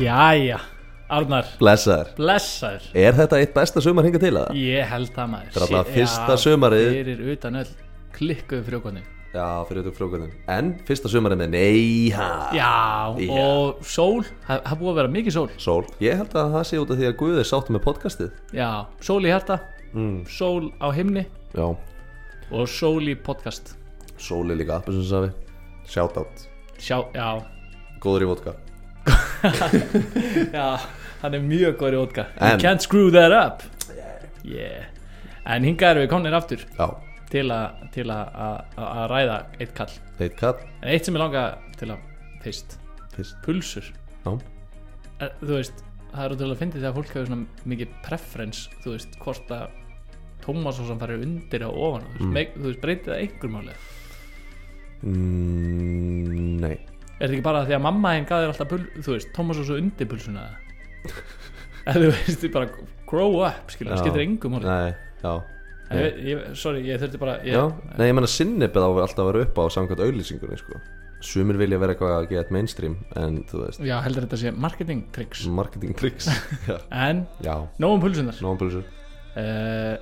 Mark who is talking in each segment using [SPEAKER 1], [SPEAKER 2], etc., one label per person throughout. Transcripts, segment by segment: [SPEAKER 1] Jæja, Arnar,
[SPEAKER 2] Blessaður
[SPEAKER 1] blessaður
[SPEAKER 2] Er þetta eitt besta sumar hinga til að?
[SPEAKER 1] Ég held það maður
[SPEAKER 2] Þetta er alltaf
[SPEAKER 1] Sé-
[SPEAKER 2] fyrsta
[SPEAKER 1] Já,
[SPEAKER 2] sumarið.
[SPEAKER 1] Fyrir utan öll klikkuðu frjókonni
[SPEAKER 2] Já, fyrir þetta frókunum En fyrsta sumarið með neyha
[SPEAKER 1] Já,
[SPEAKER 2] Ah, Já.
[SPEAKER 1] og sól, það það búið að vera mikið sól
[SPEAKER 2] Sól Ég held að það sé út af því að Guð er sáttum með podcastið
[SPEAKER 1] Já, sól í hjarta,
[SPEAKER 2] Mm.
[SPEAKER 1] sól á himni
[SPEAKER 2] Já
[SPEAKER 1] og sól í podcast
[SPEAKER 2] Sól er líka appesinsafi Shoutout
[SPEAKER 1] Sjá, já,
[SPEAKER 2] Góður í vodka
[SPEAKER 1] já, hann er mjög góður í vodka You
[SPEAKER 2] En-
[SPEAKER 1] can't screw that up Yeah En hingað erum við komnir aftur
[SPEAKER 2] Já
[SPEAKER 1] til að til að- að að ræða eitt kall
[SPEAKER 2] Eitt kall
[SPEAKER 1] En eitt sem ég langa til að fyrst,
[SPEAKER 2] Fyrst
[SPEAKER 1] pulsur
[SPEAKER 2] Já
[SPEAKER 1] Er- Eh, þú veist, það er útrúlega að fyndi þegar fólk hefur svona mikið preference, þú veist, hvort að Tómas og sem farir undir á ofan þú veist, mm. þú veist breytið það einhver máli er
[SPEAKER 2] mm, Nei
[SPEAKER 1] þetta ekki bara því að mamma henn gaf þér alltaf pul, þú veist, Tómas og svo undir pulsuna eða þú veist, þið bara grow up, skilur, það
[SPEAKER 2] Já.
[SPEAKER 1] skiptir engum máli
[SPEAKER 2] Nei Já
[SPEAKER 1] En ég, ég, sorry, ég þurfti bara ég,
[SPEAKER 2] Já Nei, ég menna sinnebið á að alltaf að vera upp á samkvæmt auðlýsingunni sko Sumir vilja vera eitthvað að geta mainstream En þú veist
[SPEAKER 1] já, heldur þetta sé marketing tricks
[SPEAKER 2] Marketing tricks Já
[SPEAKER 1] en,
[SPEAKER 2] Já
[SPEAKER 1] nóg um pulsunar
[SPEAKER 2] Nóðan pulsur
[SPEAKER 1] uh,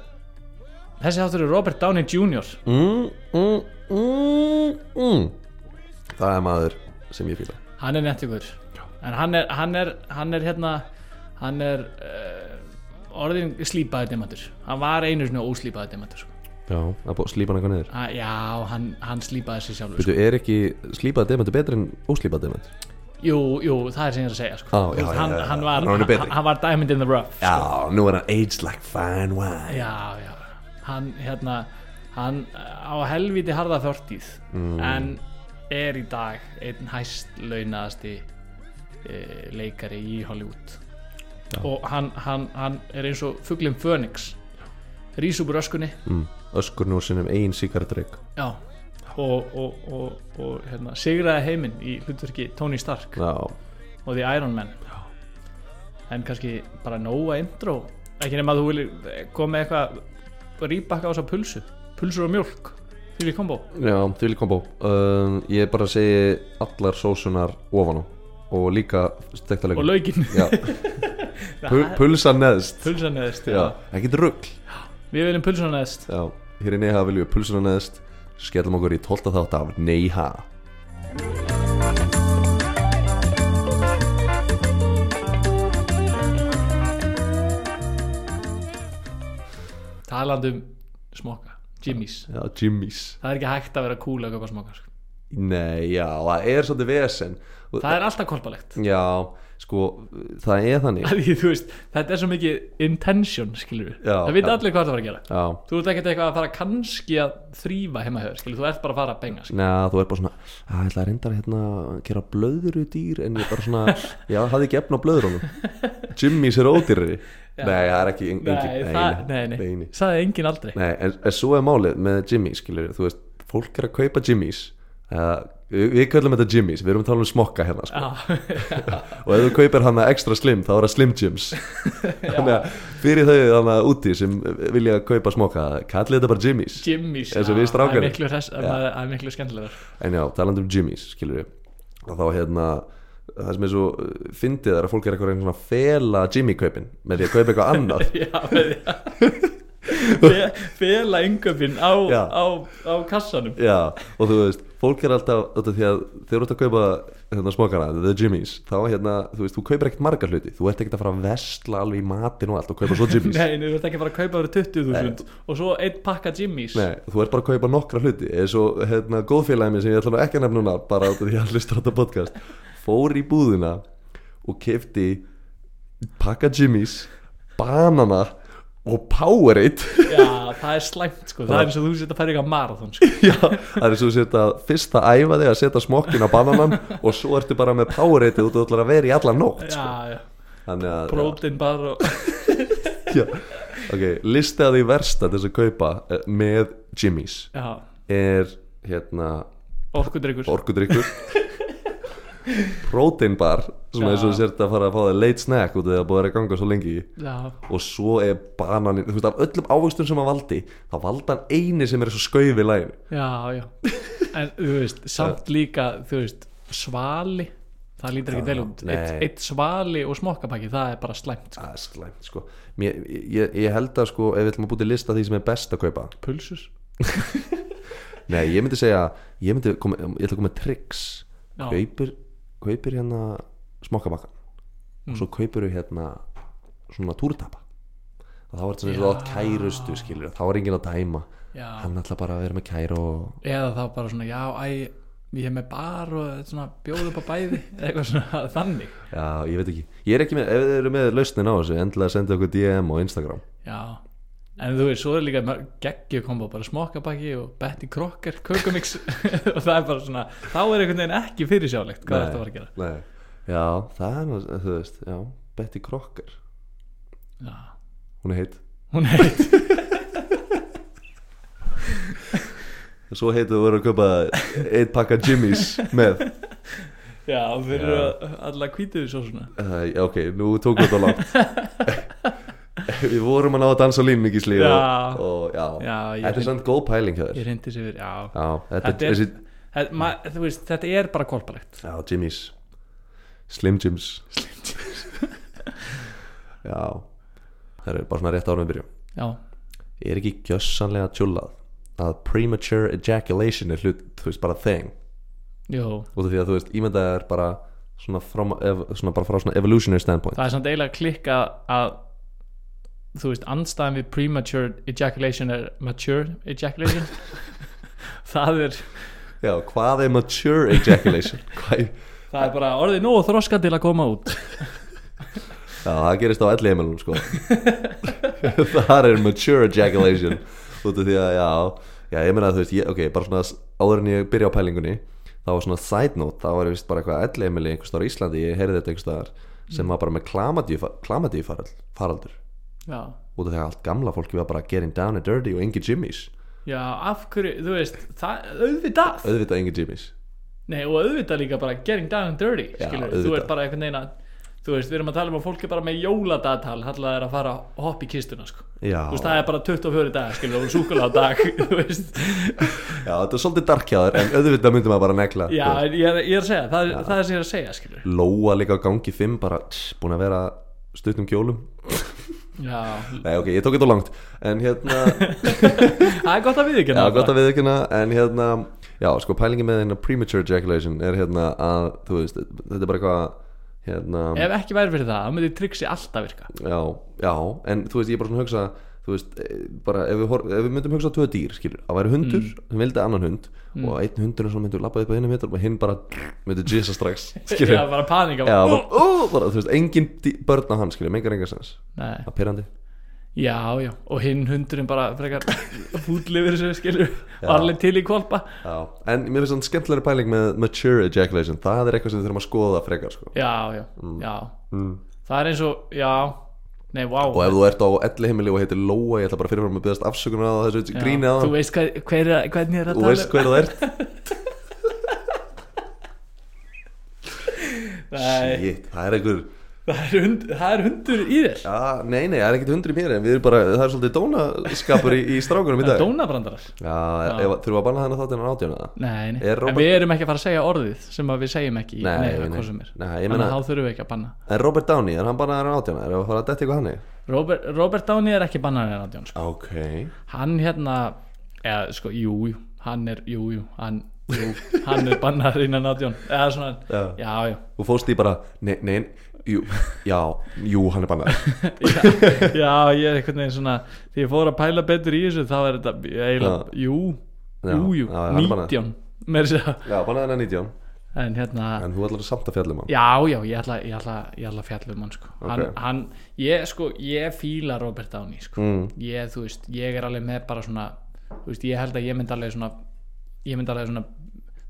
[SPEAKER 1] þessi þáttur er Robert Downey Jr.
[SPEAKER 2] mm, mm, mm, mm. Það er maður sem ég fýla
[SPEAKER 1] hann er nettingur en hann er, hann er, hann er hérna hann er uh, orðin slípaði demantur hann var einu svona óslípaði demantur sko.
[SPEAKER 2] Já, það er búið að slípa hann eitthvað niður
[SPEAKER 1] Ha- já, hann, hann slípaði sér sjálfur sko.
[SPEAKER 2] Veitu, er ekki slípað demant betur en óslípað demant?
[SPEAKER 1] jú, jú, það er sem ég er að segja sko.
[SPEAKER 2] Á, já,
[SPEAKER 1] Þú veist,
[SPEAKER 2] já,
[SPEAKER 1] hann,
[SPEAKER 2] já, já.
[SPEAKER 1] hann, var,
[SPEAKER 2] Hann var nú betri.
[SPEAKER 1] hann, hann var diamond in the rough
[SPEAKER 2] Já, nú er hann aged like fine wine
[SPEAKER 1] já, já hann hérna hann á helviti harða þortið en er í dag einn hæst launaðasti e, leikari í Hollywood og hann, hann, hann er eins og fuglinn Fönix rís upp úr öskunni
[SPEAKER 2] mm. Öskur nú sinum ein sigaretreik
[SPEAKER 1] já, og, og, og, og hérna, sigraði heiminn í hlutverki Tony Stark
[SPEAKER 2] Já,
[SPEAKER 1] og The Iron Man en kannski bara nóga intro ekki nema að þú viljir eh, koma með eitthvað rýbakka á þessa pulsu pulsur og mjólk, fyrir kombo
[SPEAKER 2] já, því líka kombo um, Ég bara segi allar sósunar ofan á Og líka
[SPEAKER 1] og
[SPEAKER 2] stektalegum
[SPEAKER 1] laukinn
[SPEAKER 2] Já, pu- pulsan neðst
[SPEAKER 1] pulsan neðst
[SPEAKER 2] Já, ekkert rugl
[SPEAKER 1] við viljum pulsan neðst
[SPEAKER 2] Já, hér í Neha viljum við pulsuna neðst Skellum okkur í 12. þátt af Neha
[SPEAKER 1] talandi um smoka, Jimmys
[SPEAKER 2] Já, Jimmys
[SPEAKER 1] það er ekki hægt að vera cool að köpa smoka sko.
[SPEAKER 2] Nei, já, það er svolítið vesen Og-
[SPEAKER 1] það er alltaf kolbalegt
[SPEAKER 2] Já, sko, það er þannig
[SPEAKER 1] Af því, þú veist, þetta er svo mikið intention skilur við,
[SPEAKER 2] Já,
[SPEAKER 1] það veit
[SPEAKER 2] já.
[SPEAKER 1] allir hvað það var að gera
[SPEAKER 2] Já,
[SPEAKER 1] þú ert ekkert eitthvað að fara kannski að þrýfa heima höfður, skilur, þú ert bara að fara að benga skilur.
[SPEAKER 2] Næ, þú er bara svona Það ætla að reynda hérna að gera blöðuru dýr En ég bara svona, já, hafði ekki efna á blöðurunum Jimmys er ódýrri Nei, það er ekki engin
[SPEAKER 1] Nei, það, nei, nei, nei, það er engin aldrei
[SPEAKER 2] Nei, en, en svo er málið með Jimmys, skilur Þú veist, fólk er að kaupa Jimmys uh, Við við köllum þetta Jimmys, við erum að tala um smokka hérna sko. Og ef þú kaupir hana extra slim Þá er það slim jims Þannig að fyrir þau þarna úti sem vilja kaupa smokka Kallið þetta bara Jimmys
[SPEAKER 1] Jimmys,
[SPEAKER 2] Eins og við strákarnir.
[SPEAKER 1] það er miklu, hress- það er miklu skemmtilegar
[SPEAKER 2] En já, talandi um Jimmys, skilur við Þá hérna Það sem er svo uh, fyndið er að fólk er eitthvað reyna svona að fela Jimmy kaupin með því að kaupa eitthvað annað
[SPEAKER 1] Já, með því að fela yngöfin á,
[SPEAKER 2] Já.
[SPEAKER 1] á, á kassanum
[SPEAKER 2] Já, og þú veist, fólk er alltaf þetta því að þeir eru út að kaupa hérna, smokana, the jimmies, þá hérna þú veist, þú kaupir ekkert marga hluti, þú ert ekkert að fara að vesla alveg í matin og allt og kaupa svo jimmies
[SPEAKER 1] Nei, nei, þú ert ekki bara að kaupa fyrir 20.000 og svo einn pakka Jimmys
[SPEAKER 2] Nei, þú ert bara að kaupa nokkra hluti eins og hérna góðfélagið mér sem ég ætla nú ekki að nefna núna bara út af því að hlusta á þetta podcast fór í búðina og kefti pakka jimmies banana og Powerade
[SPEAKER 1] Já, það er slæmt sko, það er eins og þú sétt að færa eitthvað marathon sko.
[SPEAKER 2] Já, það er svo að setja fyrst að æfa þig að setja smokkin á bananan og svo ertu bara með Powerade og þú ætlar að vera í alla nótt
[SPEAKER 1] Já, já,
[SPEAKER 2] Þannig að,
[SPEAKER 1] prótin bara og...
[SPEAKER 2] já, ok, listið að því versta til þess að kaupa eh, með Jimmys
[SPEAKER 1] Já,
[SPEAKER 2] er hérna
[SPEAKER 1] orkudryggur
[SPEAKER 2] orkudrykkur protein bar sem
[SPEAKER 1] Já.
[SPEAKER 2] er svo sért að fara að fá það late snack út af því að búið er að ganga svo lengi í.
[SPEAKER 1] Já,
[SPEAKER 2] og svo er bananin, þú veist af öllum ávöxtum sem hann valdi þá valdi hann eini sem er svo skauð í lægin
[SPEAKER 1] já, já En þú veist, samt líka, þú veist, svali Það það lítur ekki vel út eitt,
[SPEAKER 2] nei.
[SPEAKER 1] eitt svali og smokkapakki, það er bara slæmt sko.
[SPEAKER 2] Það er slæmt sko Mér, ég, ég held að sko, ef við ætlum að búti lista því sem er best að kaupa
[SPEAKER 1] pulsus
[SPEAKER 2] Nei, ég myndi segja, ég myndi koma, ég ætla að koma með tricks
[SPEAKER 1] Já.
[SPEAKER 2] kaupir, kaupir hérna smokkabakkan og svo kaupir við hérna svona túrtapa og þá er þetta svona svo átt kærustu skilur þá er enginn að dæma
[SPEAKER 1] Já.
[SPEAKER 2] hann ætla bara að vera með kæru og
[SPEAKER 1] eða þá bara svona, já, æ ég er með bar og svona bjóð upp á bæði eitthvað svona þannig
[SPEAKER 2] Já, ég veit ekki Ég er ekki með, ef þið eru með lausnin á þessu endilega senda okkur DM á Instagram
[SPEAKER 1] já, en þú veist, svo er líka geggju kombo, bara smokkapakki og betti krokkar, kökumix og það er bara svona, þá er einhvern veginn ekki fyrirsjálegt hvað
[SPEAKER 2] Nei.
[SPEAKER 1] þetta var að gera
[SPEAKER 2] Nei. Já, það er nú, þú veist, já Betty Crocker,
[SPEAKER 1] já,
[SPEAKER 2] hún er heitt
[SPEAKER 1] hún heit
[SPEAKER 2] Svo heitt þú voru að köpa eitt pakka Jimmys með
[SPEAKER 1] já, fyrir
[SPEAKER 2] Já.
[SPEAKER 1] að alla kvítið svo svona
[SPEAKER 2] uh, já, Ok, nú tókum við þetta langt Við vorum að ná að dansa á línni gísli og,
[SPEAKER 1] Já.
[SPEAKER 2] og já,
[SPEAKER 1] já, ég,
[SPEAKER 2] Þetta er samt góð pæling hjá þér
[SPEAKER 1] ég reyndi sér fyrir, já
[SPEAKER 2] Já, þetta,
[SPEAKER 1] Þetta er-
[SPEAKER 2] þessi,
[SPEAKER 1] Þetta, ma, þú veist, þetta er bara kolpalegt
[SPEAKER 2] já, Jimmys Slim Jims Slim Jims Já Það er bara svona rétt árum við byrjum
[SPEAKER 1] Já,
[SPEAKER 2] er ekki gjössanlega tjúlað að premature ejaculation er hlut, þú veist, bara thing
[SPEAKER 1] jú,
[SPEAKER 2] út af því að þú veist, ímyndað er bara svona, from, ev, svona bara frá svona evolutionary standpoint
[SPEAKER 1] það er samt eiginlega klikka að þú veist, andstæðan við premature ejaculation er mature ejaculation það er
[SPEAKER 2] Já, hvað er mature ejaculation? Hvað,
[SPEAKER 1] það er bara orðið nóg þroska til að koma út
[SPEAKER 2] já, það gerist á elli heimilum, sko Það er mature ejaculation út af því að, já, já, ég meina að þú veist, ég, ok, bara svona s- áður en ég byrja á pælingunni þá var svona side note, þá var ég vist bara eitthvað elli heimili einhvers staðar á Íslandi, ég heyrði þetta einhvers staðar sem var bara með klamadífaraldur
[SPEAKER 1] já,
[SPEAKER 2] út af því að allt gamla fólki var bara getting down and dirty og engi jimmies
[SPEAKER 1] já, af hverju, þú veist það, auðvitað
[SPEAKER 2] auðvitað engi jimmies
[SPEAKER 1] Nei, og auðvitað líka bara getting down and dirty
[SPEAKER 2] Já,
[SPEAKER 1] skilur, þú
[SPEAKER 2] auðvitað.
[SPEAKER 1] ert bara einhvern veginn að þú veist, við erum að tala um að fólk er bara með jóladatal hallega er að fara að hoppa í kistuna sko.
[SPEAKER 2] já,
[SPEAKER 1] þú veist, það er bara 24 dag skilur, og súkulega dag þú veist,
[SPEAKER 2] já, þetta er svolítið darkjáður en auðvitað myndum maður bara negla
[SPEAKER 1] já,
[SPEAKER 2] þú veist.
[SPEAKER 1] en ég er, ég er að segja það, er- það er sem ég er að segja, skilur
[SPEAKER 2] Lóa líka á gangi 5 bara tss, búin að vera stuttum kjólum
[SPEAKER 1] já,
[SPEAKER 2] nei ok, ég tók þetta of langt en hérna,
[SPEAKER 1] það er gott að við ekki
[SPEAKER 2] já gott að við ekki en hérna, já sko pælingi með hérna premature ejaculation er hérna að þú veist, þetta er bara eitthvað hérna,
[SPEAKER 1] ef ekki væri fyrir það, þá myndi triksi alltaf virka
[SPEAKER 2] já, já en þú veist, ég er bara svona að hugsa þú veist, eh, bara ef við, horf, ef við myndum hugsa á tvö dýr, skilur, að væri hundur sem vildi annan hund og einn hundur sem myndi lappa upp að hinum hundur og hinn bara myndi jissa strax, skilur
[SPEAKER 1] já, bara panika
[SPEAKER 2] Já,
[SPEAKER 1] bara,
[SPEAKER 2] bara, ó, bara, þú veist, engin dý- börn á hann, skilur, mengar engar sens
[SPEAKER 1] Nei.
[SPEAKER 2] það er pyrrandi,
[SPEAKER 1] já, já, og hinn hundurinn bara frekar fúllifir þessu, skilur og allir til í kvalpa
[SPEAKER 2] já, en mér finnst þannig skemmtilegri pæling með mature ejaculation, það er eitthvað sem við þurfum að skoða frekar, sko,
[SPEAKER 1] já, já, já það er eins og, já nei, vá,
[SPEAKER 2] og ef þú ert á elli heimili og heitir Lóa, ég ætla bara fyrirfram að byggast afsökunar á þessu
[SPEAKER 1] Já,
[SPEAKER 2] gríni á
[SPEAKER 1] þú
[SPEAKER 2] hann,
[SPEAKER 1] veist hver, hver, er- hvernig er að
[SPEAKER 2] þú
[SPEAKER 1] tala um-
[SPEAKER 2] veist hver þú ert
[SPEAKER 1] Nei,
[SPEAKER 2] Shit, það er einhver,
[SPEAKER 1] það, er hund, það er hundur í þér
[SPEAKER 2] já, nei, nei, það er ekkert hundur í mér en við erum bara, það er svolítið dónaskapur í, í strákunum í dag
[SPEAKER 1] dónabrandarar
[SPEAKER 2] Já, ef, þurfum við að banna þennan þáttinn að átjóna það?
[SPEAKER 1] Nei, nei.
[SPEAKER 2] Er Robert-
[SPEAKER 1] en við erum ekki að fara að segja orðið sem að við segjum ekki
[SPEAKER 2] Nei,
[SPEAKER 1] í
[SPEAKER 2] nei.
[SPEAKER 1] neina hvað sem er
[SPEAKER 2] Nei, ég
[SPEAKER 1] þannig
[SPEAKER 2] meina-
[SPEAKER 1] að þá þurfum við ekki að banna
[SPEAKER 2] En Robert Downey, er hann bannaður að átjóna? Er það að fara að detta eitthvað hann í?
[SPEAKER 1] Robert, Robert Downey er ekki bannar en Adjón sko.
[SPEAKER 2] Ok
[SPEAKER 1] hann hérna eða sko, jú, jú, hann er jú, jú, hann, jú, hann er bannar innan Adjón eða svona,
[SPEAKER 2] Já.
[SPEAKER 1] já, já
[SPEAKER 2] Þú fóst í bara, nei, nei, jú, já, jú, hann er bannaður
[SPEAKER 1] já, já, ég er einhvern veginn svona því ég fór að pæla betur í þessu þá er þetta eiginlega, jú,
[SPEAKER 2] Já,
[SPEAKER 1] jú, jú
[SPEAKER 2] já, hann er bannaður.
[SPEAKER 1] 19, með þess að
[SPEAKER 2] Já, bannaður hann 19
[SPEAKER 1] segja. en hérna,
[SPEAKER 2] En þú ætlar að samt að fjallum hann
[SPEAKER 1] já, já, ég ætla, ég ætla, ég ætla að fjalla um hann sko. hann,
[SPEAKER 2] Ok.
[SPEAKER 1] hann, ég sko, ég fíla Robert Downey sko.
[SPEAKER 2] Mm.
[SPEAKER 1] ég, þú veist, ég er alveg með bara svona, þú veist, ég held að ég myndi alveg svona, ég myndi alveg svona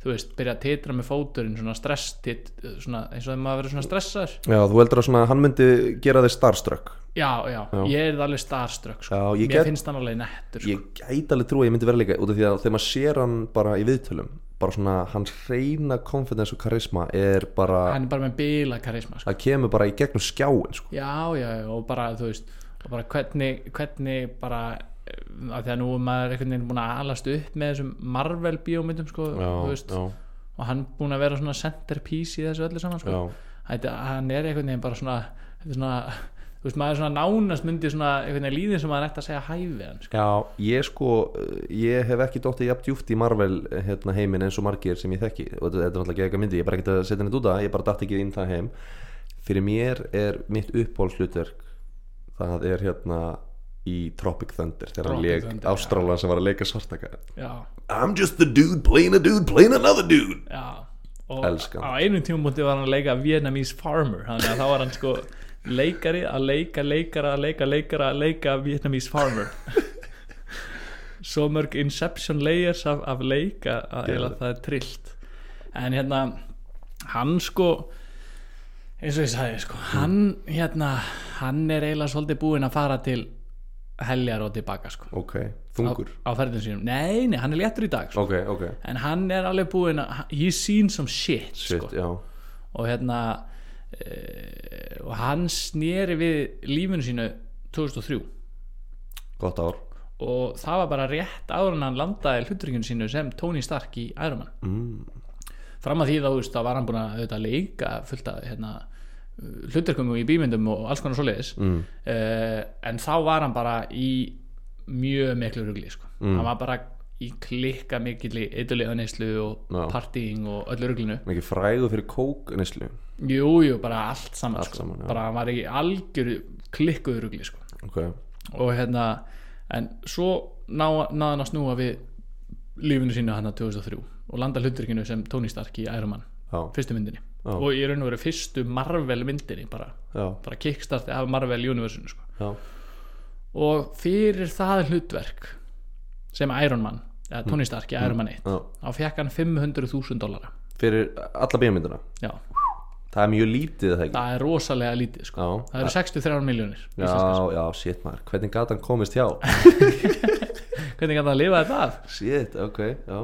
[SPEAKER 1] þú veist, byrja að titra með fóturinn svona stress, tit, svona, eins og þegar maður verið svona stressaður,
[SPEAKER 2] Já, þú heldur að svona, hann myndi gera þig starstruck
[SPEAKER 1] já, já, ég er alveg starstruck, sko,
[SPEAKER 2] Já, ég
[SPEAKER 1] mér
[SPEAKER 2] get-
[SPEAKER 1] finnst hann alveg nettur, sko.
[SPEAKER 2] Ég gæti alveg trú að ég myndi vera líka Út af því að þegar maður sér hann bara í viðtölum Bara svona, hans reyna confidence og karisma er bara
[SPEAKER 1] hann er bara með bila karisma, sko,
[SPEAKER 2] Það kemur bara í gegnum skjáin, sko
[SPEAKER 1] já, já, já, og bara, þú veist og bara hvernig, hvernig bara eh, að því að nú er maður einhvern veginn búin að alast upp með þessum Marvel bíómyndum sko, þú veist,
[SPEAKER 2] já
[SPEAKER 1] og hann búin að vera svona centerpiece í þessu öllu saman sko.
[SPEAKER 2] Já.
[SPEAKER 1] Þetta, hann er einhvern veginn bara svona, þetta er svona þú veist, maður er svona nánast myndi svona einhvern veginn líðin sem maður ætti að segja hæfi hann sko.
[SPEAKER 2] Já, ég sko, eh, ég hef ekki dottið jafn djúft í Marvel eh, hérna, heimin eins og margir sem ég þekki og þetta þetta er náttúrulega ekki myndi, ég er bara ekkert að setja henni út að ég bara datt ekki inn það heim fyrir mér er mitt uppáhaldslutverk það er hérna í Tropic Thunder þegar hann
[SPEAKER 1] Tropic
[SPEAKER 2] leik
[SPEAKER 1] Thunder,
[SPEAKER 2] Ástrálan sem var að leika svartaka
[SPEAKER 1] já,
[SPEAKER 2] I'm just the dude playing a dude playing another dude
[SPEAKER 1] já og
[SPEAKER 2] Elskan.
[SPEAKER 1] á einum tímumúti var hann að leika Vietnamese farmer, þannig að þá var hann sko leikari að leika leikara að leika leikara að leika Vietnamese farmer svo mörg inception layers af, af leik að- að eiginlega það er trillt en hérna hann sko eins og ég sagði sko
[SPEAKER 2] Mm.
[SPEAKER 1] hann hérna hann er eiginlega svolítið búinn að fara til heljar og tilbaka sko
[SPEAKER 2] Ok, þungur
[SPEAKER 1] á ferðin sínum, nei nei hann er léttur í dag sko.
[SPEAKER 2] Ok, ok,
[SPEAKER 1] en hann er alveg búinn að he's seen some shit,
[SPEAKER 2] shit,
[SPEAKER 1] sko
[SPEAKER 2] já
[SPEAKER 1] og hérna e, og hann sneri við lífinu sínu 2003
[SPEAKER 2] Gott ár
[SPEAKER 1] og það var bara rétt áður en hann landaði hluturkinu sínu sem Tony Stark í Iron Man
[SPEAKER 2] mm,
[SPEAKER 1] fram að því þá, þú veist, þá var hann búin að auðvitað leika fullt að hérna, hluturkumum í bímyndum og alls konar svoleiðis mm. en þá var hann bara í mjög miklu rugli sko.
[SPEAKER 2] Mm.
[SPEAKER 1] hann var bara í klikka mikil í eitthulega neyslu og
[SPEAKER 2] Já.
[SPEAKER 1] partying og öllu ruglinu
[SPEAKER 2] Mikið fræðu fyrir kók neslu
[SPEAKER 1] jú, jú, bara allt saman,
[SPEAKER 2] Allt
[SPEAKER 1] sko.
[SPEAKER 2] saman, já.
[SPEAKER 1] bara hann var í algjöru klikkuðu rugli sko.
[SPEAKER 2] Ok,
[SPEAKER 1] og hérna en svo ná, náðan að snúa við lífinu sínu hann 2003 og landa hluturkinu sem Tony Stark í Iron Man
[SPEAKER 2] já,
[SPEAKER 1] fyrstu myndinni
[SPEAKER 2] Já.
[SPEAKER 1] og í raun og veru fyrstu Marvel myndinni bara,
[SPEAKER 2] já,
[SPEAKER 1] bara kickstarti af Marvel universinu sko.
[SPEAKER 2] já
[SPEAKER 1] og fyrir það hlutverk sem Iron Man eða
[SPEAKER 2] Hm.
[SPEAKER 1] Tony Stark í Iron Man 1
[SPEAKER 2] Já.
[SPEAKER 1] þá fekk hann 500.000 dollara
[SPEAKER 2] Fyrir alla bíómynduna
[SPEAKER 1] já,
[SPEAKER 2] Það er mjög lítið er það ekki
[SPEAKER 1] það er rosalega lítið sko.
[SPEAKER 2] Já.
[SPEAKER 1] það sko. eru 63 miljónir
[SPEAKER 2] Já, já, shit maður, hvernig gat hann komist hjá?
[SPEAKER 1] hvernig kannu að lifa þetta af
[SPEAKER 2] Shit, ok, já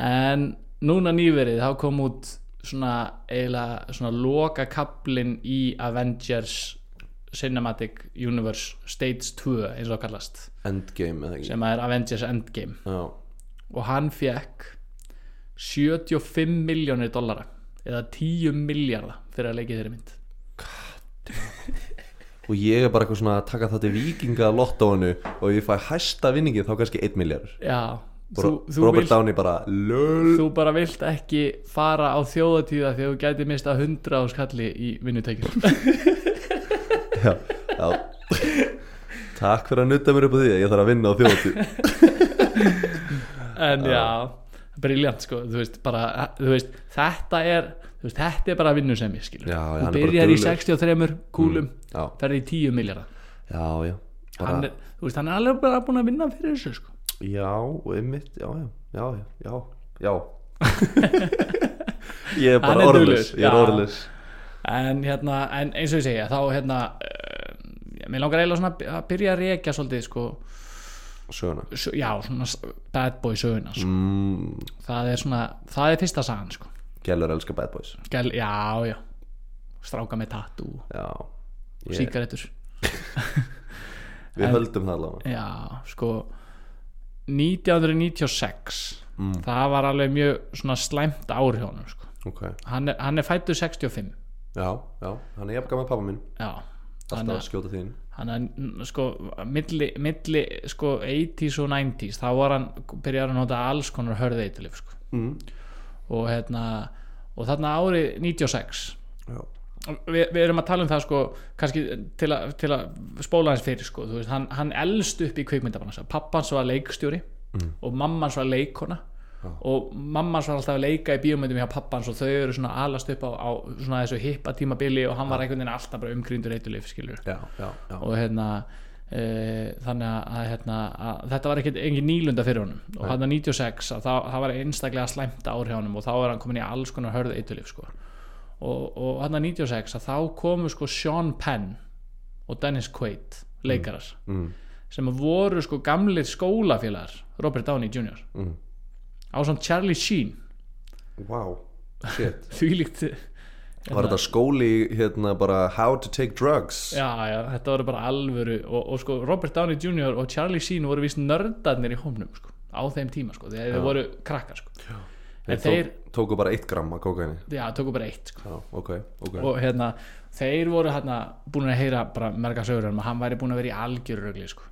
[SPEAKER 1] en núna nýverið þá kom út svona eiginlega svona loka kaplin í Avengers Cinematic Universe Stage 2 eins og það kallast
[SPEAKER 2] Endgame eða ekki
[SPEAKER 1] sem er Avengers Endgame
[SPEAKER 2] Já,
[SPEAKER 1] og hann fekk 75 miljónir dollara eða 10 miljardar fyrir að leikið þeirri mynd
[SPEAKER 2] og ég er bara eitthvað svona að taka það til vikinga lottóinu og ef ég fæ hæsta vinningi þá kannski 1 miljard
[SPEAKER 1] já, þú, þú,
[SPEAKER 2] Robert
[SPEAKER 1] vilt,
[SPEAKER 2] Downey bara LÖL
[SPEAKER 1] þú bara vilt ekki fara á þjóðatíða þegar þú gæti mista 100 á skalli í vinnutekjum
[SPEAKER 2] já, já. Takk fyrir að nutta mér upp á því að ég þarf að vinna á þjóti
[SPEAKER 1] en já, briljant sko þú veist, bara, þú veist, þetta er þú veist, þetta er bara vinnu sem ég skilur
[SPEAKER 2] Já, já,
[SPEAKER 1] þú
[SPEAKER 2] hann er bara
[SPEAKER 1] byrjar í
[SPEAKER 2] duglegur.
[SPEAKER 1] 63 kúlum
[SPEAKER 2] Já,
[SPEAKER 1] ferði í 10 miljardar
[SPEAKER 2] já, já bara,
[SPEAKER 1] hann er, þú veist, hann er alveg bara búin að vinna fyrir þessu sko.
[SPEAKER 2] Já, og einmitt, já, já, já, já, já Ég
[SPEAKER 1] Hann
[SPEAKER 2] er bara
[SPEAKER 1] er
[SPEAKER 2] orðlis
[SPEAKER 1] duglegur,
[SPEAKER 2] Ég er
[SPEAKER 1] já.
[SPEAKER 2] orðlis
[SPEAKER 1] en, hérna, en eins og ég segja þá hérna uh, mér langar eiginlega svona að by- að byrja að rekja svolítið sko,
[SPEAKER 2] Söguna
[SPEAKER 1] sö- já, svona s- bad boy söguna sko.
[SPEAKER 2] mm,
[SPEAKER 1] það er svona, það er fyrsta sagan sko.
[SPEAKER 2] Gellur elskar Bad Boys
[SPEAKER 1] Gæl, já, já stráka með tattoo
[SPEAKER 2] Já,
[SPEAKER 1] og
[SPEAKER 2] Ég-
[SPEAKER 1] sígarettur
[SPEAKER 2] við höldum það allavega
[SPEAKER 1] Já, sko 1996
[SPEAKER 2] Mm.
[SPEAKER 1] það var alveg mjög svona slæmt ár hjá honum sko.
[SPEAKER 2] Ok,
[SPEAKER 1] hann, er, hann er fættur 65
[SPEAKER 2] já, já, hann er jafn gaman pappa minn
[SPEAKER 1] já
[SPEAKER 2] Alltaf að skjóta þín
[SPEAKER 1] hann er n- sko milli, milli sko 80s og 90s þá var hann, byrjar að nota alls konar hörði eitilif sko
[SPEAKER 2] mm.
[SPEAKER 1] og hérna, og þarna árið 96
[SPEAKER 2] Já,
[SPEAKER 1] við, við erum að tala um það sko kannski til, a, til að spóla hans fyrir sko, þú veist, hann, hann elst upp í kvikmyndabransa pappans var leikstjóri og mammans var leikona og mammans var alltaf að leika í bíómyndum hjá pappans og þau eru svona að alast upp á, á svona þessu hippa tímabili og hann var einhvern veginn alltaf bara umgrindur eitulif skilur
[SPEAKER 2] já, já, já.
[SPEAKER 1] og hérna e, þannig að, hérna, að þetta var ekkert engin nýlunda fyrir honum og hann 96 að það, það var einstaklega slæmt ár hjá honum og þá er hann komin í alls konar hörð eitulif sko og, og hann 96 að þá komu sko Sean Penn og Dennis Quaid leikarar
[SPEAKER 2] Mm.
[SPEAKER 1] sem voru sko gamlir skólafélagar Robert Downey Jr.
[SPEAKER 2] Mm.
[SPEAKER 1] á samt Charlie Sheen
[SPEAKER 2] Wow, shit
[SPEAKER 1] því líkt
[SPEAKER 2] Var þetta skóli hérna bara How to take drugs
[SPEAKER 1] já, já, þetta voru bara alvöru og, og sko Robert Downey Jr. og Charlie Sheen voru vist nördarnir í hómnum sko, á þeim tíma sko, þegar þeir voru krakkar sko. En þeir,
[SPEAKER 2] tóku bara eitt gram að kókaini
[SPEAKER 1] já, tóku bara eitt sko.
[SPEAKER 2] Já, ok, ok
[SPEAKER 1] og hérna, þeir voru hérna búin að heyra bara merga sögur um að hann væri búin að vera í algjörurugli sko.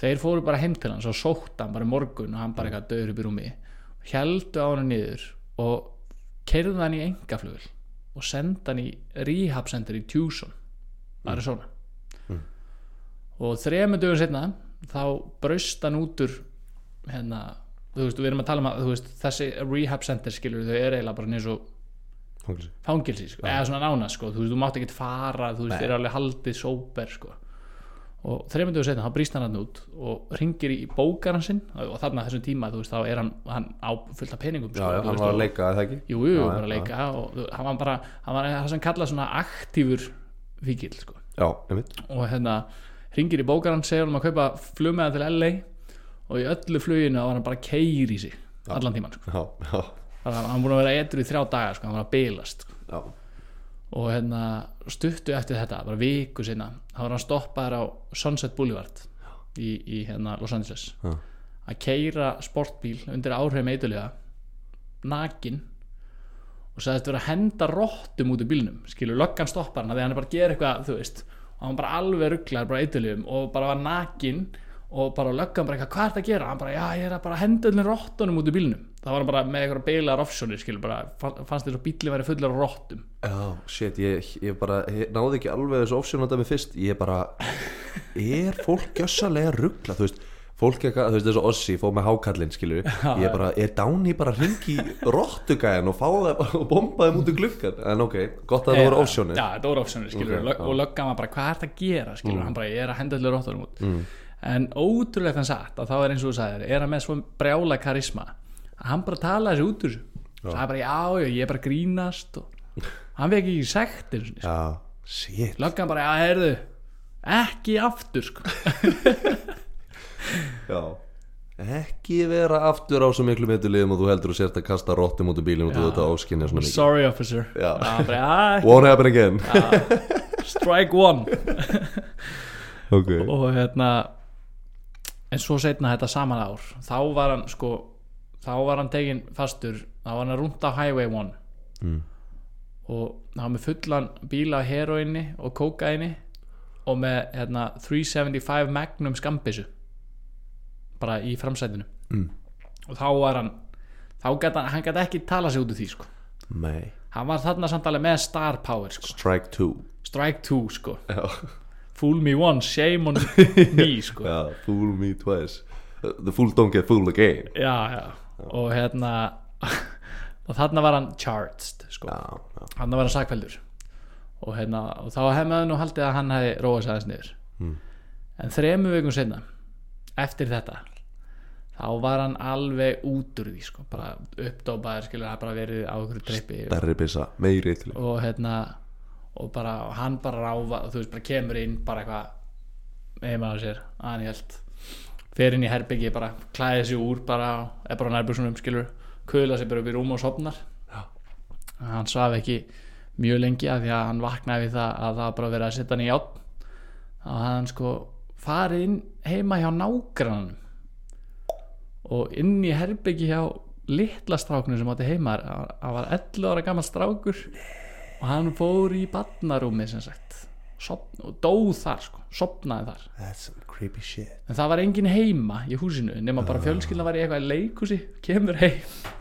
[SPEAKER 1] þeir fóru bara heim til hans og sótt hann bara í morgun og hann bara eitthvað döður upp í rúmi heldu á hann niður og keirðu hann í engaflugul og senda hann í rehab center í Tucson Arizona og þremur dögum setna þá braust hann út úr hérna, þú veist, við erum að tala um að þú veist, þessi rehab center skilur þau er eiginlega bara eins og
[SPEAKER 2] Fangilsi.
[SPEAKER 1] fangilsi, sko, eða svona nána sko, þú veist, þú mátt ekki fara, þú veist, þeir eru alveg haldið sóper, sko og þreymundu og setna, þá brýst hann hann út og ringir í bókaran sinn og þarna á þessum tíma, þú veist, þá er hann, hann á fullt af peningum,
[SPEAKER 2] Já,
[SPEAKER 1] sko,
[SPEAKER 2] já,
[SPEAKER 1] þú
[SPEAKER 2] hann
[SPEAKER 1] veist,
[SPEAKER 2] var að
[SPEAKER 1] og-
[SPEAKER 2] leika, er það ekki?
[SPEAKER 1] jú, jú,
[SPEAKER 2] Já,
[SPEAKER 1] bara
[SPEAKER 2] já,
[SPEAKER 1] að leika og þú- hann var bara, hann var það sem kallað svona aktífur fíkil, sko
[SPEAKER 2] Já, einmitt
[SPEAKER 1] og hérna, ringir í bókaran segir hann að kaupa flugmeða til LA og í öllu fluginu var hann bara keir í sig allan tíman, sko,
[SPEAKER 2] Já, já,
[SPEAKER 1] Þannig að hann búin að vera etru í þrjá daga, sko, hann var að bilast, sko
[SPEAKER 2] já,
[SPEAKER 1] og hérna stuttu eftir þetta, bara viku sinna þá var hann stoppaður á Sunset Boulevard í, í hérna Los Angeles
[SPEAKER 2] Já.
[SPEAKER 1] að keira sportbíl undir áhrifum eitulega nakin og sagðist vera að henda rottum út í bílnum skilur, löggan stoppar hann að því hann er bara að gera eitthvað þú veist, og hann bara alveg rugglar bara eitulegum og bara var nakin og bara löggan bara eitthvað, hvað er þetta að gera hann bara, já, ég er að bara henda öllum rottunum út í bílnum það var hann bara með eitthvað beilaðar offsjónir skilur, bara fa- fannst þér svo bílinn væri fullar af rottum
[SPEAKER 2] já, shit, ég, ég bara ég náði ekki alveg þessu ofsjónandami fyrst Ég bara, er fólk gjössalega ruggla, þú veist Fólk eitthvað, þú veist þessu Ossi, fóð með hákallinn, skilur Ég bara, er Dání bara að hringi rottugæðan og fá það bara og bomba þeim út um gluggan En ok, gott að það voru ofsjónir
[SPEAKER 1] Já, þetta voru ofsjónir, skilur
[SPEAKER 2] Ok,
[SPEAKER 1] okay,
[SPEAKER 2] já. Mm.
[SPEAKER 1] og löggan var bara, hvað er þetta að gera, skilur hann bara, ég er að henda allir róttunum út en ótrúlega þann satt að þá er eins og þú sagðir er hann með svo brjála karisma að hann bara tala þessi út úr þessu það er bara, já, já, ég er bara að grínast og hann vek ekki sagt einu sinni, sko.
[SPEAKER 2] Já, shit
[SPEAKER 1] löggan bara, já, heyrðu ekki aftur, sko
[SPEAKER 2] Já Ekki vera aftur á svo miklu meitulegum og þú heldur og sért að kasta rottum út um bílum og þú þetta áskinja svona mikið
[SPEAKER 1] sorry officer
[SPEAKER 2] Já.
[SPEAKER 1] hann bara, já,
[SPEAKER 2] Won't happen again
[SPEAKER 1] strike one
[SPEAKER 2] Ok
[SPEAKER 1] og hérna en svo setna þetta saman ár þá var hann sko þá var hann teginn fastur þá var hann að rúnta á Highway 1 og hann var með fullan bíla á heroinni og kókaini og með hérna 375 Magnum skambissu bara í framsætinu mm. og þá var hann þá gæti hann, hann gæti ekki tala sig út úr því sko
[SPEAKER 2] Nei
[SPEAKER 1] hann var þarna samtalið með star power sko.
[SPEAKER 2] Strike two
[SPEAKER 1] strike 2 sko
[SPEAKER 2] Já,
[SPEAKER 1] fool me once, shame on me sko
[SPEAKER 2] Já fool me twice The fool don't get fooled again
[SPEAKER 1] já, já. og hérna og þarna var hann charged sko.
[SPEAKER 2] Já, já
[SPEAKER 1] hann var hann sakfældur og, hérna, og þá hefði nú haldið að hann hefði róið sæðis niður en þremu vikum sinna eftir þetta þá var hann alveg út úr því sko. bara uppdópaður skilur hann bara verið á ykkur trippi
[SPEAKER 2] Derri byssa, meiri til
[SPEAKER 1] og hérna og bara og hann bara ráfa þú veist bara kemur inn bara eitthvað heima á sér hann held fer inn í herbyggi bara klæði sig úr bara er bara nærbjörnum skilur kula sig bara upp í rúm og sopnar
[SPEAKER 2] Já.
[SPEAKER 1] hann svaf ekki mjög lengi af því að hann vaknaði við það að það var bara verið að setja hann í játn þá hafði hann sko farið inn heima hjá nágrann og inn í herbyggi hjá litla stráknu sem átti heima þar. hann var 11 ára gammal strákur og hann fór í badnarúmi sem sagt Sopn, og dóð þar sko, sopnaði þar
[SPEAKER 2] That's some creepy shit
[SPEAKER 1] en það var engin heima í húsinu nema bara fjölskylda var í eitthvað leikusi kemur heim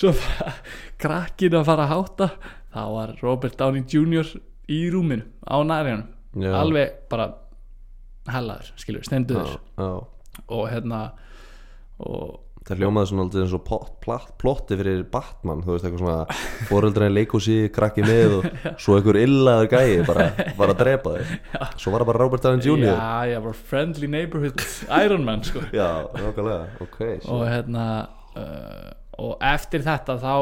[SPEAKER 1] svo bara krakkin að fara að hátta þá var Robert Downey Jr. í rúminu á nærjanum
[SPEAKER 2] Já.
[SPEAKER 1] alveg bara hellaður, skilur, stenduður
[SPEAKER 2] Já
[SPEAKER 1] og hérna og
[SPEAKER 2] Það hljómaði svona aldrei eins og pot- plat- plotti fyrir Batman, þú veist, eitthvað svona fóröldræðin leikhúsi, krakki með og svo einhver illaður gæi bara var að drepa þig Svo var það bara Robert Downey Jr.
[SPEAKER 1] já, já, bara friendly neighborhood Iron Man sko
[SPEAKER 2] Já, nákvæmlega, ok shit.
[SPEAKER 1] og hérna uh, og eftir þetta þá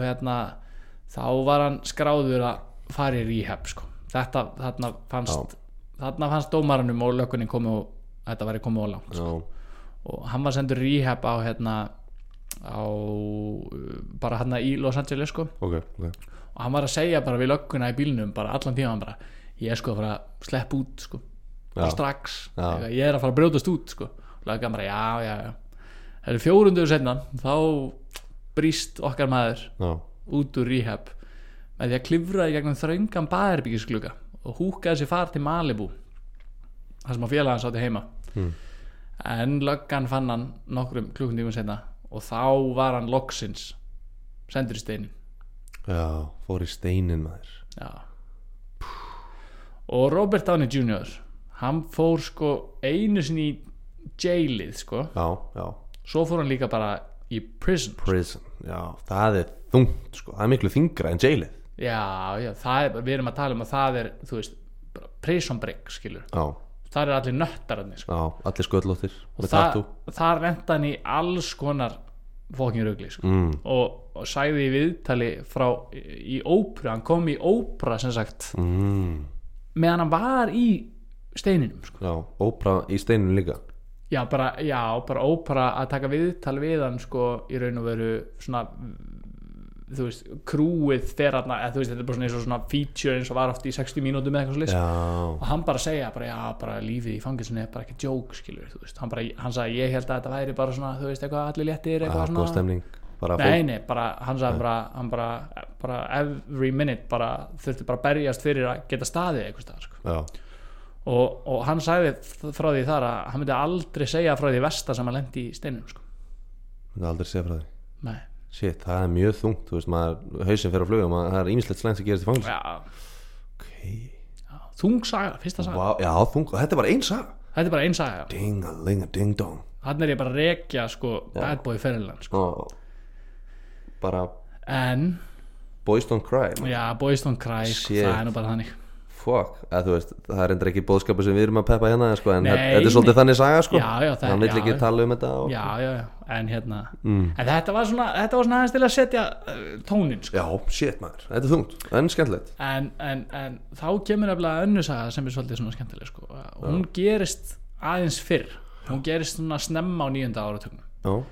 [SPEAKER 1] hérna, þá var hann skráður að fara í rehab sko. þetta þarna fannst þarna fannst dómaranum og lökunni komið og þetta væri komið á langt
[SPEAKER 2] Já,
[SPEAKER 1] og hann var sendur rehab á hérna á uh, bara hérna í Los Angeles sko
[SPEAKER 2] ok, ok
[SPEAKER 1] og hann var að segja bara við lögguna í bílnum bara allan tíma hann bara ég er sko að fara að sleppa út sko bara
[SPEAKER 2] Já.
[SPEAKER 1] strax,
[SPEAKER 2] Já.
[SPEAKER 1] Eitthvað, ég er að fara að brjótast út sko löggan bara já já já það er fjórunduðu senna þá brýst okkar maður
[SPEAKER 2] já,
[SPEAKER 1] út úr rehab með því að klifra í gegnum þröngan baðherbyggisgluga og húkaði sér far til Malibu þar sem að félagan sátti heima
[SPEAKER 2] Hmm.
[SPEAKER 1] en löggan fann hann nokkrum klukkutífum setna og þá var hann loksins sendur í steinin
[SPEAKER 2] já, fór í steinin maður
[SPEAKER 1] Já. og Robert Downey Jr. hann fór sko einu sinni í jailið sko
[SPEAKER 2] já, já,
[SPEAKER 1] svo fór hann líka bara í prison
[SPEAKER 2] prison, já, það er þungt sko, það er miklu þyngra en jailið
[SPEAKER 1] já, já, það er, við erum að tala um að það er, þú veist, bara prison break skilur,
[SPEAKER 2] já,
[SPEAKER 1] það er allir nöttararnir sko.
[SPEAKER 2] já, allir sköllóttir með
[SPEAKER 1] það,
[SPEAKER 2] tattoo
[SPEAKER 1] það renta hann í alls konar fókin rugli sko.
[SPEAKER 2] mm,
[SPEAKER 1] og, og sagði í viðtali frá í ópru, hann kom í ópra sem sagt,
[SPEAKER 2] mm,
[SPEAKER 1] meðan hann var í steininum sko.
[SPEAKER 2] já, óbra í steinin líka
[SPEAKER 1] já, bara, já, bara ópra að taka viðtal við hann sko, í raun og veru svona þú veist, krúið þegar hann eða þú veist, þetta er bara svona, eins og svona feature eins og var oft í 60 mínútum eða eitthvað slis
[SPEAKER 2] já,
[SPEAKER 1] og hann bara segja, bara, já, bara lífið í fangilsinu er bara ekki joke, skilur, þú veist hann, bara, hann sagði, ég held að þetta væri bara svona, þú veist, eitthvað allir léttir,
[SPEAKER 2] það
[SPEAKER 1] eitthvað
[SPEAKER 2] er Ah, góð
[SPEAKER 1] svona
[SPEAKER 2] stemning bara
[SPEAKER 1] Nei, nei, bara, hann sagði bara, hann bara, bara every minute bara þurfti bara að berjast fyrir að geta staðið eitthvað staðar, sko.
[SPEAKER 2] já,
[SPEAKER 1] og, og hann sagði f- frá því þar að hann myndi aldrei segja frá því versta sem hann lendi í steinum, sko.
[SPEAKER 2] myndi aldrei segja frá því
[SPEAKER 1] Nei.
[SPEAKER 2] Shit, það er mjög þungt, þú veist, maður hausinn fer á flugum, maður, það er ýmislegt slæmt sem gerist í fanglis.
[SPEAKER 1] Já,
[SPEAKER 2] Ok,
[SPEAKER 1] já, þung saga, fyrsta saga.
[SPEAKER 2] Vá, já, þungt, og þetta var einn saga.
[SPEAKER 1] Þetta er bara ein saga.
[SPEAKER 2] Ding-a-ling-a-ding-dong.
[SPEAKER 1] Þannig er ég bara að rekja, sko, bad boy fyrirlan, sko.
[SPEAKER 2] Og bara,
[SPEAKER 1] En,
[SPEAKER 2] boys don't cry, man.
[SPEAKER 1] já, boys don't cry, sko,
[SPEAKER 2] Shit.
[SPEAKER 1] það er nú bara þannig.
[SPEAKER 2] fuck, að þú veist, það er endur ekki bóðskapu sem við erum að peppa hérna, sko, en
[SPEAKER 1] Nei,
[SPEAKER 2] þetta er svolítið þannig saga, sko.
[SPEAKER 1] Já, já, það-
[SPEAKER 2] Hann vill
[SPEAKER 1] já,
[SPEAKER 2] ekki
[SPEAKER 1] já.
[SPEAKER 2] tala um þetta og...
[SPEAKER 1] Já, já, já, en hérna,
[SPEAKER 2] Mm.
[SPEAKER 1] en þetta var svona, þetta var svona aðeins til að setja uh, tónin, sko.
[SPEAKER 2] Já, shit, maður, þetta er þungt, en skemmtilegt.
[SPEAKER 1] en, en, en þá kemur nefnilega önnur saga sem er svolítið svona skemmtileg sko. hún gerist aðeins fyrr hún gerist svona snemma á nýjunda áratugnum
[SPEAKER 2] Já,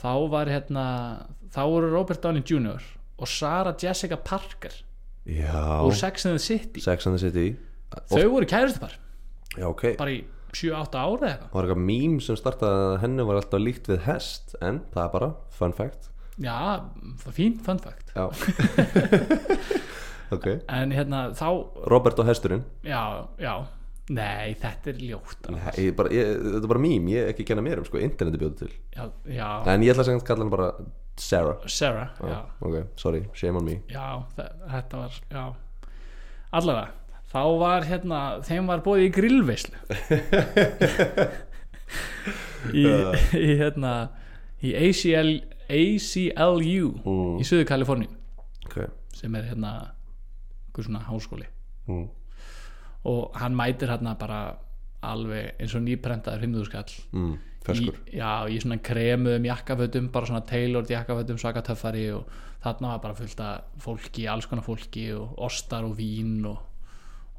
[SPEAKER 1] þá var hérna þá voru Robert Downey Jr. og Sarah Jessica Parker úr
[SPEAKER 2] já,
[SPEAKER 1] Sex and the City
[SPEAKER 2] sex and the city.
[SPEAKER 1] þau voru kærustupar
[SPEAKER 2] Já, ok.
[SPEAKER 1] bara í 7-8 ára eða eitthvað
[SPEAKER 2] Það var eitthvað mím sem startaði að henni var alltaf líkt við hest, en það er bara, fun fact.
[SPEAKER 1] já, það er fín fun fact
[SPEAKER 2] Já Ok
[SPEAKER 1] en hérna þá,
[SPEAKER 2] Robert og hesturinn
[SPEAKER 1] já, já nei, þetta er ljótt alveg.
[SPEAKER 2] Ég bara, ég, Þetta er bara mím, ég ekki kenna mér um sko, interneti bjóðu til
[SPEAKER 1] já, já,
[SPEAKER 2] En ég ætla að segja að kalla hann bara Sarah
[SPEAKER 1] Sarah já.
[SPEAKER 2] Ok, sorry, shame on me
[SPEAKER 1] já, þe- þetta var já. allavega þá var hérna, þeim var bóðið í grillveislu í, í hérna í ACL, ACLU í Suður Kaliforni
[SPEAKER 2] Ok
[SPEAKER 1] sem er hérna einhver svona háskóli
[SPEAKER 2] mm.
[SPEAKER 1] og hann mætir hérna bara alveg eins og nýprentaður 50 skall
[SPEAKER 2] Mm. Ferskur
[SPEAKER 1] í, já, í svona kremuðum jakkafötum bara svona tailored jakkafötum svaka töffari og þarna var bara fullt af fólki, alls konar fólki og ostar og vín og,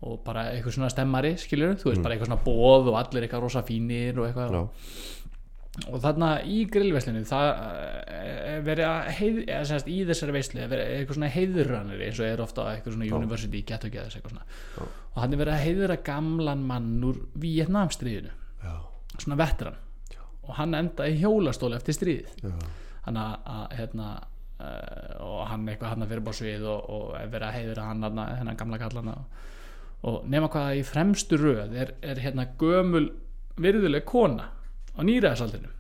[SPEAKER 1] og bara eitthvað svona stemmari skilur, þú veist bara eitthvað svona bóð og allir eitthvað rosa fínir og eitthvað
[SPEAKER 2] Mm. Já.
[SPEAKER 1] og þarna í grillveslinu það eh, verið að heið, eða, sem sagt, í þessari veislu er verið eitthvað svona heiðurranir eins og er ofta á eitthvað svona university get together eitthvað svona og hann er verið að heiðura gamlan mann úr Vietnamstríðinu
[SPEAKER 2] Já.
[SPEAKER 1] svona vettran og hann endaði í hjólastóli eftir stríðið hann að, að hérna uh, og hann eitthvað hann að fyrir bara svið og, og verið að heiðra hann hann hennan gamla kallana og nema hvað í fremstu röð er, er hérna gömul virðuleg kona á nýræðasaldinu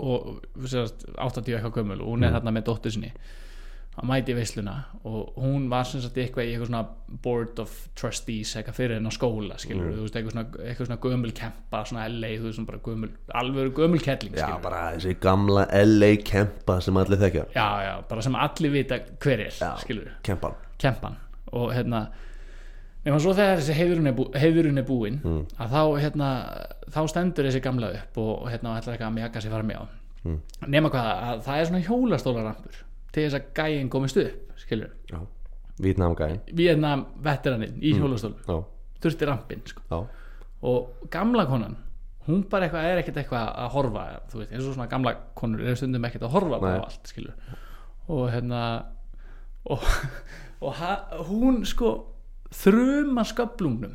[SPEAKER 1] og sérst, 80 eitthvað gömul og hún er hérna með dóttur sinni að mæti veisluna og hún var sem sagt eitthvað í eitthvað svona board of trustees eitthvað fyrir henn á skóla skilur þú veist eitthvað svona, eitthvað svona gömul kempa svona LA þú veist svona bara gömul alvöru gömul kettling
[SPEAKER 2] Já,
[SPEAKER 1] skilur
[SPEAKER 2] bara þessi gamla LA kempa sem allir þekkja
[SPEAKER 1] já já bara sem allir vita hver er
[SPEAKER 2] Já.
[SPEAKER 1] skilur
[SPEAKER 2] Kempan
[SPEAKER 1] kempan og hérna nema svo þegar þessi heiðurinn er, bú, heiðurinn er búin að þá, hérna, þá stendur þessi gamla upp og, og hérna, ætlar eitthvað að mjaka sér fara með á nema hvað að það er svona hjólastólarampur til þess að gæin komist upp skilur,
[SPEAKER 2] Já Vítnamgæin
[SPEAKER 1] Vietnam veteraninn í hjólastólum
[SPEAKER 2] Já,
[SPEAKER 1] þurfti rampinn sko.
[SPEAKER 2] já
[SPEAKER 1] og gamla konan hún bara eitthvað er ekkert eitthvað að horfa þú veist, eins og svona gamla konur er stundum ekkert að horfa bara á
[SPEAKER 2] Nei.
[SPEAKER 1] allt, skilur og hérna og, og ha, hún sko þruma sköflungnum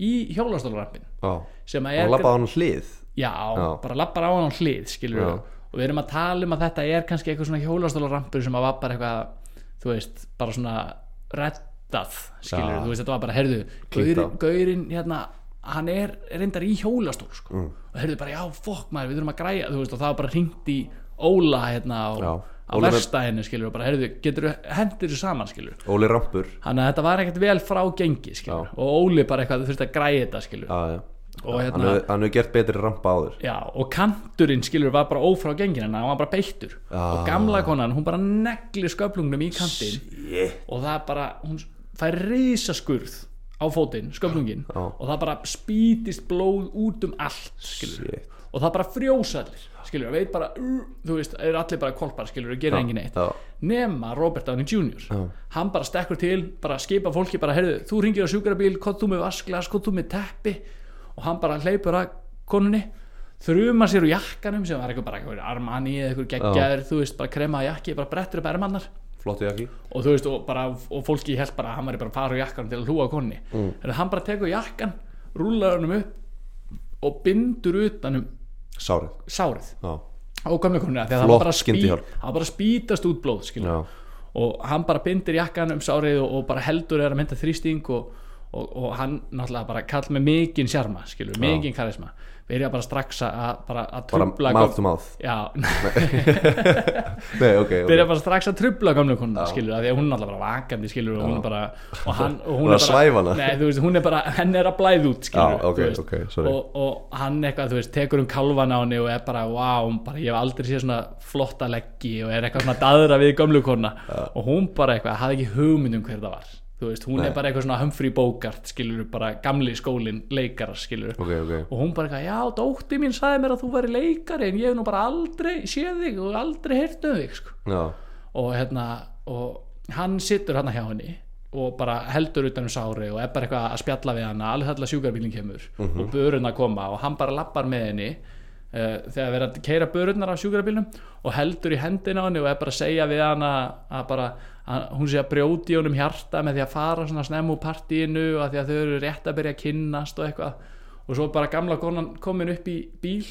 [SPEAKER 1] í hjólastólarrampin
[SPEAKER 2] Já
[SPEAKER 1] sem að
[SPEAKER 2] Og
[SPEAKER 1] er
[SPEAKER 2] lappa á hann hlið
[SPEAKER 1] já, bara lappar á hann á hlið skilur
[SPEAKER 2] Já.
[SPEAKER 1] og við erum að tala um að þetta er kannski eitthvað svona hjólastólarampur sem að var bara eitthvað þú veist, bara svona reddað, skilur,
[SPEAKER 2] Já.
[SPEAKER 1] þú veist, þetta var bara heyrðu,
[SPEAKER 2] Klínt á.
[SPEAKER 1] gaurin, gaurin hérna hann er reyndar í hjólastól sko.
[SPEAKER 2] Mm.
[SPEAKER 1] og heyrðu bara, já, fokk maður, við þurfum að græja þú veist, og það var bara hringt í Óla hérna á,
[SPEAKER 2] Já.
[SPEAKER 1] á
[SPEAKER 2] Óli var-
[SPEAKER 1] verstaðinu, skilur, og bara heyrðu, getur hendur þessu saman, skilur
[SPEAKER 2] Óli Rampur
[SPEAKER 1] þannig að þetta var ekkert vel frá gengi, skilur, og Óli bara eitthvað, þú þurft að græja þetta, skilur
[SPEAKER 2] Já, já
[SPEAKER 1] og
[SPEAKER 2] Hann
[SPEAKER 1] hérna,
[SPEAKER 2] hefur- hann hefur gert betri rampa áður
[SPEAKER 1] Já, og kanturinn skilur var bara ófrá gengin en hann var bara beittur
[SPEAKER 2] Ah.
[SPEAKER 1] og gamla konan, hún bara negli sköflungnum í kantinn
[SPEAKER 2] Shit
[SPEAKER 1] og það bara, hún fær risaskurð á fótinn, sköflungin
[SPEAKER 2] Ah.
[SPEAKER 1] og það bara spýtist blóð út um allt skilur,
[SPEAKER 2] Shit.
[SPEAKER 1] og það bara frjósallir skilur, veit bara, uh, þú veist er allir bara kolpar, skilur, og gerir engin eitt
[SPEAKER 2] já.
[SPEAKER 1] nema Robert Downey Jr. hann bara stekkur til, bara skipa fólki bara, heyrðu, þú ringir á sjúkrabíl, hvað þú með vasklas, hvað þú með teppi og hann bara hleypur að konunni þruma sér úr jakkanum sem var eitthvað bara eitthvað Armani eða eitthvað geggjaður, þú veist, bara krema jakki, bara brettur upp ermannar
[SPEAKER 2] Flottu jakki
[SPEAKER 1] og þú veist, og, bara, og fólki held bara að hann var bara að fara úr jakkanum til að hlúa konni mm. en hann bara tekur jakkan, rúlar honum upp og bindur utanum
[SPEAKER 2] Sárið
[SPEAKER 1] sárið
[SPEAKER 2] Já
[SPEAKER 1] á gamla konuna því að það
[SPEAKER 2] Flott
[SPEAKER 1] var bara, spý,
[SPEAKER 2] skyndihjálp.
[SPEAKER 1] það var bara að spýtast út blóð skilur.
[SPEAKER 2] Já.
[SPEAKER 1] og hann bara bindir jakkan um sárið og, og bara heldur er að mynda þrýsting og, og, og hann náttúrulega bara kall með mikinn sjarma, skilur, mikinn karisma byrja bara strax að bara að
[SPEAKER 2] Bara
[SPEAKER 1] trubla
[SPEAKER 2] mouth to mouth
[SPEAKER 1] já,
[SPEAKER 2] Nei, ok, ok
[SPEAKER 1] byrja bara strax að trubla gamla konuna, skilur, af því að hún er náttúrulega bara vakandi, skilur, og hún er bara og, hann, og hún
[SPEAKER 2] Var að svæfa hana?
[SPEAKER 1] nei, þú veist, hún er bara, henn er að blæða út, skilur
[SPEAKER 2] Já, ok,
[SPEAKER 1] þú veist.
[SPEAKER 2] ok, sorry.
[SPEAKER 1] og, og hann eitthvað, þú veist, tekur um kalvan á henni og er bara, wow, hún bara, ég hef aldrei séð svona flotta leggi og er eitthvað svona daðra við gamla konuna, og hún bara eitthvað hafði ekki hugmynd um hver það var þú veist, hún er bara eitthvað svona Humphrey Bogart skilur, bara gamli skólin, leikara skilur,
[SPEAKER 2] Ok, ok
[SPEAKER 1] og hún bara eitthvað, já, dótti mín sagði mér að þú væri leikari en ég hef nú bara aldrei séð þig og aldrei heyrt um þig sko
[SPEAKER 2] Já
[SPEAKER 1] og hérna og hann situr hérna hjá henni og bara heldur utan um sári og er bara eitthvað að spjalla við hana alveg þarna sjúkarbílinn kemur og börun að koma og hann bara lappar með henni uh, þegar verið að keira börunar af sjúkrarbílnum og heldur í hendina á henni og er bara að segja við hana að bara að hún sé að brjóti honum hjarta með því að fara svona snemma úr partíinu og að því að þau eru rétt að byrja að kynnast og eitthvað og svo bara gamla konan komin upp í bíl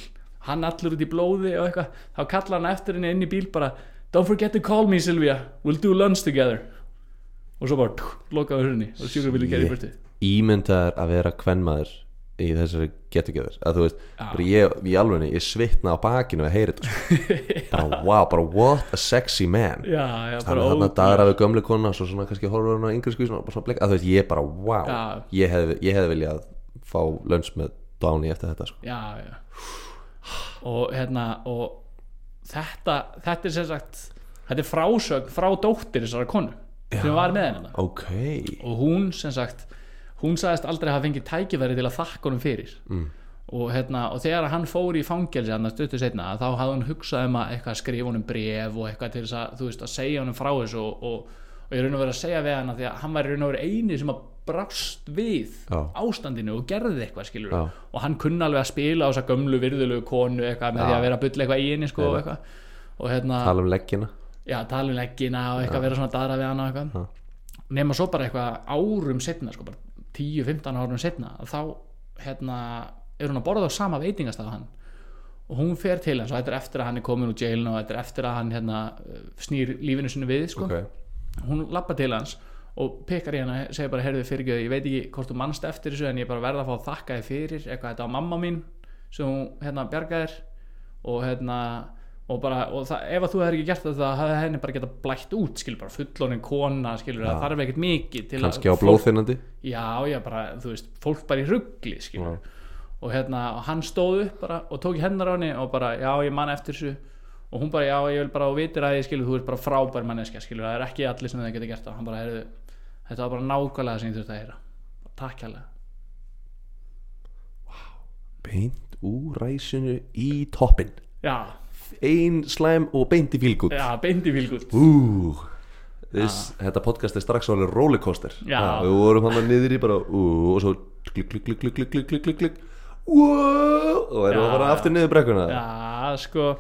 [SPEAKER 1] hann allur út í blóði og eitthvað þá kalla hann eftir henni inn í bíl bara don't forget to call me Sylvia, we'll do lunch together og svo bara tuk, lokaði hurni og sjúkrabíli gerði burti
[SPEAKER 2] Ímyndaður að vera kvenmaður í þessari getugjæður að þú veist, bara ég í alvegni ég svitna á bakinu að heyri þetta sko. bara wow, bara what a sexy man
[SPEAKER 1] já, já,
[SPEAKER 2] þannig
[SPEAKER 1] bara
[SPEAKER 2] að þarna
[SPEAKER 1] ó-
[SPEAKER 2] dagar af gömlu kona svo svona kannski horfur hann á yngri skvísna bara svona blek að þú veist, ég bara wow
[SPEAKER 1] Já.
[SPEAKER 2] ég hefði ég hef viljað fá lönns með Downey eftir þetta sko.
[SPEAKER 1] já, já. og hérna og þetta, þetta er sem sagt þetta er frásögn frá dóttir þessara konu sem var með henni þarna.
[SPEAKER 2] ok,
[SPEAKER 1] og hún sem sagt hún sagðist aldrei hafa fengið tækifæri til að þakka honum fyrir mm. og, hérna, og þegar hann fór í fangelsi hann stuttu setna þá hafði hann hugsað um að eitthvað að skrifa honum bref og eitthvað til þess að, þú veist, að segja honum frá þessu og, og, og ég raun og verið að segja við hann að því að hann var í raun og verið eini sem að brást við
[SPEAKER 2] Já.
[SPEAKER 1] ástandinu og gerði eitthvað skilur
[SPEAKER 2] Já.
[SPEAKER 1] og hann kunna alveg að spila á þessa gömlu virðulegu konu eitthvað með því að vera að bylla eitthvað í henni sko, og eitthvað og hérna
[SPEAKER 2] tala um leggina
[SPEAKER 1] já, tala um leggina og eitthvað vera svona daðra við hann og eitthvað nema svo bara eitthvað árum setna sko, bara 10-15 árum setna að þá hérna, er hún að borða á sama veitingastað og hann og hún fer til hans og þetta er eftir að hann er komin úr jailin og þetta er eftir að hann hérna, snýr lífinu sinni við sko.
[SPEAKER 2] ok,
[SPEAKER 1] hún lappa til hans og pekar í hana segir bara, heyrðu fyrirgjöðu, ég veit ekki hvort þú mannst eftir þessu en ég er bara verða að fá að þakka þér fyrir eitthvað þetta á mamma mín sem hún hérna bjargaðir og hérna og bara, og það, ef að þú hefur ekki gert þetta það hefði henni bara getað blætt út, skilur bara fullorinn kona, skilur, það þarf ekkert mikið til að
[SPEAKER 2] kannski á
[SPEAKER 1] fólk-
[SPEAKER 2] blóðþinnandi
[SPEAKER 1] já, já, bara, þú veist, fólk bara í ruggli skilur, og hérna, og hann stóð upp bara og tók í hennar á henni og bara já, ég man eftir þessu og hún bara, já, ég vil bara og vitir að ég skilur, þú ert bara frábær manneskja skilur, það er ekki allir sem það geta gert það hann bara, heyrðu, þetta var bara nákvæmlega það sem ég þurfti að heyra Bara, takk hérlega
[SPEAKER 2] beint úr ræsinu í toppin
[SPEAKER 1] já,
[SPEAKER 2] ein slæm og beint í fílgút
[SPEAKER 1] já, beindi fylgut
[SPEAKER 2] Ú, þess, þetta podcast er strax alveg rollercoaster
[SPEAKER 1] Já.
[SPEAKER 2] Ah, Við vorum hann niður í bara ú, og svo klik, klik, klik, klik, klik, klik, klik, klik, klik Wow, og
[SPEAKER 1] Já,
[SPEAKER 2] erum við bara
[SPEAKER 1] já.
[SPEAKER 2] aftur niður brekkuna
[SPEAKER 1] já, sko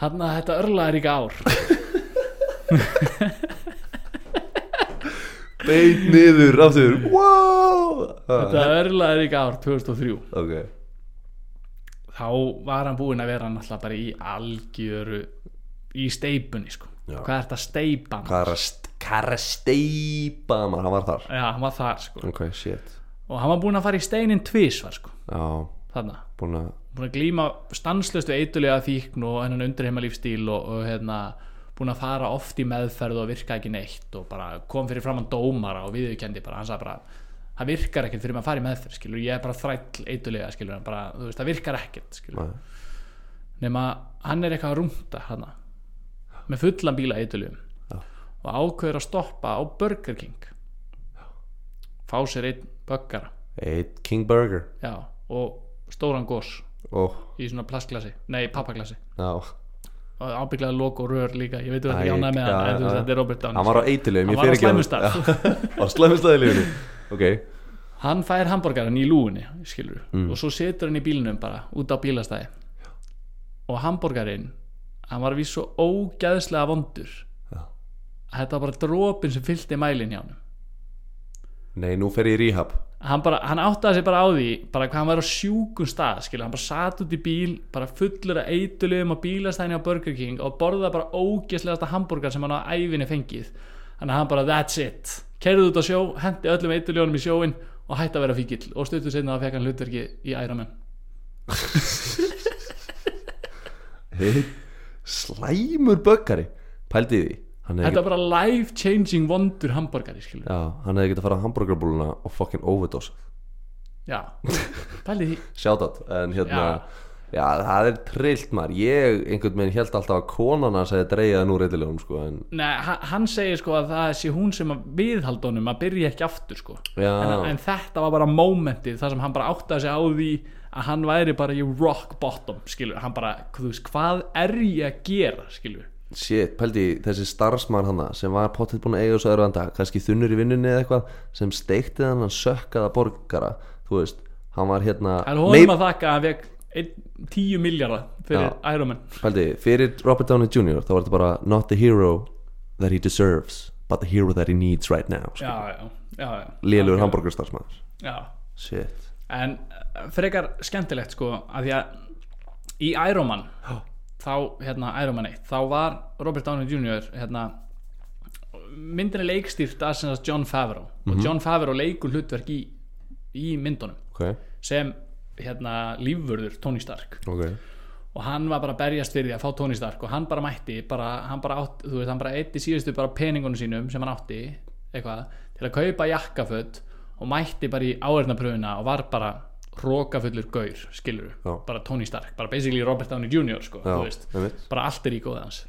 [SPEAKER 1] hann að þetta örlaðir ekki ár
[SPEAKER 2] Beint niður, aftur Wow ah,
[SPEAKER 1] þetta örlaðir ekki ár 2003
[SPEAKER 2] Ok,
[SPEAKER 1] þá var hann búinn að vera náttúrulega bara í algjöru í steipunni sko
[SPEAKER 2] Já.
[SPEAKER 1] hvað er þetta steipan
[SPEAKER 2] Hvað er að st- hvað er að steipa maður, hann var þar
[SPEAKER 1] já, hann var þar sko
[SPEAKER 2] Ok, shit
[SPEAKER 1] og hann var búinn að fara í steinin tvisvar sko
[SPEAKER 2] Já,
[SPEAKER 1] þarna,
[SPEAKER 2] búin að
[SPEAKER 1] búinn að glíma stanslust við eitulega fíkn og hennan undirheimalífstíl og, og hérna búinn að fara oft í meðferð og virka ekki neitt og bara kom fyrir framann dómara og viðurkendi bara, hann sagði bara það virkar ekkert fyrir maður að fara í meðferð skilur, ég er bara þræll eitulega skilur, bara, þú veist, það virkar ekkert skilur
[SPEAKER 2] Nei.
[SPEAKER 1] nema hann er eitthvað að rúnta hana með fullan bíla eitulum
[SPEAKER 2] Já.
[SPEAKER 1] og ákveður að stoppa á Burger King fá sér einn böggara
[SPEAKER 2] Eitt King Burger
[SPEAKER 1] já, og stóran gós
[SPEAKER 2] Ó,
[SPEAKER 1] í svona plastglasi, nei pappaglasi
[SPEAKER 2] já
[SPEAKER 1] og ábygglega lok og rör líka ég veit þú
[SPEAKER 2] Æ,
[SPEAKER 1] ekki ánæg með
[SPEAKER 2] já,
[SPEAKER 1] hann en þú
[SPEAKER 2] já.
[SPEAKER 1] veist þetta er Robert
[SPEAKER 2] Hann
[SPEAKER 1] Downey
[SPEAKER 2] var á eitilegum, ég
[SPEAKER 1] Hann var
[SPEAKER 2] fyrir
[SPEAKER 1] á
[SPEAKER 2] ekki
[SPEAKER 1] slæmu stað.
[SPEAKER 2] Á slæmustað í lífinu Ok,
[SPEAKER 1] hann fær hambúrgaran í lúgunni skilur,
[SPEAKER 2] Mm.
[SPEAKER 1] og svo setur hann í bílnum bara út á bílastæði og hambúrgarin hann var víst svo ógæðslega vondur
[SPEAKER 2] Já.
[SPEAKER 1] að þetta var bara dropin sem fyllti mælin hjá hann
[SPEAKER 2] nei, nú fer ég í rehab
[SPEAKER 1] hann, bara, hann áttaði sig bara á því bara hvað hann var á sjúkum stað skilur, hann bara sat út í bíl bara fullur að eitulegum á bílastæðinu á Burger King og borða bara ógeðslegasta hambúrgar sem hann á ævinni fengið þannig að hann bara that's it kerði út á sjó, hendi öllum eitulegunum í sjóin og hætti að vera fíkil og stuttu sinna að fekk hann hlutverki í Ironman
[SPEAKER 2] Hey, Slæmur böggari Pældi í því Hann hefði
[SPEAKER 1] þetta
[SPEAKER 2] getað
[SPEAKER 1] var bara life changing vondur hambúrgari skilur,
[SPEAKER 2] Já, hann hefði getað að fara á hamburgerbúluna og fucking overdose
[SPEAKER 1] já, pæli því
[SPEAKER 2] Shoutout, en hérna Já, það er trillt maður Ég einhvern veginn held alltaf að konan hans hefði dreigið hann úr eitilegum sko, en,
[SPEAKER 1] Nei, ha- hann segir sko að það sé hún sem að viðhaldunum að byrja ekki aftur sko
[SPEAKER 2] Já,
[SPEAKER 1] en, en þetta var bara momentið þar sem hann bara áttaði sig á því að hann væri bara í rock bottom skilur, hann bara, þú veist, hvað er ég að gera skilur,
[SPEAKER 2] shit, pældi í þessi starfsmann hana sem var potið búin að eiga svo erfanda kannski þunnur í vinnunni eða eitthvað sem steiktið hann hann sökkaða borgara þú veist, hann var hérna
[SPEAKER 1] en honum
[SPEAKER 2] Nei,
[SPEAKER 1] að þakka að hann vek einn- 10 miljardar fyrir
[SPEAKER 2] Já.
[SPEAKER 1] Iron Man
[SPEAKER 2] pældi, í, fyrir Robert Downey Jr. þá var þetta bara not the hero that he deserves but the hero that he needs right now sko.
[SPEAKER 1] já, já, já, já.
[SPEAKER 2] lélugur hamburgerstarfsmæður
[SPEAKER 1] já.
[SPEAKER 2] shit,
[SPEAKER 1] en eh, frekar skemmtilegt sko að því að í Iron Man þá, hérna, Iron Man 1 þá var Robert Downey Jr. hérna myndin er leikstýrt að sem sagt John Favreau og John Favreau leikur hlutverk í, í myndunum
[SPEAKER 2] ok,
[SPEAKER 1] sem hérna lífvörður Tony Stark
[SPEAKER 2] ok
[SPEAKER 1] og hann var bara að berjast fyrir því að fá Tony Stark og hann bara mætti, bara, hann bara átt þú veist, hann bara eitt í síðustu bara peningunum sínum sem hann átti, eitthvað, til að kaupa jakkaföld og mætti bara í áhernapröfuna og var bara rókafullur gaur, skilur
[SPEAKER 2] Já.
[SPEAKER 1] bara Tony Stark, bara basically Robert Downey Jr. sko,
[SPEAKER 2] Já,
[SPEAKER 1] þú veist,
[SPEAKER 2] einmitt.
[SPEAKER 1] bara allt er í góðið hans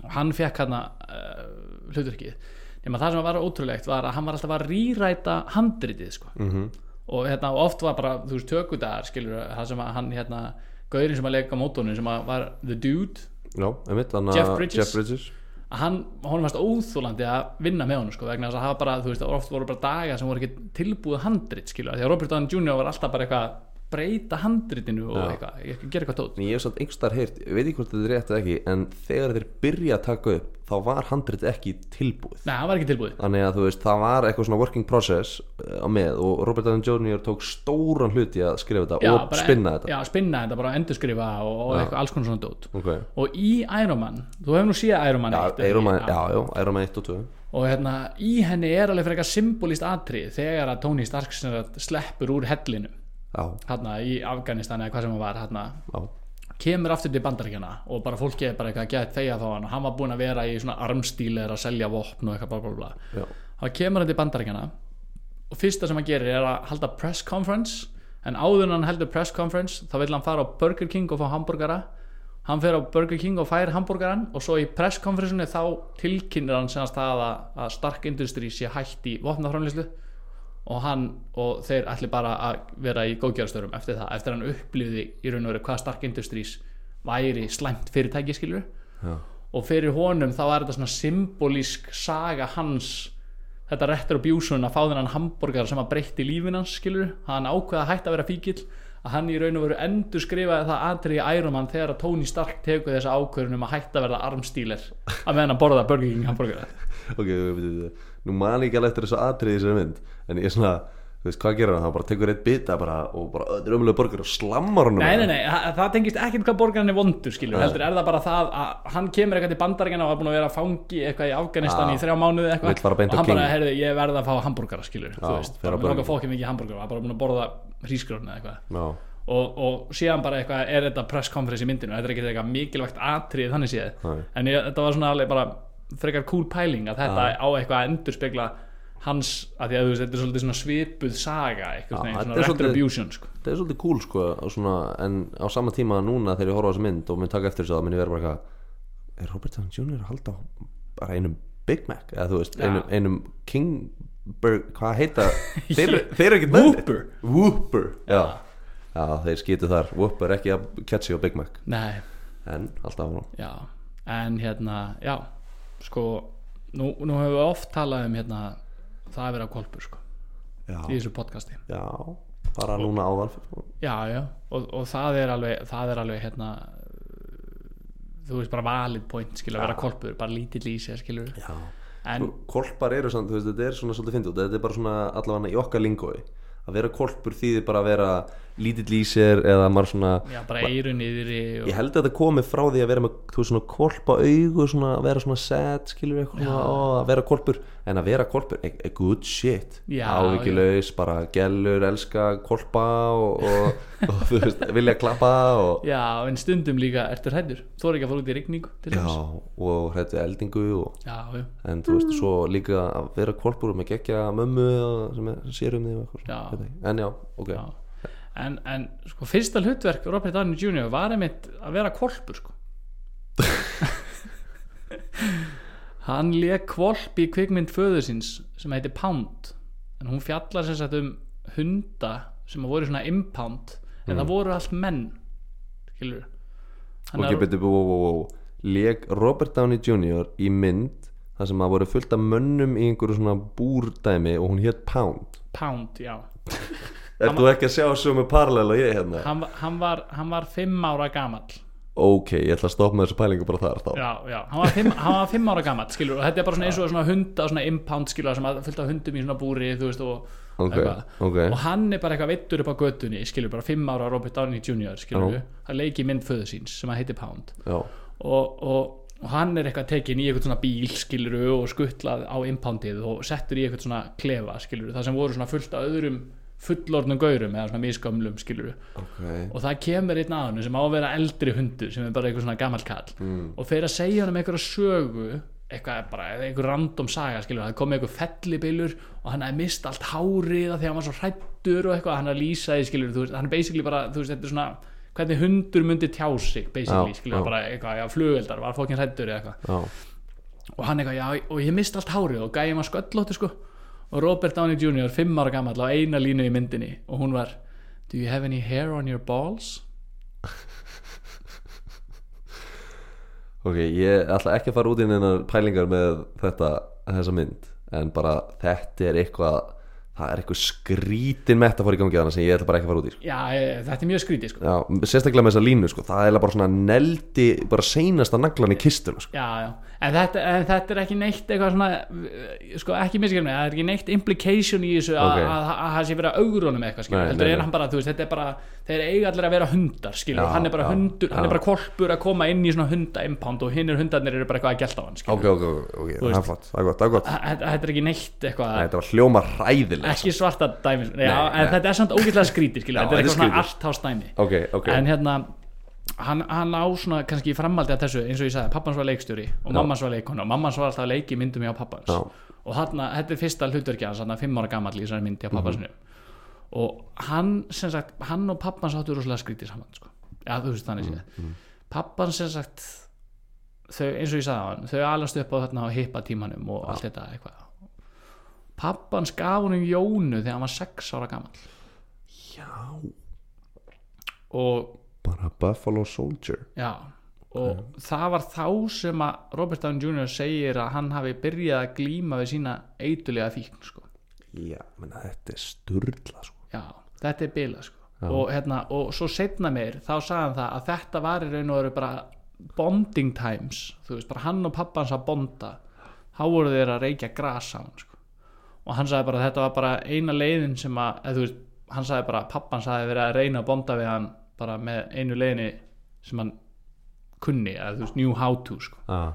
[SPEAKER 1] og hann fekk hann uh, hluturkið, nema það sem var ótrúlegt var að hann var alltaf að rýræta handritið, sko -hmm og hérna, og oft var bara, þú veist, tökudagar skilur, það sem að hann, hérna gaurinn sem að leika mótónu, sem að var The Dude,
[SPEAKER 2] Já, einmitt, þannig að
[SPEAKER 1] Jeff Bridges.
[SPEAKER 2] Jeff Bridges.
[SPEAKER 1] að hann, honum fannst óþúlandi að vinna með honum, sko, vegna þess að það var bara, þú veist, oft voru bara daga sem voru ekki tilbúið handrit, skilur, af því að Robert Downey Jr. var alltaf bara eitthvað að breyta handritinu og eitthvað, eitthvað, gera eitthvað tótt
[SPEAKER 2] En ég hef samt einhvers þar heyrt, ég veit ekki hvort þetta er rétt eða ekki en þegar þeir byrja að taka upp þá var handrit ekki tilbúið
[SPEAKER 1] Nei, hann var ekki tilbúið
[SPEAKER 2] þannig að þú veist, það var eitthvað svona working process eh, á með og Robert Downey Jr. tók stóran hlut í að skrifa þetta og
[SPEAKER 1] bara-
[SPEAKER 2] spinna þetta
[SPEAKER 1] Já, spinna þetta, bara endurskrifa og, og eitthvað alls konar svona dót
[SPEAKER 2] ok,
[SPEAKER 1] Og í Iron Man, þú hefur nú séð Iron Man
[SPEAKER 2] já,
[SPEAKER 1] 1, ekki?
[SPEAKER 2] Iron Man, já, já, Iron Man 1 og 2
[SPEAKER 1] og hérna í henni er alveg frekar symbolist atrið þegar að Tony Stark sem sagt sleppur úr hellinu
[SPEAKER 2] já,
[SPEAKER 1] hérna í Afganistan eða hvað sem hann var hérna
[SPEAKER 2] já,
[SPEAKER 1] kemur aftur til bandaríkjana og bara fólki er bara eitthvað gett þegar þá hann og hann var búinn að vera í svona armstíl eða að selja vopn og eitthvað bla bla bla
[SPEAKER 2] já,
[SPEAKER 1] þá kemur hann til bandaríkjana og fyrsta sem hann gerir er að halda press conference en áður en hann heldur press conference þá vil hann fara á Burger King og fá hambúrgara hann fer á Burger King og fær hambúrgaran og svo í press conference þá tilkynir hann senast það að, að Stark Industries sé hætt í vopnaframlýslu og hann og þeir ætli bara að vera í góðgjörastörum eftir það, eftir að hann upplýði í raun og veru hvað Stark Industries væri slæmt fyrirtæki skilur
[SPEAKER 2] já,
[SPEAKER 1] og fyrir honum þá er þetta svona symbolísk saga hans þetta réttur og bjúsun að fá þennan hambúrgar sem að breytti lífin hans skilur hann ákveða að hætta að vera fíkil að hann í raun og veru endur skrifaði það aðrið í Iron Man þegar að Tony Stark tekur þessa ákvörun um að hætta að verða armstíler að meðan að borða Burger King hambúrgar
[SPEAKER 2] ok, við veitum þetta nú man ég ekki alveg eftir þessu atriði í þessari mynd en ég er svona þú veist hvað gerir hann, hann bara tekur eitt bita bara, og bara öðru ömulega borgar og slammar hann
[SPEAKER 1] Nei, nei, nei, það, það tengist ekkert hvað borgarinn er vondur skilur, heldur er það bara það að hann kemur eitthvað til bandaríkjana og er búin að vera að fangi eitthvað í Afganistan
[SPEAKER 2] Já.
[SPEAKER 1] í þrjá mánuði
[SPEAKER 2] Vill fara
[SPEAKER 1] eitthvað
[SPEAKER 2] beint á
[SPEAKER 1] og hann bara,
[SPEAKER 2] King.
[SPEAKER 1] heyrðu, ég verð að fá hambúrgara skilur, þú
[SPEAKER 2] Já,
[SPEAKER 1] veist,
[SPEAKER 2] fer á
[SPEAKER 1] bara mér langar
[SPEAKER 2] Burger
[SPEAKER 1] fólki mikið hambúrgara, hann bara búin að borða hrísgrjóna eitthvað
[SPEAKER 2] Já,
[SPEAKER 1] og, og síðan bara eitthvað er þetta press conference í myndinu, þetta er ekkert eitthvað mikilvægt atrið þannig séð,
[SPEAKER 2] Nei.
[SPEAKER 1] en ég, þetta var svona alveg bara frekar cool pæling að þetta á eitthvað að endurspegla hans, að því að þú veist, þetta er svolítið svona svipuð saga,
[SPEAKER 2] Já,
[SPEAKER 1] eitthvað,
[SPEAKER 2] þetta
[SPEAKER 1] svona
[SPEAKER 2] er svolítið-
[SPEAKER 1] retribution sko.
[SPEAKER 2] það er svolítið cool sko og svona, en á sama tíma núna þegar ég horfa á þessa mynd og mun taka eftir þessu þá mun ég vera bara eitthvað er Robert Downey Jr. að halda á bara einum Big Mac eða þú veist,
[SPEAKER 1] Já.
[SPEAKER 2] einum, einum King Burger, hvað heita þeir, eru- þeir eru ekkert meðvitaðir.
[SPEAKER 1] Whopper.
[SPEAKER 2] Whooper, já. já þeir skýtu þar, Whooper ekki að catchy á Big Mac
[SPEAKER 1] Nei,
[SPEAKER 2] en alltaf hún
[SPEAKER 1] já en hérna, já sko, nú, nú hefur við oft talað um hérna, það að vera kolpur sko, í
[SPEAKER 2] já,
[SPEAKER 1] þessu podcasti
[SPEAKER 2] já, bara núna áðan
[SPEAKER 1] já, já, og, og það er alveg það er alveg hérna þú veist bara valid point skilur að vera kolpur, bara lítill í sér skilur
[SPEAKER 2] já
[SPEAKER 1] en,
[SPEAKER 2] kolpar eru samt, þú veist, þetta er svona svolítið fyndið og þetta er bara svona allavega í okkar lingói að vera kolpur þýðir bara að vera lítill í sér eða maður svona
[SPEAKER 1] já, bara eiru niðri og,
[SPEAKER 2] ég held að þetta komi frá því að vera með þú veist svona kolpa augu svona að vera svona sad skilur við eitthvað svona, ó, að vera kolpur en að vera kolpur er er good shit
[SPEAKER 1] Já,
[SPEAKER 2] áhyggjulegs, bara gellur elska kolpa og, og, og þú veist, vilja klappa og,
[SPEAKER 1] já, en stundum líka ertu hrættur, þú er ekki að fóra út í rigningu til
[SPEAKER 2] já,
[SPEAKER 1] þess,
[SPEAKER 2] og hrættu eldingu og
[SPEAKER 1] já, já
[SPEAKER 2] en þú veist svo líka að vera kvolpur með geggja mömmu og- sem er, sem sér um þig og
[SPEAKER 1] Já.
[SPEAKER 2] eitthvað svona, veit ekki. en já, ok já,
[SPEAKER 1] Já. En, en sko, fyrsta hlutverk Robert Downey Jr. var einmitt að vera kvolpur sko. hann leik kvolp í kvikmynd föður síns sem heiti Pound en hún fjallar sem sagt um hunda sem að voru svona impound en það voru allt menn skilur
[SPEAKER 2] ok, betur, wow, wow, wow leik Robert Downey Jr. í mynd þar sem að voru fullt af mönnum í einhverju svona búrdæmi og hún hétt Pound
[SPEAKER 1] Pound, já
[SPEAKER 2] Er þú ekki að sjá sömu parallel og ég hérna?
[SPEAKER 1] hann, var- hann, var, hann var fimm ára gamall
[SPEAKER 2] Ok, ég ætla að stoppa með þessu pælingu bara þar þá
[SPEAKER 1] já, já, hann var fimm, hann var fimm ára gammal skilur, og þetta er bara svona eins og svona hunda svona impound skilur, sem að fyllt af hundum í svona búri þú veist, og,
[SPEAKER 2] Ok,
[SPEAKER 1] eitthvað.
[SPEAKER 2] ok.
[SPEAKER 1] og hann er bara eitthvað veittur upp á göttunni skilur, bara fimm ára Robert Downey Jr. skilur, það leiki mynd föðu síns sem að heiti Pound
[SPEAKER 2] Já,
[SPEAKER 1] og, og, og hann er eitthvað tekin í eitthvað svona bíl skilur og skutlað á impoundið og settur í eitthvað svona klefa skilur, það sem voru svona fullt af öðrum fullornum gaurum eða svona misgömlum skilur
[SPEAKER 2] ok
[SPEAKER 1] og það kemur einn að hann sem á að vera eldri hundur sem er bara einhver svona gammal kall mm. og fer að segja hann um einhverja sögu eitthvað bara, eða einhver random saga skilur, það komið einhver fellibilur og hann hafði mist allt hárið af því að hann var svo hrættur og eitthvað, hann er að lýsa því skilur þú veist, hann er basically bara, þú veist, þetta er svona hvernig hundur myndi tjá sig, basically
[SPEAKER 2] Já,
[SPEAKER 1] skilur,
[SPEAKER 2] já.
[SPEAKER 1] bara eitthvað, já, flugeldar, var fókin hrættur eða eitthvað
[SPEAKER 2] Já,
[SPEAKER 1] og hann eitthvað, já, og ég mist allt hárið og gæði maður sköllóttu sko og Robert Downey Jr. fimm ára gammal á eina línu í myndinni og hún var Do you have any hair on your balls?
[SPEAKER 2] ok, ég ætla ekki að fara út í neinar pælingar með þetta, þessa mynd en bara þetta er eitthvað það er eitthvað skrítin metafór í gangi þannig sem ég ætla bara ekki að fara út í sko.
[SPEAKER 1] Já, eh, þetta er mjög skrítið sko
[SPEAKER 2] Já, sérstaklega með þessa línu sko, það er eiginlega bara svona neldi, bara seinasta naglan í kistuna sko.
[SPEAKER 1] Já, já, en þetta, en þetta er ekki neitt eitthvað svona, eh, sko ekki miskjörnum það er ekki neitt implication í þessu að
[SPEAKER 2] Ok.
[SPEAKER 1] okay. að það sé verið að augrunum eitthvað skilur,
[SPEAKER 2] Nei,
[SPEAKER 1] heldur
[SPEAKER 2] nei,
[SPEAKER 1] er
[SPEAKER 2] nei.
[SPEAKER 1] hann bara, þú veist, þetta er bara þeir eiga allir að vera hundar, skilur,
[SPEAKER 2] Já,
[SPEAKER 1] hann er bara
[SPEAKER 2] já,
[SPEAKER 1] hundur, hann
[SPEAKER 2] já.
[SPEAKER 1] er bara kolpur að koma inn í svona hunda impound og hinnir hundarnir eru bara eitthvað að gelta á hann, skilur
[SPEAKER 2] Ok, ok, ok, ok, það er flott, það er gott, það er gott
[SPEAKER 1] Þa- Þetta
[SPEAKER 2] Nei,
[SPEAKER 1] þetta er ekki neitt eitthvað
[SPEAKER 2] þetta var hljóma ræðilega
[SPEAKER 1] ekki svarta dæmi, já,
[SPEAKER 2] Nei,
[SPEAKER 1] en þetta er samt ógeðslega skrítið, skilur,
[SPEAKER 2] Já,
[SPEAKER 1] þetta er
[SPEAKER 2] þetta er
[SPEAKER 1] eitthvað svona
[SPEAKER 2] skrítið.
[SPEAKER 1] arthouse dæmi
[SPEAKER 2] Ok, ok,
[SPEAKER 1] en hérna hann, hann á svona kannski í framhaldi að þessu eins og ég sagði, pappans var leikstjóri og mammans var leikona og mammans var alltaf að leiki myndum hjá pappans
[SPEAKER 2] Já.
[SPEAKER 1] og þarna, þetta er fyrsta hlutverki hans hann er fimm ára gamall í þessari myndi hjá
[SPEAKER 2] Mhm.
[SPEAKER 1] pappansinu og hann sem sagt hann og pappans áttu rosalega skrítið saman sko. já þú veist
[SPEAKER 2] Mhm,
[SPEAKER 1] þannig séð pappans sem sagt þau, eins og ég sagði á hann, þau alast upp á þarna á hippa tímanum og allt þetta eitthvað pappans gaf honum Jónu þegar hann var sex ára gamall og
[SPEAKER 2] bara Buffalo Soldier
[SPEAKER 1] Já, og það var þá sem að Robert Downey Jr. segir að hann hafi byrjað að glíma við sína eitulega fíkn, sko.
[SPEAKER 2] Já, menna þetta er sturla sko.
[SPEAKER 1] Já, þetta er bila, sko. Og, hérna, og svo setna mér, þá sagði hann það að þetta var í raun og veru bara bonding times, þú veist, bara hann og pappa hans að bonda, þá voru þeir að reykja gras saman, sko. og hann sagði bara að þetta var bara eina leiðin sem að, eða þú veist, hann sagði bara pappan sagði verið að reyna að bonda við hann bara með einu leiðinni sem hann kunni, eða þú veist, new how to sko.
[SPEAKER 2] ah.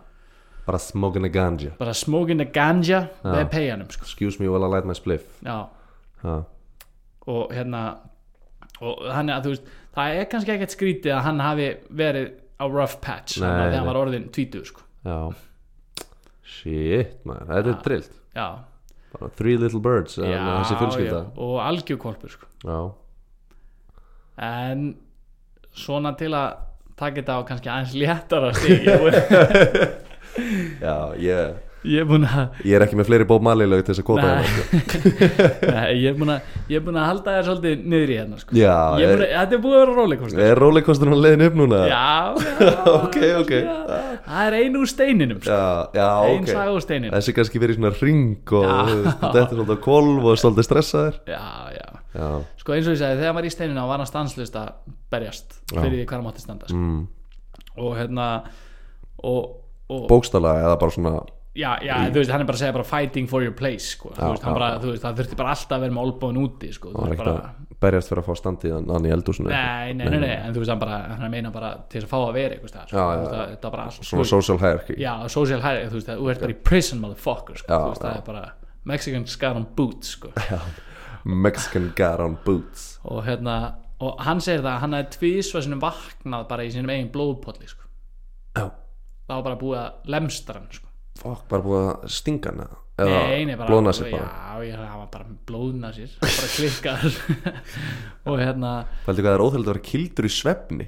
[SPEAKER 2] bara smoking a ganja
[SPEAKER 1] bara smoking a ganja með peyjanum sko.
[SPEAKER 2] excuse me while I light my spliff
[SPEAKER 1] já,
[SPEAKER 2] ah.
[SPEAKER 1] og hérna og þannig að þú veist, það er kannski ekkert skrítið að hann hafi verið á rough patch
[SPEAKER 2] Nei,
[SPEAKER 1] þannig að
[SPEAKER 2] nei.
[SPEAKER 1] hann var orðin tvítuð sko.
[SPEAKER 2] já shit maður, þetta er drillt
[SPEAKER 1] já,
[SPEAKER 2] bara three little birds já, þessi fjölskylda
[SPEAKER 1] já, og algjúkvolpur sko.
[SPEAKER 2] já.
[SPEAKER 1] en svona til að taka þetta á kannski aðeins léttara stig ég er búinn-
[SPEAKER 2] Já, ég,
[SPEAKER 1] ég er búin að
[SPEAKER 2] ég er ekki með fleiri Bob Marley lög til þess að kota
[SPEAKER 1] Nei.
[SPEAKER 2] hérna sko.
[SPEAKER 1] nei, ég er búin að ég er búin að halda þér svolítið niður í hérna sko.
[SPEAKER 2] já,
[SPEAKER 1] Ég er
[SPEAKER 2] er,
[SPEAKER 1] búinn að, þetta er búin að vera róleikostur
[SPEAKER 2] er rollercoasterinn á leiðin upp núna?
[SPEAKER 1] já, já,
[SPEAKER 2] ok, ok
[SPEAKER 1] já, það er einu úr steininum sko.
[SPEAKER 2] já, já,
[SPEAKER 1] ein
[SPEAKER 2] ok
[SPEAKER 1] saga úr steininum
[SPEAKER 2] þessi kannski verið í svona ring og þetta er svolítið á kolv og svolítið stressaður
[SPEAKER 1] já, já
[SPEAKER 2] já,
[SPEAKER 1] sko eins og ég segi þegar hann var í steininu var hann stanslust að berjast fyrir því hvað hann mátti standa sko.
[SPEAKER 2] mm.
[SPEAKER 1] og hérna og, og
[SPEAKER 2] bókstala eða bara svona
[SPEAKER 1] já, já, þú veist, hann er bara að segja bara fighting for your place, sko, þú veist, hann
[SPEAKER 2] já,
[SPEAKER 1] bara, þú veist, það þurfti bara alltaf að vera með olbóðin úti, sko, þú
[SPEAKER 2] það var
[SPEAKER 1] veist,
[SPEAKER 2] ekkert
[SPEAKER 1] bara
[SPEAKER 2] að berjast fyrir að fá standið hann- hann í eldhúsinu
[SPEAKER 1] nei, nei, nei, nei, en þú veist, hann bara, hann meina bara til þess að fá að vera, eitthvað, sko, þú
[SPEAKER 2] Já, já,
[SPEAKER 1] veist, það- þetta var bara allt, þú
[SPEAKER 2] svona
[SPEAKER 1] veist,
[SPEAKER 2] social hierarchy
[SPEAKER 1] já, social hierarchy, þú veist, þú ert bara í prison, motherfucker, sko,
[SPEAKER 2] Já,
[SPEAKER 1] þú veist, það er bara Mexican scar on boots, sko,
[SPEAKER 2] Mexican got on boots
[SPEAKER 1] og hérna, og hann segir það að hann hefði tvísvað sinum vaknað bara í sinum eigin blóðpolli, sko,
[SPEAKER 2] já,
[SPEAKER 1] það var bara búið að lemstra hann, sko,
[SPEAKER 2] fokk, bara búið að stinga hana eða
[SPEAKER 1] Nei, nei, bara,
[SPEAKER 2] blóna sér bara
[SPEAKER 1] Já, ég, hann var bara blóðna sér bara klikkar og hérna,
[SPEAKER 2] Fældi hvað það er óþægilegt að vera kildur í svefni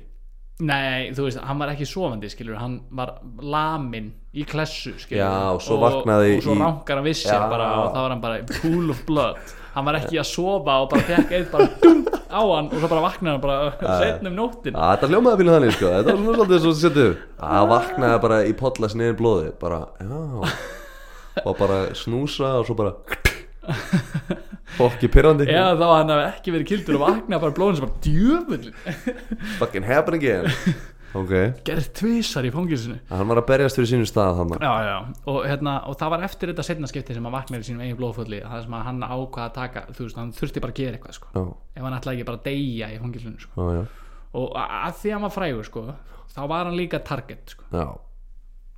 [SPEAKER 1] Nei, þú veist, hann var ekki sofandi, skilur, hann var lamin í klessu, skilur
[SPEAKER 2] Já, og svo vaknaði
[SPEAKER 1] Og svo
[SPEAKER 2] í-
[SPEAKER 1] rankar hann við sér
[SPEAKER 2] Já.
[SPEAKER 1] bara og þá var hann bara í pool of blood Hann var ekki að sofa og bara fekk eitt bara dung á hann og svo bara vaknaði hann bara uh, um setnum nóttin
[SPEAKER 2] Já, þetta hljómaði pínu þannig, sko Þetta var svona svolítið svo setjum Það vaknaði bara í podla sinni í blóði Bara, já Og bara snúsa og svo bara Fokki pirrandi
[SPEAKER 1] Eða þá að hann hafi ekki verið kildur og vaknaði bara blóðin sem bara djöfull
[SPEAKER 2] Fucking happen again Ok
[SPEAKER 1] Gerð tvisar í fangilsinu
[SPEAKER 2] Hann var að berjast fyrir sínum stað hann
[SPEAKER 1] Já, já, og, hérna, og það var eftir þetta setna skipti sem hann vaknaði í sínum eigin blóðfulli það sem að hann ákvað að taka, þú veist, hann þurfti bara að gera eitthvað, sko
[SPEAKER 2] Já,
[SPEAKER 1] ef hann ætlaði ekki bara að deyja í fangilsinu, sko
[SPEAKER 2] já, já
[SPEAKER 1] og a- að því að hann var frægur sko, þá var hann líka target sko.
[SPEAKER 2] Já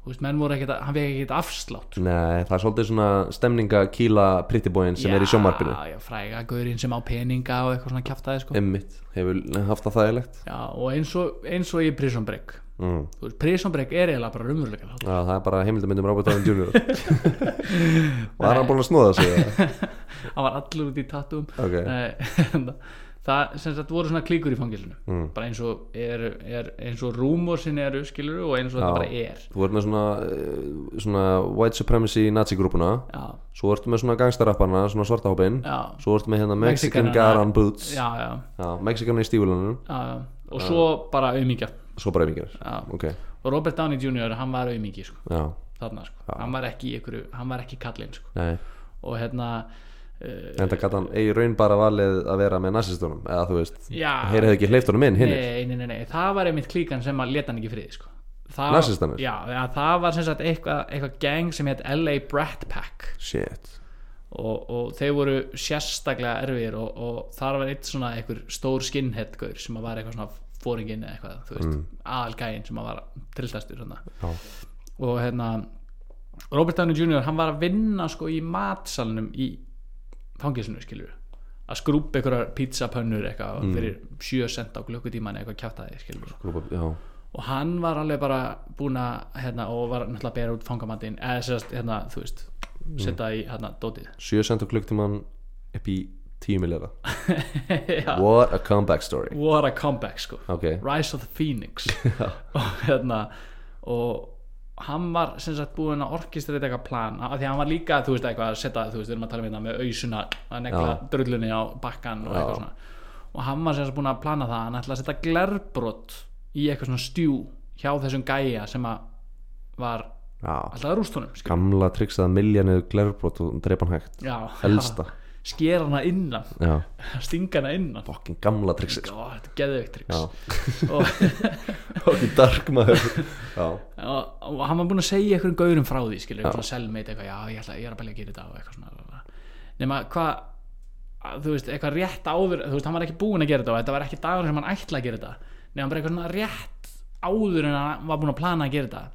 [SPEAKER 1] Þú veist, menn voru ekkert, að- hann fekk ekkert afslátt sko.
[SPEAKER 2] Nei, það er svolítið svona stemninga kýla prittibóin sem er í sjómarpinu
[SPEAKER 1] já, já, fræga gaurinn sem á peninga og eitthvað svona kjaftaði sko.
[SPEAKER 2] Emmitt, hefur haft það þægilegt
[SPEAKER 1] já, og eins og, eins og í Prison Break
[SPEAKER 2] mm.
[SPEAKER 1] Þú veist, Prison Break er eiginlega bara raunveruleika þáttur.
[SPEAKER 2] Já, það er bara heimildamindum Robert Downey Jr. Var hann búin að snúða sig? eða?
[SPEAKER 1] hann var allur út í tattum
[SPEAKER 2] Ok,
[SPEAKER 1] það sem sagt voru svona klíkur í fangilinu
[SPEAKER 2] Mm.
[SPEAKER 1] bara eins og, er, er, eins og rúmur sinni eru skilur og eins og þetta bara er
[SPEAKER 2] þú ert með svona, eh, svona white supremacy nazi-grúpuna
[SPEAKER 1] já,
[SPEAKER 2] Svo ertu með svona gangstarappana, svona svartahópin
[SPEAKER 1] Já.
[SPEAKER 2] Svo ertu með hérna Mexican
[SPEAKER 1] Mexicanana.
[SPEAKER 2] Garan Boots
[SPEAKER 1] já, já,
[SPEAKER 2] Já, Mexicanana í stífulunum
[SPEAKER 1] já, já. og svo bara auðmíkja
[SPEAKER 2] Svo bara yfingjar
[SPEAKER 1] Já.
[SPEAKER 2] Ok,
[SPEAKER 1] og Robert Downey Jr. hann var auðmíki sko.
[SPEAKER 2] já,
[SPEAKER 1] þarna sko. hann var ekki, í einhverju, hann var ekki kallinn sko.
[SPEAKER 2] nei
[SPEAKER 1] og hérna uh,
[SPEAKER 2] En það gæti hann í raun bara valið að vera með nazistunum Eða þú veist,
[SPEAKER 1] Já.
[SPEAKER 2] þeir hefðu ekki hleyft honum inn hinn
[SPEAKER 1] nei, nei, nei, nei, það var einmitt klíkan sem að leta hann ekki í friði sko. Það-
[SPEAKER 2] Nasistarnir?
[SPEAKER 1] já, ja, það var sem sagt eitthvað, eitthvað gang sem hétt LA Brat Pack
[SPEAKER 2] Shit
[SPEAKER 1] og, og þeir voru sérstaklega erfir og, og þar var eitt svona einhver stór skinhead gaur sem að var eitthvað svona fóringin eða eitthvað, þú veist, aðalgæin sem að var trilltastur svona
[SPEAKER 2] Mm. Já.
[SPEAKER 1] og hérna Robert Downey Jr. hann var að vinna sko í matsalnum í fangilsinu skilur að skrúpa einhverjar pizzapönnur eitthvað fyrir 7 cent á klukkutíman eitthvað kjátaði skilur
[SPEAKER 2] Grúpa, Mm. já
[SPEAKER 1] og hann var alveg bara búin að hérna, og var náttúrulega að bera út fangamandinn eða sérst, hérna, þú veist
[SPEAKER 2] Mm.
[SPEAKER 1] setja í hérna, dótið
[SPEAKER 2] 7 cent á klukktíman upp í 10 miljóða
[SPEAKER 1] Já,
[SPEAKER 2] What a comeback story
[SPEAKER 1] what a comeback sko
[SPEAKER 2] Ok,
[SPEAKER 1] Rise of the Phoenix og hérna og hann var sem sagt búinn að orkistrita eitthvað plan af því að hann var líka, þú veist, eitthvað að setja þú veist, við erum að tala um þetta með ausuna að negla
[SPEAKER 2] Já.
[SPEAKER 1] drullunni á bakkan og eitthvað
[SPEAKER 2] Já.
[SPEAKER 1] svona og hann var sem sagt búinn að plana það hann ætla að setja glerbrot í eitthvað svona stjú hjá þessum gæja sem að var
[SPEAKER 2] já
[SPEAKER 1] alltaf að rúst honum skilur.
[SPEAKER 2] gamla triksað að milja niður glerbrot og dreipa hann hægt
[SPEAKER 1] Já,
[SPEAKER 2] helsta
[SPEAKER 1] skera hana innan
[SPEAKER 2] já,
[SPEAKER 1] stinga hana innan Ó,
[SPEAKER 2] fokkin gamla triksið
[SPEAKER 1] þetta er geðveikt
[SPEAKER 2] sko. já,
[SPEAKER 1] triks og
[SPEAKER 2] fokkin dark maður já,
[SPEAKER 1] og, og hann var búinn að segja einhverjum gaurum frá því skilur, einhverjum selmeit eitthvað, já ég, ætla, ég er að bæla að gera þetta og eitthvað svona nema hvað að- þú veist, eitthvað rétt áður þú veist, hann var ekki búinn að gera þetta og þetta var ekki dagur sem hann ætla að gera þetta nema bara eitthvað svona rétt áður en hann var búinn að plana að gera þetta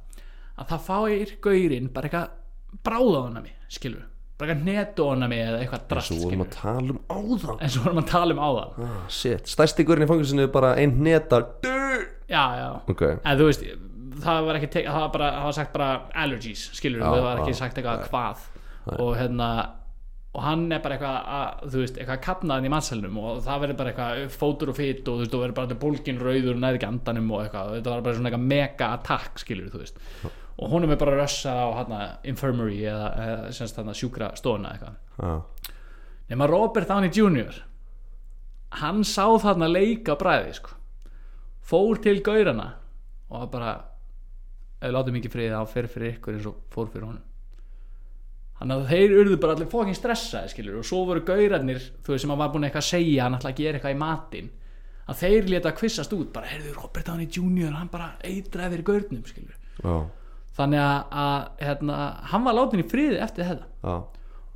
[SPEAKER 1] að það fáir gaurinn bara eitthvað bráðaðunami, skilur bara eitthvað netónami eða eitthvað drast,
[SPEAKER 2] Svo
[SPEAKER 1] skilur
[SPEAKER 2] vorum að tala um áðan
[SPEAKER 1] en svo vorum að tala um áðan
[SPEAKER 2] ah, Shit, stærsti gurinn í fangilsinu er bara ein neta
[SPEAKER 1] já, já,
[SPEAKER 2] Ok,
[SPEAKER 1] en þú veist það var ekki, tek- það var bara, það var sagt bara allergies, skilur,
[SPEAKER 2] Já,
[SPEAKER 1] það var ekki
[SPEAKER 2] já,
[SPEAKER 1] sagt eitthvað hvað og hérna og hann er bara eitthvað að, þú veist, eitthvað kapnaðan í matselnum og það verður bara eitthvað fótur og fytt og þú veist, þú verður bara bólgin rauður og næri ekki andanum og eitthvað, þetta var bara svona eitthvað mega attack, skilur, þú veist og honum er bara að rössa á hana infirmary eða, eða semst hana sjúkra stóna eitthvað
[SPEAKER 2] ah,
[SPEAKER 1] nema Robert Downey Jr. hann sá þarna leika bræði sko. fór til gaurana og var bara ef látum ekki friðið hann fer fyrir ykkur eins og fór fyrir honum hann að þeir urðu bara allir fókin stressaði skilur og svo voru gaurarnir þú veist sem hann var búin eitthvað að segja hann ætla að gera eitthvað í matinn að þeir leta kvissast út bara heyrðu Robert Downey Jr. hann bara eitraði fyrir gaurnum skilur
[SPEAKER 2] ah,
[SPEAKER 1] þannig að, að hérna, hann var látin í friði eftir þetta
[SPEAKER 2] ah.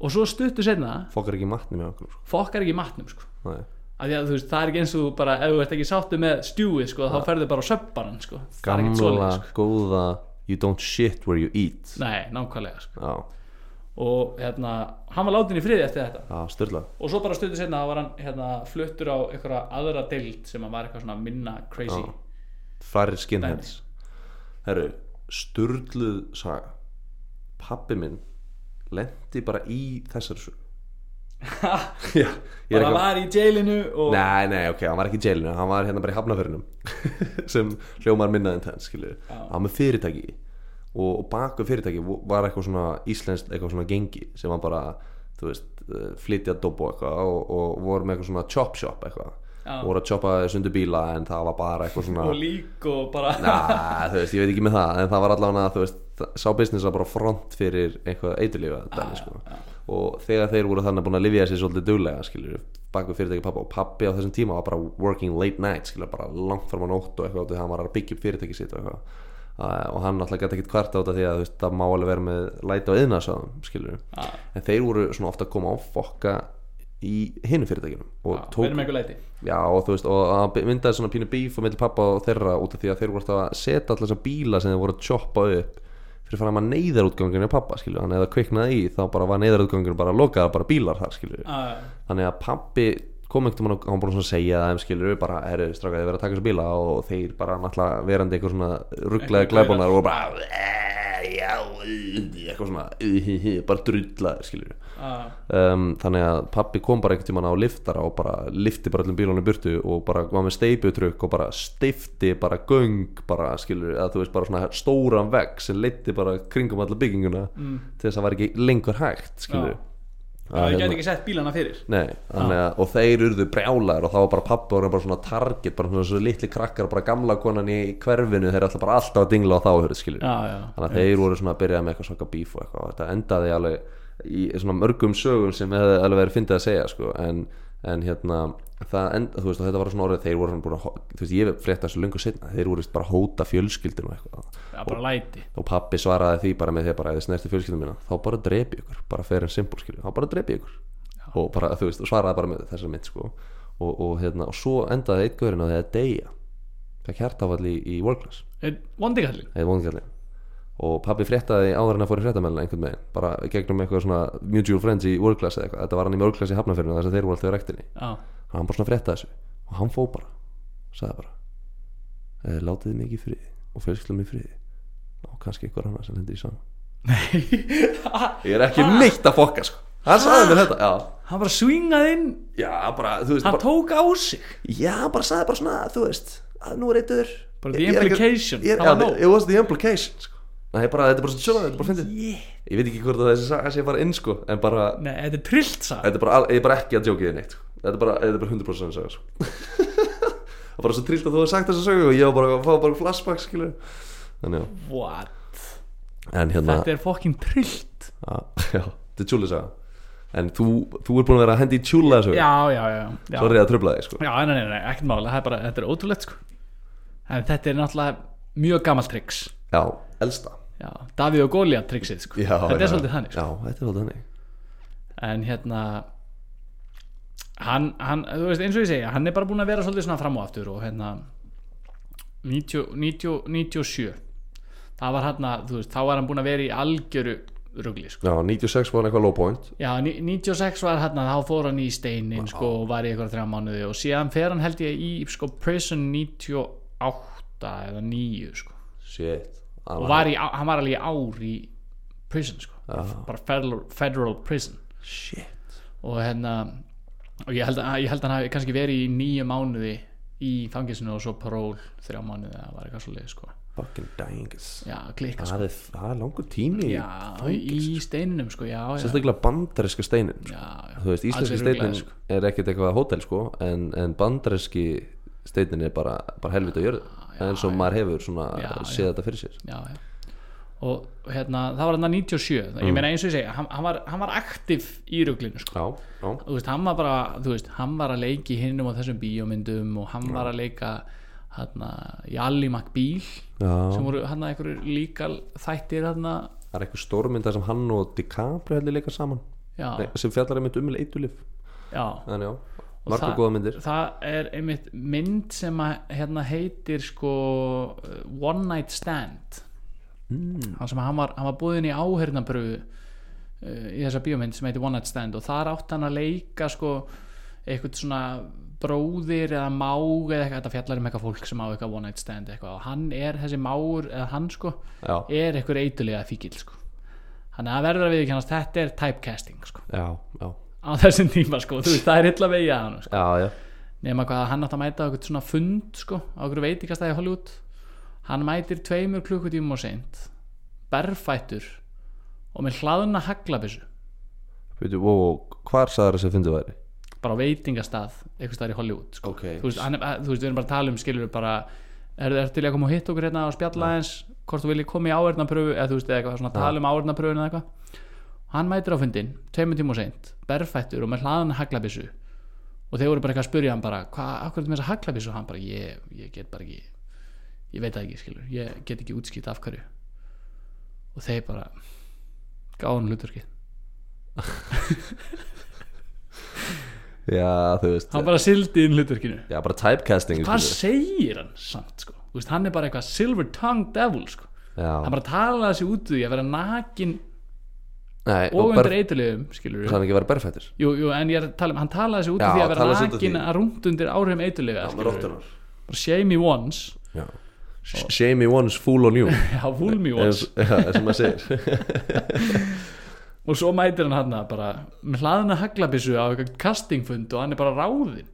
[SPEAKER 1] og svo stuttu senna
[SPEAKER 2] Fokkar ekki matni með okkur sko.
[SPEAKER 1] fokkar ekki í matnum sko
[SPEAKER 2] Nei.
[SPEAKER 1] Af því að þú veist, það er ekki eins og þú bara ef þú ert ekki sáttu með stjúið sko, þá ferðu bara á söpbaran sko. Það er ekkert
[SPEAKER 2] Gamla,
[SPEAKER 1] svoleiðis, sko.
[SPEAKER 2] góða You don't shit where you eat
[SPEAKER 1] Nei, nákvæmlega sko.
[SPEAKER 2] Já,
[SPEAKER 1] og hérna, hann var látin í friði eftir þetta
[SPEAKER 2] ah, styrla
[SPEAKER 1] og svo bara stundu setna var hann hérna, fluttur á einhverja aðra deild sem hann var eitthvað svona minna crazy
[SPEAKER 2] Já. Færri skinheads Herru, styrluð saga Pappi minn Lendi bara í þessari sög Já, ég er
[SPEAKER 1] bara
[SPEAKER 2] ekki
[SPEAKER 1] var í jailinu og
[SPEAKER 2] Nei, nei, ok, hann var ekki í jailinu, hann var hérna bara í hafnafyrinum sem hljómar minna intens, skilur hann var með fyrirtæki og, og baku fyrirtæki var eitthvað svona íslenskt, eitthvað svona gengi sem hann bara, þú veist, eh, flytja dobo eitthvað og, og voru með eitthvað svona chop shop eitthvað
[SPEAKER 1] Já.
[SPEAKER 2] og voru að choppa sundu bíla en það var bara eitthvað svona
[SPEAKER 1] og lík og bara
[SPEAKER 2] Næ, þú veist, ég veit ekki með það en það var allavega, þú veist, það- sá business var bara front fyrir eitthvað eiturlífa dæmi, sko. og þegar þeir voru þannig búin að lifja sér svolítið duglega, skilur bak við fyrirtæki pappa og pappi á þessum tíma var bara working late night, skilur, bara langt fram á nótt og eitthvað, því hann var að byggja upp fyrirtæki sitt og eitthvað Uh, og hann alltaf gæti ekkert kvart á þetta því að þú veist, það má alveg vera með læti á yðnarsöðum skilur en þeir voru svona ofta að koma á fokka í hinu fyrirtækinum og tóku-
[SPEAKER 1] verðum eitthvað leiti
[SPEAKER 2] Já og þú veist og það myndaði svona pínu bíf og mellir pappa og þeirra út af því að þeir voru alltaf að setja alltaf þessar bíla sem þeir voru að choppa upp fyrir fram að neyðarútganginu pappa skilju þannig að það kviknaði í þá bara var neyðarútganginu bara lokaða bara bílar þar skilju þannig að pappi kom einhvern veginn og hann bara svona að segja þeim skilur bara herru stráka þið verið að taka þessu bíla og þeir bara náttúrulega verandi eitthvað svona rugglega
[SPEAKER 1] Einhver
[SPEAKER 2] glæbunar og bara "Eh, já, eh," eitthvað svona "Eh, bara drullaður skilur um, þannig að pappi kom bara einhvern tímann á liftara og bara lifti bara öllum bílunum í burtu og bara var með steiputrykk og bara steifti bara göng bara skilur að þú veist bara svona stóran vegg sem leiti bara kringum alla bygginguna til þess að það var ekki lengur hægt skilur
[SPEAKER 1] Já. það
[SPEAKER 2] hérna-
[SPEAKER 1] gæti ekki sett bílana fyrir
[SPEAKER 2] Nei, þannig að, og þeir urðu brjálar og þá var bara pappi og bara svona target bara svona svo litli krakkar, bara gamla konan í hverfinu, þeir eru alltaf bara alltaf að dingla á þá hörðu skilur
[SPEAKER 1] já, já.
[SPEAKER 2] þannig að þeir voru svona að byrja með eitthvað svaka bíf og eitthvað og þetta endaði alveg í svona mörgum sögum sem hefði alveg verið fyndið að segja sko. en, en hérna það enda, þú veist, og þetta var svona orðið þeir voru svona búin að, hó- þú veist, ég frétta þessu löngu setna þeir voru víst bara að hóta fjölskyldinu og eitthvað
[SPEAKER 1] Já, bara læti
[SPEAKER 2] og pappi svaraði því bara með því að bara eða snerti fjölskyldinu mína, þá bara drepi ég ykkur bara fer en simpul, skilju, þá bara drepi ég ykkur og bara, þú veist, og svaraði bara með þessar mynd sko. og, og hérna, og svo endaði einn gaurinn á því að deyja það kjartafall í, í world class
[SPEAKER 1] vondikallin
[SPEAKER 2] eða vongallin og pabbi fréttaði áður en að fór í fréttamælina einhvern veginn, bara í gegnum eitthvað svona mutual friends í world class eða eitthvað, þetta var hann í world class í hafnafyrinu þess að þeir voru alltaf í rektinni
[SPEAKER 1] já,
[SPEAKER 2] og hann bara svona fréttaði þessu og hann fó bara, sagði bara "Eh, látið mig í friði og fjölskyldum í friði og kannski eitthvað annað sem hendi í saman ég er ekki neitt að fokka sko hann sagði mér þetta, já
[SPEAKER 1] hann bara svingað inn
[SPEAKER 2] já, bara, þú veist,
[SPEAKER 1] hann
[SPEAKER 2] bara,
[SPEAKER 1] tók á sig
[SPEAKER 2] já, bara sagði bara svona þú veist, að nú er eittur
[SPEAKER 1] Bara the implication, það var nóg.
[SPEAKER 2] it was the implication sko. Nei, bara, þetta er bara svona sjóðan, þetta er bara fyndið
[SPEAKER 1] yeah.
[SPEAKER 2] ég veit ekki hvort að þessi saga sé bara inn sko en bara,
[SPEAKER 1] Nei, þetta er trillt saga
[SPEAKER 2] þetta er bara, al- ég er bara ekki að djókið þið neitt sko. þetta er bara, þetta er bara 100% sann saga sko það er bara svo trillt að þú hefur sagt þessa sögu og ég var bara að fá bara flashback skilur þannig já,
[SPEAKER 1] What?
[SPEAKER 2] en hérna
[SPEAKER 1] Þetta er fokkin trillt
[SPEAKER 2] að, já, þetta er tjúli saga en þú, þú er búin að vera að hendi í tjúla þessu
[SPEAKER 1] Já, já, já Já,
[SPEAKER 2] sorry að tröfla þig sko
[SPEAKER 1] já nei, nei, nei, ekkert mála Það er bara, þetta er ótrúlegt sko En þetta er náttúrulega mjög gamalt triks
[SPEAKER 2] já, elsta
[SPEAKER 1] Já, Davíð og Gólia triksið sko
[SPEAKER 2] já,
[SPEAKER 1] Þetta
[SPEAKER 2] já,
[SPEAKER 1] er svolítið þannig sko.
[SPEAKER 2] já, þetta er svolítið þannig
[SPEAKER 1] en hérna hann, hann, þú veist, eins og ég segja hann er bara búin að vera svolítið svona fram og aftur og hérna 90, 90, 97 það var hann að, þú veist, þá var hann búin að vera í algjöru rugli, sko
[SPEAKER 2] Já, 96 var hann eitthvað low point
[SPEAKER 1] Já, ní- 96 var hérna, þá fór hann í steinin sko, og var í eitthvað þrjá mánuði og síðan fer hann held ég í sko, prison 98 eða 9 sko.
[SPEAKER 2] Shit
[SPEAKER 1] og
[SPEAKER 2] var...
[SPEAKER 1] var í, á- hann var alveg í ár í prison sko. bara federal, federal prison
[SPEAKER 2] Shit
[SPEAKER 1] og hérna og ég held, að, ég held að hann hafi kannski verið í nýju mánuði í fangisinu og svo paról þrjá mánuði eða var eitthvað svo leið sko.
[SPEAKER 2] Fucking dangus
[SPEAKER 1] já, klikka sko.
[SPEAKER 2] Það er, það er langur tími í-
[SPEAKER 1] já, í steininum sko, já, já,
[SPEAKER 2] Sérstaklega bandaríska steinin sko.
[SPEAKER 1] já, já.
[SPEAKER 2] Þú veist, íslenski
[SPEAKER 1] Alveg ruglað,
[SPEAKER 2] steinin er ekkert eitthvað hótel sko En, en bandaríski steinin er bara, bara helvita að
[SPEAKER 1] Ah,
[SPEAKER 2] jörðu En svo maður hefur svona séð þetta fyrir sér
[SPEAKER 1] já, já. og hérna, það var hann 97
[SPEAKER 2] Mm.
[SPEAKER 1] ég meina eins og ég segja, hann, hann, var, hann var aktiv í ruglinu sko.
[SPEAKER 2] Já, já
[SPEAKER 1] þú veist, hann var bara, þú veist, hann var að leiki hinnum á þessum bíómyndum og hann var að leika hérna, í Alli McBeal
[SPEAKER 2] Já,
[SPEAKER 1] sem voru hann að einhverju líkal þættir hérna,
[SPEAKER 2] það er eitthvað stórmynd þar sem hann og DiCaprio heldur leika saman
[SPEAKER 1] já,
[SPEAKER 2] Nei, sem fjallar einmitt um eitulif
[SPEAKER 1] já
[SPEAKER 2] Þannig já, marga
[SPEAKER 1] það-
[SPEAKER 2] góða myndir
[SPEAKER 1] það er einmitt mynd sem að hérna heitir sko uh, One Night Stand mm. sem að hann var, hann var búðin í áhernabröfu uh, í þessa bíómynd sem heitir One Night Stand og þar átti hann að leika sko eitthvað svona bróðir eða mág eða eitthvað, þetta fjallar um eitthvað fólk sem á eitthvað One Night Stand eitthvað og hann er þessi mágur eða hann sko
[SPEAKER 2] Já,
[SPEAKER 1] er eitthvað eitulega fíkil sko þannig að það verður að viðkennast þetta er typecasting sko
[SPEAKER 2] já, já
[SPEAKER 1] á þessum tíma sko, þú veist það er illa vegið að hann sko
[SPEAKER 2] Já, já,
[SPEAKER 1] nema hvað að hann átt að mæta á eitthvað svona fund sko, á eitthvað veitingastæði í Hollywood hann mætir tveimur klukkutímum og seint berfættur og með hlaðuna haglabissu
[SPEAKER 2] veitu, wow, hvar sagður þess að fyndu væri?
[SPEAKER 1] bara á veitingastað eitthvað staðar í Hollywood sko.
[SPEAKER 2] Ok.
[SPEAKER 1] þú, veist, hann, er- að- þú veist, við erum bara að tala um skilur bara, er það til að koma og hitta okkur hérna og spjalla eins, hvort þú viljið koma í áverðnapröfu eða þú veist, eða eitthvað svona tala um áverðnapröfun eða eitthvað hann mætir á fundin, tveimur tíma og seint berfættur og með hlaðan haglabissu og þeir voru bara eitthvað að spyrja hann bara hvað, akkur er þetta með þessa haglabissu og hann bara, ég, ég get bara ekki ég veit það ekki, skilur, ég get ekki útskýrt af hverju og þeir bara gáðan hluturkið
[SPEAKER 2] Já, þú veist
[SPEAKER 1] hann bara sildi inn hluturkinu
[SPEAKER 2] Já, bara typecasting
[SPEAKER 1] hvað
[SPEAKER 2] skilur.
[SPEAKER 1] segir hann samt sko Þú veist, hann er bara eitthvað silver tongue devil sko.
[SPEAKER 2] Já,
[SPEAKER 1] hann bara talaði sig út úr því að vera nakin
[SPEAKER 2] nei,
[SPEAKER 1] og
[SPEAKER 2] og
[SPEAKER 1] undir
[SPEAKER 2] ber,
[SPEAKER 1] eiturlegum skilur
[SPEAKER 2] hann ekki verið berfættur
[SPEAKER 1] jú, jú, en ég er að tala um, hann talaði sig út úr
[SPEAKER 2] Já,
[SPEAKER 1] því að vera
[SPEAKER 2] talaði sig út úr
[SPEAKER 1] nakin
[SPEAKER 2] því.
[SPEAKER 1] að rúmt undir áhrifum eiturlega bara shame me once
[SPEAKER 2] Já Shame me once, fool on you
[SPEAKER 1] já, fool me
[SPEAKER 2] er,
[SPEAKER 1] once
[SPEAKER 2] já, er sem maður segir
[SPEAKER 1] og svo mætir hann hann bara með hlaðina haglabissu á eitthvað castingfund og hann er bara ráðinn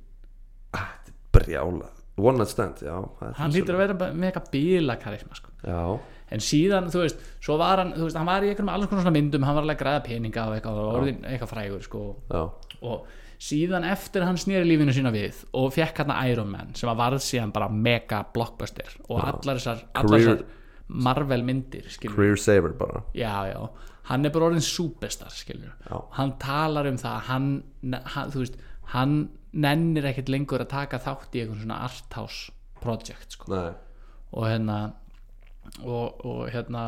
[SPEAKER 2] Ah, Brjála One night stand, já það er
[SPEAKER 1] hann
[SPEAKER 2] svo-
[SPEAKER 1] lítur að vera bara með eitthvað bilakarisma sko
[SPEAKER 2] Já,
[SPEAKER 1] en síðan, þú veist, svo var hann þú veist, hann var í einhverjum alls konar svona myndum hann var alveg að græða peninga og eitthvað, og orðinn eitthvað frægur sko,
[SPEAKER 2] já,
[SPEAKER 1] og síðan eftir hann snýri lífinu sína við og fekk hann Iron Man sem að varð síðan bara mega blockbuster og allar þessar, allar
[SPEAKER 2] Career-
[SPEAKER 1] þessar Marvel myndir skilur,
[SPEAKER 2] career saver bara
[SPEAKER 1] já, já, hann er bara orðin superstar, skilur,
[SPEAKER 2] Já.
[SPEAKER 1] hann talar um það, að hann, hann þú veist, hann nennir ekkert lengur að taka þátt í eitthvað svona arthouse project, sko
[SPEAKER 2] Nei,
[SPEAKER 1] og hérna og, og hérna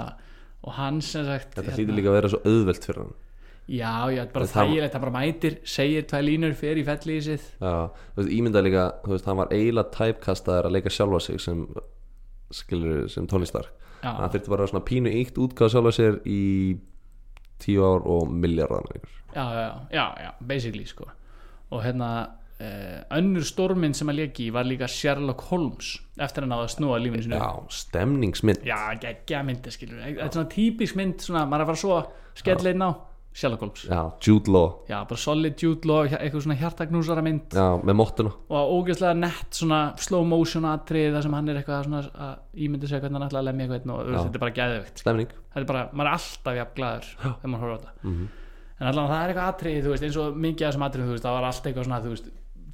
[SPEAKER 1] og hann sem sagt
[SPEAKER 2] þetta
[SPEAKER 1] hérna,
[SPEAKER 2] hlýtur líka að vera svo auðvelt fyrir hann
[SPEAKER 1] já, já, bara
[SPEAKER 2] það-
[SPEAKER 1] þægilegt, hann bara mætir segir tvær línur, fer í fellísið
[SPEAKER 2] Já, þú veist, ímynda líka, þú veist, hann var eiginlega typecastaðar að leika sjálfa sig sem skilur, sem Tony Stark
[SPEAKER 1] Já.
[SPEAKER 2] hann þurfti bara svona pínu eitt útgáð sjálfa sér í tíu ár og miljardar
[SPEAKER 1] já, já, já, já, basically sko og hérna Uh, önnur stormin sem að leki var líka Sherlock Holmes eftir hann að snúa lífinu sinu
[SPEAKER 2] Já, stemningsmynd
[SPEAKER 1] já geggja myndi skilur við. þetta er svona típisk mynd, svona, maður er að fara svo skelleinn á Sherlock Holmes
[SPEAKER 2] Já, Jude Law
[SPEAKER 1] já, bara solid Jude Law, eitthvað svona hjartagnúsara mynd
[SPEAKER 2] Já, með móttuna
[SPEAKER 1] og ógeðslega nett svona slow motion atrið þar sem hann er eitthvað svona að ímyndi segja hvernig hann ætla að lemja eitthvað og þú veist, þetta er bara gæðvegt
[SPEAKER 2] Stemning
[SPEAKER 1] þetta er bara, maður er alltaf jafn glæður þegar maður horfir á þetta en allan það er eitthvað atrið, þú veist, eins og mikið af þessum atrið, þú veist, það var allt eitthvað svona, þú veist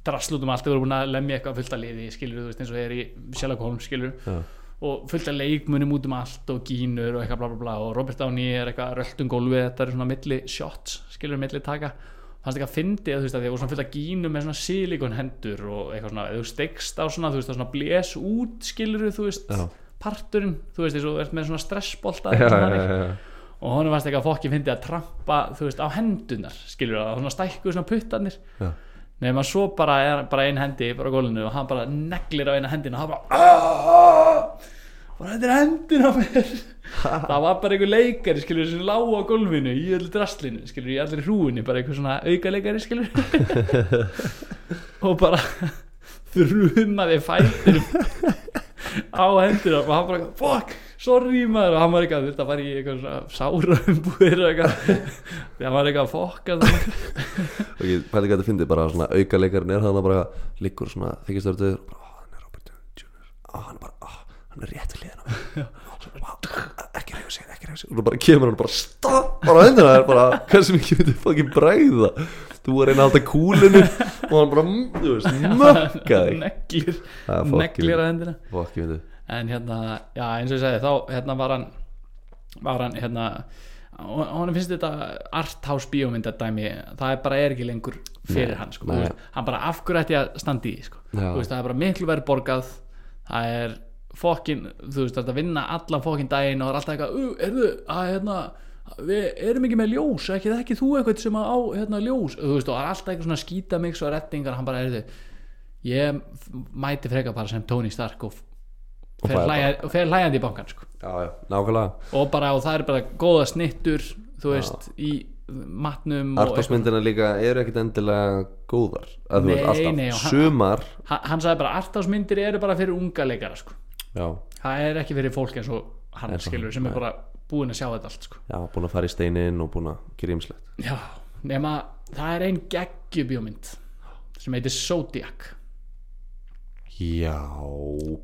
[SPEAKER 1] draslutum allt, þau voru búin að lemja eitthvað fullt að liði skilur, þú veist, eins og þeir í Sherlock Holmes skilur
[SPEAKER 2] Já.
[SPEAKER 1] og fullt að leikmunum út um allt og gínur og eitthvað bla bla bla og Robert Downey er eitthvað röldum gólfið, þetta er svona milli shots, skilur, milli taka fannst eitthvað fyndið, þú veist, að því voru svona fullt að gínu með svona silikon hendur og eitthvað svona, ef þú stegst á svona, þú veist, það svona blés út, skilur, þú veist,
[SPEAKER 2] Já.
[SPEAKER 1] parturinn, þú veist, eins og þú ert með svona stressbolta
[SPEAKER 2] Já,
[SPEAKER 1] eitthvað
[SPEAKER 2] já,
[SPEAKER 1] þannig
[SPEAKER 2] já, já.
[SPEAKER 1] og honum fannst eitthvað fokki fyndi að trampa þú veist á hendunar skilur það, hún stækkuð svona puttarnir
[SPEAKER 2] Já.
[SPEAKER 1] nema svo bara er bara ein hendi bara á gólinu og hann bara neglir á eina hendina og hann bara "Ah!" og þetta er hendin á mér það var bara einhver leikari skilur sem lág á gólfinu í öllu draslinu skilur í allir hrúinu bara einhver svona auka leikari skilur og bara þrumaði fætur á hendur og hann bara fuck, sorry maður og hann var eitthvað, þetta var í eitthvað svona sára umbúðir og eitthvað þegar hann var eitthvað fokk að það
[SPEAKER 2] og ég pæli hvað þetta fyndi bara svona auka leikarinn er hann bara liggur svona þykist þar döður og bara, "Ah, hann er Robert Downey Jr. Ah, hann er bara, ah, hann er rétt við liðan ekki reyðu sig, ekki reyðu sig og þú bara kemur hann og bara stopp bara hendur það er bara, hversu mikið myndi fucking bræða þú er reyna að halda kúlinu og hann bara, mm, þú veist, mökka þig
[SPEAKER 1] neglir,
[SPEAKER 2] Það er fokkin-
[SPEAKER 1] neglir að hendina
[SPEAKER 2] fokkin fyndi
[SPEAKER 1] en hérna, já eins og ég segi þá hérna var hann var hann hérna hon- honum finnst þetta arthouse bíómyndadæmi það er bara er ekki lengur fyrir
[SPEAKER 2] Nei,
[SPEAKER 1] hann sko,
[SPEAKER 2] nei.
[SPEAKER 1] þú veist, hann bara af hverju ætti ég að standa í því, sko.
[SPEAKER 2] Já.
[SPEAKER 1] Þú veist, það er bara miklu verið borgað það er fokkin þú veist það er að vinna allan fokkin daginn og það er alltaf eitthvað, uh, erðu, að hérna við erum ekki með ljós, ekki það ekki þú eitthvað sem á hérna ljós þú veist og það er alltaf eitthvað svona skítamix og rettingar hann bara erðu, ég f- mæti frekar bara sem Tony Stark og f-
[SPEAKER 2] Og
[SPEAKER 1] fer
[SPEAKER 2] fær
[SPEAKER 1] hlæja- og fer hlæjandi í bankan sko
[SPEAKER 2] já, já, nákvæmlega
[SPEAKER 1] og bara og það er bara góða snittur þú veist í matnum og
[SPEAKER 2] artásmyndina líka eru ekkit endilega góðar að þú
[SPEAKER 1] Nei,
[SPEAKER 2] veist, alltaf
[SPEAKER 1] nei, og hann-
[SPEAKER 2] sumar
[SPEAKER 1] Ha- hann sagði bara artásmyndir eru bara fyrir unga leikara sko.
[SPEAKER 2] já,
[SPEAKER 1] það er ekki fyrir fólk eins og hann
[SPEAKER 2] Eins og
[SPEAKER 1] skilur
[SPEAKER 2] hann,
[SPEAKER 1] sem er bara búin að sjá þetta allt sko.
[SPEAKER 2] já, búin að fara í steinin og búin að gera ýmslegt
[SPEAKER 1] já, nema það er ein geggjubjómynd sem heitir Zodiac
[SPEAKER 2] Já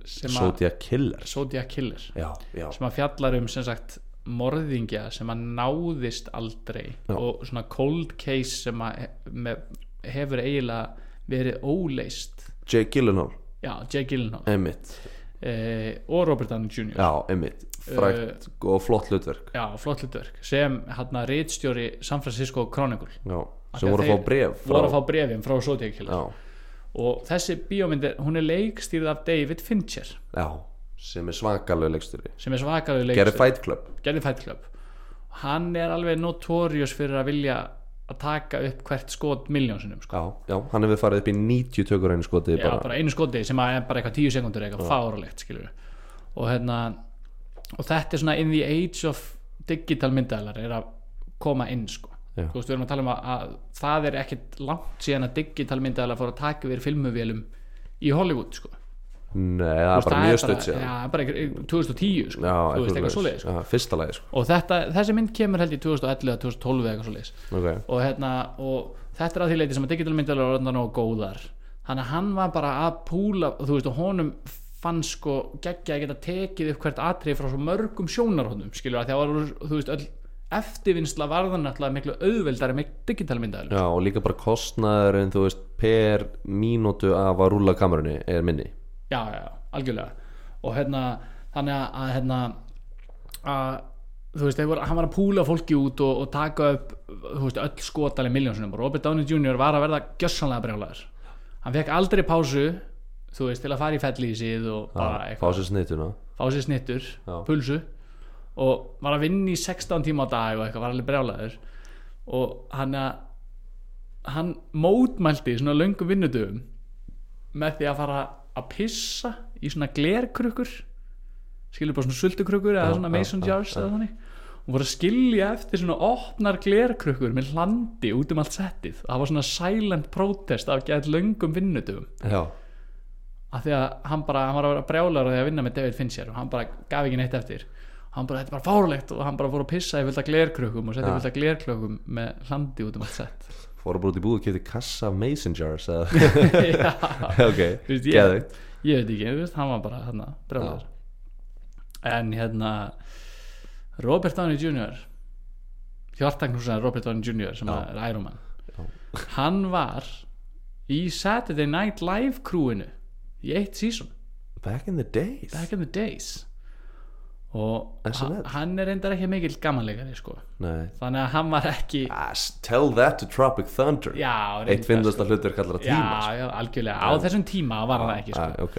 [SPEAKER 1] Sem að-
[SPEAKER 2] Zodiac Killer
[SPEAKER 1] Zodiac Killer
[SPEAKER 2] Já, já
[SPEAKER 1] sem að fjallar um sem sagt morðingja sem að náðist aldrei
[SPEAKER 2] Já.
[SPEAKER 1] og svona cold case sem að he- með- hefur eiginlega verið óleist
[SPEAKER 2] Jake Gyllenhaal,
[SPEAKER 1] já, Jake Gyllenhaal
[SPEAKER 2] Emmett
[SPEAKER 1] eh, og Robert Downey Jr.
[SPEAKER 2] Já, Emmett Frækt
[SPEAKER 1] Eh.
[SPEAKER 2] og flott hlutverk
[SPEAKER 1] Já, flott hlutverk sem hérna rítstjóri San Francisco Chronicle
[SPEAKER 2] Já,
[SPEAKER 1] Af
[SPEAKER 2] sem
[SPEAKER 1] því
[SPEAKER 2] voru að
[SPEAKER 1] þeir
[SPEAKER 2] fá bref frá
[SPEAKER 1] voru að fá brefin frá Zodiac Killer
[SPEAKER 2] Já,
[SPEAKER 1] og þessi bíómyndir, hún er leikstýrð af David Fincher
[SPEAKER 2] já Sem er svakalegu leiksturi
[SPEAKER 1] sem er svakaðu
[SPEAKER 2] Gerði
[SPEAKER 1] leikstýrð
[SPEAKER 2] Fight Club
[SPEAKER 1] Gerði Fight Club hann er alveg notorious fyrir að vilja að taka upp hvert skot miljónsinnum sko.
[SPEAKER 2] Já, já, hann hefur farið upp í 90 tökur einu skoti
[SPEAKER 1] Já,
[SPEAKER 2] bara.
[SPEAKER 1] bara einu skoti sem að er bara eitthvað tíu sekundur eitthvað fáralegt skilur og hérna og þetta er svona in the age of digital myndaðalar er að koma inn sko
[SPEAKER 2] Já.
[SPEAKER 1] þú veist við erum að tala um að, að það er ekkit langt síðan að digital myndaðalar fór að taka við filmuvélum í Hollywood sko
[SPEAKER 2] Nei, það er bara mjög stutt
[SPEAKER 1] já,
[SPEAKER 2] sér Já,
[SPEAKER 1] bara eh, einhver- 2010 sko þú veist eitthvað svoleiðis sko.
[SPEAKER 2] Já, fyrsta lagi sko
[SPEAKER 1] og þetta, þessi mynd kemur held í 2011 2012 eitthvað svoleiðis
[SPEAKER 2] okay.
[SPEAKER 1] og, hérna, og þetta er að því leiti sem að digital myndalega er orðan og góðar þannig að hann var bara að púla og þú veist og honum fann sko geggja að geta tekið upp hvert atrið frá svo mörgum sjónarhóndum skilur að því að voru, þú veist öll eftirvinnsla varðan náttúrulega miklu auðveldari með digital myndalega
[SPEAKER 2] Já, og líka bara kostnaður en þú veist per mínútu af að rúla kamerunni er minni
[SPEAKER 1] já, já, já, algjörlega og hérna, þannig að, að hérna að þú veist, þeir voru, hann var að púla fólki út og, og taka upp, þú veist, öll skotaleg miljónsunum og Robert Downey Jr. var að verða gjössanlega brjálæður hann fekk aldrei pásu, þú veist, til að fara í fellísið og bara
[SPEAKER 2] Fá
[SPEAKER 1] eitthvað
[SPEAKER 2] sér snituna
[SPEAKER 1] fá sér snittur,
[SPEAKER 2] Já.
[SPEAKER 1] pulsu og var að vinna í 16 tíma á dag og eitthvað, var alveg brjálæður og hann að hann mótmælti í svona löngum vinnudöfum með því að fara að pissa í svona glerkrukkur skilur bara svona sultukrukkur eða svona
[SPEAKER 2] já,
[SPEAKER 1] mason
[SPEAKER 2] já,
[SPEAKER 1] jars eða þannig og voru að skilja eftir svona opnar glerkrukkur með hlandi út um allt settið það var svona silent protest af gæð löngum vinnudöfum
[SPEAKER 2] Já,
[SPEAKER 1] að því að hann bara, hann var að vera brjálar að því að vinna með David Fincher og hann bara gaf ekki neitt eftir hann bara, þetta er bara fárlegt og hann bara fór að pissa í fylgta glerkrökkum og setja í
[SPEAKER 2] Ja.
[SPEAKER 1] fylgta glerkrökkum með hlandi út um allt sett
[SPEAKER 2] fóru bara út í búð og kefti kassa af mason jars eða
[SPEAKER 1] Já,
[SPEAKER 2] ok,
[SPEAKER 1] þú veist, ég,
[SPEAKER 2] geðvikt
[SPEAKER 1] ég veit ekki, þú veist, hann var bara hérna, brjálar en hérna Robert Downey Jr Hjartagnúsar Robert Downey Jr sem
[SPEAKER 2] Já.
[SPEAKER 1] er Iron Man hann var í Saturday Night Live crewinu í eitt season
[SPEAKER 2] back in the days
[SPEAKER 1] Back in the Days og
[SPEAKER 2] SNL.
[SPEAKER 1] ha- hann er reyndar ekki mikill gamanleikari sko.
[SPEAKER 2] Nei.
[SPEAKER 1] þannig að hann var ekki
[SPEAKER 2] As, tell that to Tropic Thunder
[SPEAKER 1] já, reyndar, sko.
[SPEAKER 2] eitt finnast að hlutur kallara
[SPEAKER 1] já,
[SPEAKER 2] tíma sko.
[SPEAKER 1] já, algjörlega, á þessum tíma var hann ekki sko.
[SPEAKER 2] ah, ok,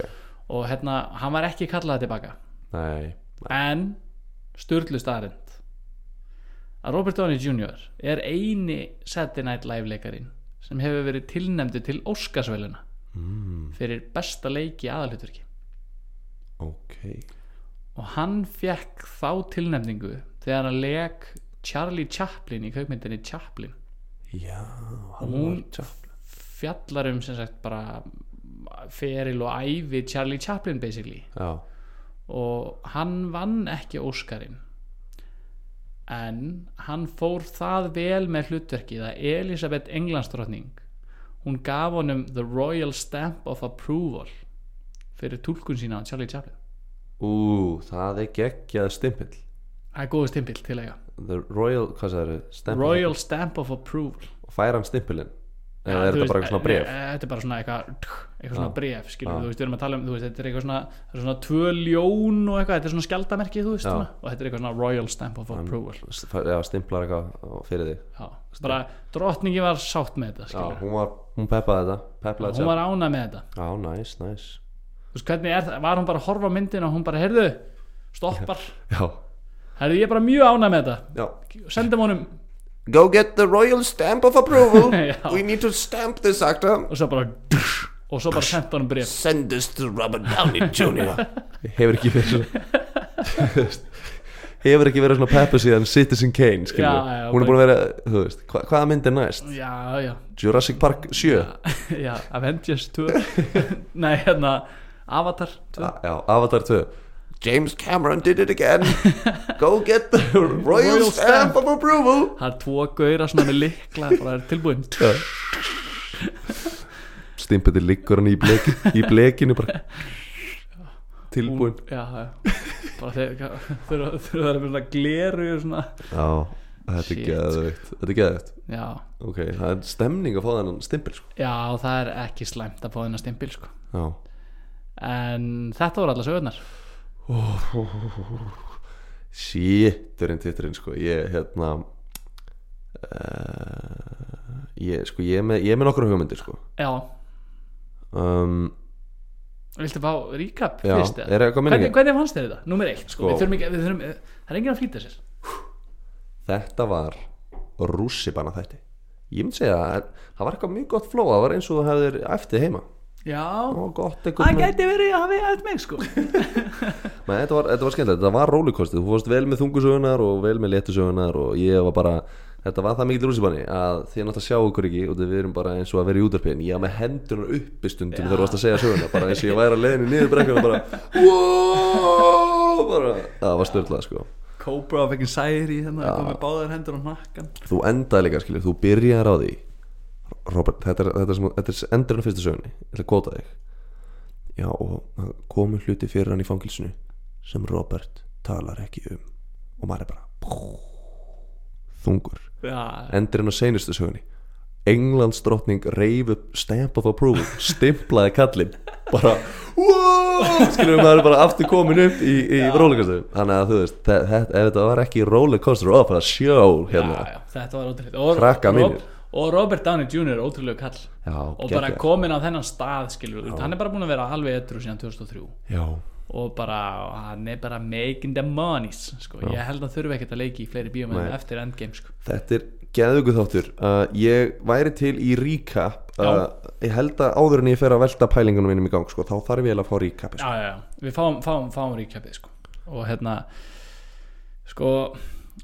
[SPEAKER 1] og hérna, hann var ekki kallað tilbaka
[SPEAKER 2] nei
[SPEAKER 1] en sturlu staðarind að Robert Downey Jr. er eini Saturday Night Live leikarinn sem hefur verið tilnæmdu til Óskarsveluna
[SPEAKER 2] Hmm,
[SPEAKER 1] mm. fyrir besta leiki aðalhutverki
[SPEAKER 2] ok
[SPEAKER 1] og hann fekk þá tilnæmningu þegar hann leik Charlie Chaplin í kaupmyndinni Chaplin
[SPEAKER 2] já,
[SPEAKER 1] Hún-
[SPEAKER 2] var Chaplin.
[SPEAKER 1] fjallar um sem sagt bara feril og ævi Charlie Chaplin basically
[SPEAKER 2] já,
[SPEAKER 1] og hann vann ekki Óskarinn en hann fór það vel með hlutverkið að Elisabeth Englandsdrottning hún gaf honum the royal stamp of approval fyrir tólkun sína á Charlie Chaplin
[SPEAKER 2] ú, það er geggjað stimpill
[SPEAKER 1] það er góðu stimpill til að eiga
[SPEAKER 2] the royal, hvað sagður stampill
[SPEAKER 1] royal stamp of approval
[SPEAKER 2] fær hann stimpilinn eða
[SPEAKER 1] Ja,
[SPEAKER 2] er
[SPEAKER 1] þú
[SPEAKER 2] þetta
[SPEAKER 1] veist,
[SPEAKER 2] bara eitthvað svona Ah.
[SPEAKER 1] eh,
[SPEAKER 2] bref
[SPEAKER 1] eh, þetta er bara svona eitthvað eitthvað svona bref, skiljum þú veist, við erum að tala um þú veist, þetta er eitthvað svona, þetta er svona tvö ljón og eitthvað, þetta er svona skjaldamerki, þú veist
[SPEAKER 2] Já.
[SPEAKER 1] svona, og þetta er eitthvað svona royal stamp of approval
[SPEAKER 2] S- fær- já, stimplar eitthvað á- fyrir þig
[SPEAKER 1] já, bara drottningi var sátt með þetta,
[SPEAKER 2] já,
[SPEAKER 1] skiljum
[SPEAKER 2] hún var, hún peppaði þetta peppaði
[SPEAKER 1] hún
[SPEAKER 2] þetta
[SPEAKER 1] var ána með þetta
[SPEAKER 2] já, næs, næs
[SPEAKER 1] þú veist hvernig er það, var hún bara að horfa á myndin og hún bara, heyrðu, stoppar
[SPEAKER 2] já,
[SPEAKER 1] heyrðu, ég er bara mjög ána með þetta
[SPEAKER 2] já
[SPEAKER 1] sendum honum,
[SPEAKER 2] Go get the royal stamp of approval
[SPEAKER 1] Já.
[SPEAKER 2] We need to stamp this actor
[SPEAKER 1] og svo bara og svo bara senda honum bref
[SPEAKER 3] Send this to Robert Downey Jr.
[SPEAKER 2] Hefur ekki verið svona Hefur ekki verið svona peppu síðan Citizen Kane, skilur
[SPEAKER 1] Já, já,
[SPEAKER 2] Hún er búin að vera, þú veist, hva, hvaða mynd er næst?
[SPEAKER 1] já, já,
[SPEAKER 2] Jurassic Park 7 Já,
[SPEAKER 1] já, Avengers 2 nei, hérna, Avatar 2
[SPEAKER 2] Avatar 2
[SPEAKER 3] James Cameron did it again. Go get the
[SPEAKER 2] Royal,
[SPEAKER 1] Royal
[SPEAKER 2] stamp,
[SPEAKER 1] stamp.
[SPEAKER 2] of approval
[SPEAKER 1] það er tvo gauðra svona með likla bara er tilbúin
[SPEAKER 2] Stimpið til liggur hann í, blek, í blekinu bara Tilbúin
[SPEAKER 1] já, já bara þegar þurfa þurfa að vera svona gleru og svona
[SPEAKER 2] Já, þetta er
[SPEAKER 1] Shit.
[SPEAKER 2] geðveikt Þetta er geðveikt
[SPEAKER 1] já,
[SPEAKER 2] Ok, það er stemning að fá þennan stimpil sko.
[SPEAKER 1] já, það er ekki slæmt að fá þennan stimpil sko
[SPEAKER 2] Já
[SPEAKER 1] en þetta voru alla sögurnar
[SPEAKER 2] Sýtturinn titturinn sko Ég hérna uh, Ég sko Ég er með, ég er með nokkra hugmyndir sko
[SPEAKER 1] já,
[SPEAKER 2] um,
[SPEAKER 1] viltu fá recap
[SPEAKER 2] Já,
[SPEAKER 1] fyrst eða?
[SPEAKER 2] er eitthvað
[SPEAKER 1] hvernig,
[SPEAKER 2] minningi?
[SPEAKER 1] hvernig fannst þér þetta? Númer eitt, sko,
[SPEAKER 2] Sko.
[SPEAKER 1] við þurfum ekki, við þurfum það er enginn að flýta sér
[SPEAKER 2] Þetta var rússipanna þetta Ég myndi segja að það var eitthvað mjög gott flow Það var eins og þú hefðir eftir heima
[SPEAKER 1] já,
[SPEAKER 2] Það var gott
[SPEAKER 1] það
[SPEAKER 2] eitthvað með,
[SPEAKER 1] gæti verið að hafi aðeins mig sko
[SPEAKER 2] Nei, þetta, var, þetta var skemmtilegt, þetta var rollercoaster Þú fórst vel með þungusögunar og vel með letusögunar Og ég var bara Þetta var það mikill rússipanni að þið náttúrulega sjá okkur ekki og við erum bara eins og að vera í útarpiðin ég var með hendunar uppi stundum þegar þú varst að segja söguna bara eins og ég væri að leiðinu niður brekkuna bara, wow, bara það var störtlað sko
[SPEAKER 1] Cobra of ekki særi
[SPEAKER 2] hérna,
[SPEAKER 1] þannig að komið báðar hendur á nakkan
[SPEAKER 2] þú endaði líka skilur, þú byrjar á því Robert, þetta er, þetta er, sem, þetta er endurinn á fyrstu sögunni, ég ætla að kóta þig já og það komu hluti fyrir hann í fangilsinu sem Robert talar ekki um og maður er bara þungur,
[SPEAKER 1] já,
[SPEAKER 2] endurinn á seinustu sögunni Englands drottning reif upp stamp of approval, stimplaði kallinn bara wow! skilur maður er bara aftur komin upp í, í rollercoaster, þannig að þú veist þe- þetta, ef þetta var ekki rollercoaster up það sjó hérna,
[SPEAKER 1] já, já, þetta var ótrúlega og,
[SPEAKER 2] Krakka
[SPEAKER 1] og,
[SPEAKER 2] mínir.
[SPEAKER 1] og Robert Downey Jr. er ótrúlega kall
[SPEAKER 2] Já,
[SPEAKER 1] og bara
[SPEAKER 2] geggjað.
[SPEAKER 1] komin á þennan stað skilur, já. hann er bara búin að vera alveg etru síðan 2003
[SPEAKER 2] já
[SPEAKER 1] og bara, hann er bara making the monies sko. ég held að þurfi ekkert að leiki í fleiri bíómið
[SPEAKER 2] Nei.
[SPEAKER 1] eftir Endgame sko.
[SPEAKER 2] Þetta er geðugu þáttur uh, Ég væri til í recap uh, Ég held að áður en ég fer að velta pælingunum mínum í gang sko, Þá þarf ég eiginlega að fá recap sko.
[SPEAKER 1] já, já, já, við fáum, fáum, fáum ríkjöpið sko. og hérna sko,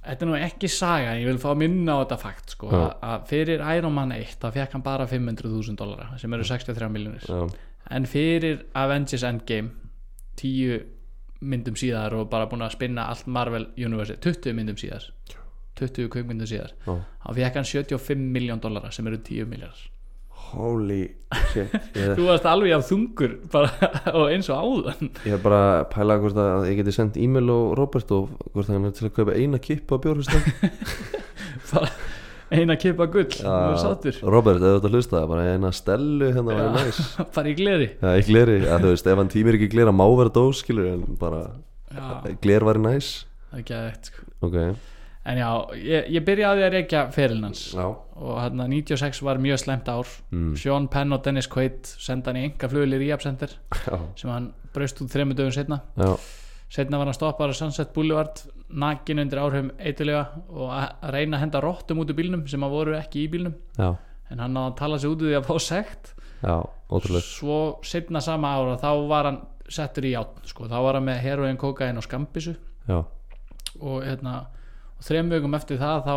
[SPEAKER 1] þetta er nú ekki saga en ég vil fá minna á þetta fakt sko, að að fyrir Iron Man 1 þá fekk hann bara 500.000 dollara sem eru 63 miljónir
[SPEAKER 2] Já.
[SPEAKER 1] en fyrir Avengers Endgame 10 myndum síðar og bara búin að spinna allt Marvel Universe 20 myndum síðar 20 kveikmyndum síðar
[SPEAKER 2] Já.
[SPEAKER 1] þá fekk hann 75 miljón dollara sem eru 10 miljardar
[SPEAKER 2] Holy shit Ég,
[SPEAKER 1] þú varst alveg af þungur bara, og eins og áðan
[SPEAKER 2] ég er bara að pæla hvort að ég geti sendt e-mail og Robert og hvort hann er til að kaupa eina kippu á bjórhustan
[SPEAKER 1] bara eina kippa gull þú er sattur,
[SPEAKER 2] Robert, ef þetta hlusta bara eina stellu hérna var næs
[SPEAKER 1] bara í gleri
[SPEAKER 2] Já, í gleri, já, þú veist, ef hann tímir ekki glera má vera dós, skilur, en bara
[SPEAKER 1] Já.
[SPEAKER 2] gler var næs
[SPEAKER 1] það er geðveikt, sko.
[SPEAKER 2] Ok,
[SPEAKER 1] en já, ég, ég byrjaði að reykja ferilnans
[SPEAKER 2] já,
[SPEAKER 1] og hérna 96 var mjög slemt ár Sean Penn og Dennis Quaid senda hann í enga flugil í Ríapsendir
[SPEAKER 2] já,
[SPEAKER 1] sem hann braust út þremmu dögum setna
[SPEAKER 2] já.
[SPEAKER 1] setna var hann stoppaður á Sunset Boulevard nakin undir áhrifum eitulega og að reyna að henda rottum út úr bílnum sem að voru ekki í bílnum
[SPEAKER 2] já,
[SPEAKER 1] en hann náði að tala sig út úr því að fá sekt
[SPEAKER 2] já, ótrúlega
[SPEAKER 1] svo setna sama ára þá var hann settur í játn sko. þá var hann með heroin, kokain og skambisu
[SPEAKER 2] já,
[SPEAKER 1] og, hérna, og þrem vögum eftir það þá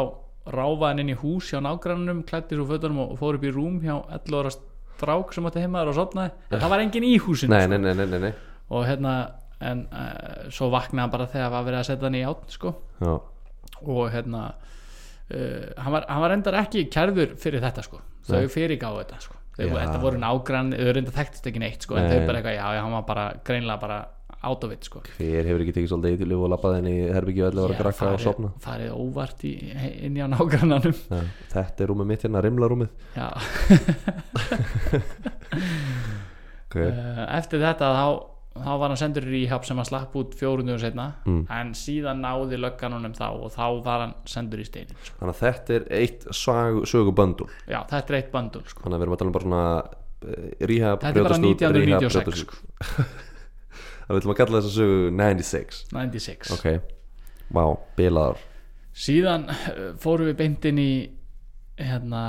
[SPEAKER 1] ráfaði hann inn í hús hjá nágrannum klætti svo fötunum og, og fór upp í rúm hjá 11 ára strák sem átti heimaður og sopnaði en það var enginn í húsinu
[SPEAKER 2] nei,
[SPEAKER 1] sko.
[SPEAKER 2] nei, nei, nei, nei, nei.
[SPEAKER 1] og hérna en uh, svo vaknaði hann bara þegar var verið að setja hann í játn sko.
[SPEAKER 2] Já,
[SPEAKER 1] og hérna uh, hann, var, hann var endar ekki kærður fyrir þetta sko. þau
[SPEAKER 2] Nei.
[SPEAKER 1] fyrirgáðu þetta sko. þau,
[SPEAKER 2] Já.
[SPEAKER 1] þetta voru nágrann, þau reyndar þekktist ekki neitt sko, en
[SPEAKER 2] Nei.
[SPEAKER 1] þau bara eitthvað, já, já, hann var bara greinlega bara out of it sko.
[SPEAKER 2] hver hefur ekki tekið svolítið eitthilif og labbað henni í herbyggju allir var að grakka og sopna
[SPEAKER 1] farið óvart í, inn hjá nágrannanum
[SPEAKER 2] já. Þetta er rúmið mitt hérna, rimlarúmið
[SPEAKER 1] já,
[SPEAKER 2] okay.
[SPEAKER 1] uh, eftir þetta þá, þá var hann sendur í hjápp sem hann slapp út fjórundu og setna
[SPEAKER 2] Mm.
[SPEAKER 1] en síðan náði löggan honum þá og þá var hann sendur í steinin sko.
[SPEAKER 2] Þannig að þetta er eitt sag, söguböndul
[SPEAKER 1] já, þetta er eitt bandul sko.
[SPEAKER 2] Þannig að við erum að tala um bara eh, svona Ríha
[SPEAKER 1] þetta er bara 1996 sko.
[SPEAKER 2] Það viljum að kalla þessa sögu 96
[SPEAKER 1] 96
[SPEAKER 2] Ok, vá, bilaðar
[SPEAKER 1] síðan eh, fórum við beint inn í hérna,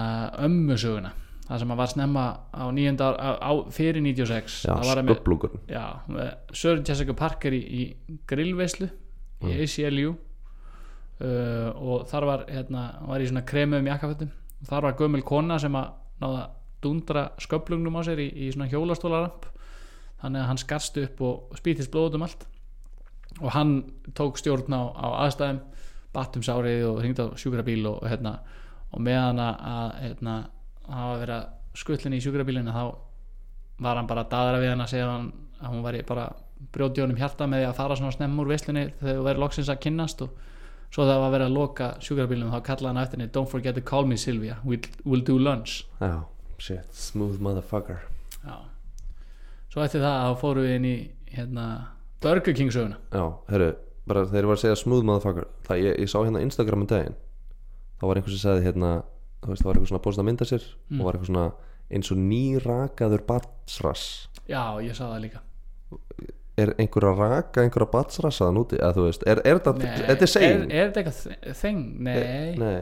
[SPEAKER 1] ömmusöguna það sem að var snemma á, 9. ár, á, á fyrir 96
[SPEAKER 2] Já, sko.
[SPEAKER 1] Það var hann með-
[SPEAKER 2] sköplungur
[SPEAKER 1] já, með Sören Jessica Parker í, í grillveislu í ACLU uh, og þar var, hérna, hann var í svona kremum jakkafötum, þar var gömul kona sem að náða dundra sköplungnum á sér í, í svona hjólastólaramp þannig að hann skarst upp og spýtist blóðum allt og hann tók stjórn á, á aðstæðum batt um sárið og hringdi á sjúkrabíl og, og, hérna, og meðan að- að hérna, hafa verið að skullin í sjúkrabílinu þá var hann bara að daðra við hann að segja hann að hún væri bara brjóti honum hjarta með því að fara svona snemm úr veslunni þegar þú væri loksins að kynnast og svo þegar það var verið að loka sjúkrabílum þá kallaði hann á eftir henni Don't forget to call me Sylvia, we'll, we'll do lunch
[SPEAKER 2] Já, shit, smooth motherfucker
[SPEAKER 1] Já. svo eftir það þá fórum við inn í hérna, Burger King söguna
[SPEAKER 2] Já, herru, bara þegar ég var að segja smooth motherfucker Það ég, ég sá hérna á Instagram um daginn Þá var einhver sem sagði hérna Þú veist, það var eitthvað svona bóðst að mynda sér
[SPEAKER 1] Mm.
[SPEAKER 2] Og var eitthvað svona eins og nýrakaður batsrass
[SPEAKER 1] já, ég sá það líka
[SPEAKER 2] Er einhver að raka einhverja batsrassa þann úti? Eða þú veist, er, er þetta,
[SPEAKER 1] Nei,
[SPEAKER 2] þetta er
[SPEAKER 1] er,
[SPEAKER 2] segin?
[SPEAKER 1] er þetta eitthvað þeng? Nei,
[SPEAKER 2] Nei,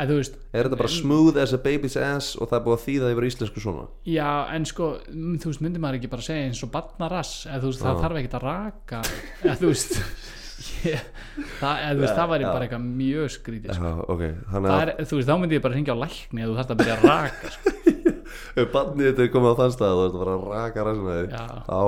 [SPEAKER 1] að þú veist
[SPEAKER 2] er þetta bara smooth as a baby's ass Og það er búið að þýða yfir á íslensku svona
[SPEAKER 1] Já, en sko, mm, þú veist, myndi maður ekki bara segja eins og barnarass, eða þú veist, það þarf ekkert að raka, eða þú veist ég, það, eða þú veist, það væri bara eitthvað mjög skrítið, sko.
[SPEAKER 2] Já, ok, þannig
[SPEAKER 1] Það
[SPEAKER 2] að
[SPEAKER 1] er, þú veist, þá myndi ég bara hringja á lækni eða þú þarft að byrja að raka, sko.
[SPEAKER 2] ef barnið þetta er komið á þann stað þú ert bara að raka rassinu þig
[SPEAKER 1] Já.
[SPEAKER 2] þá,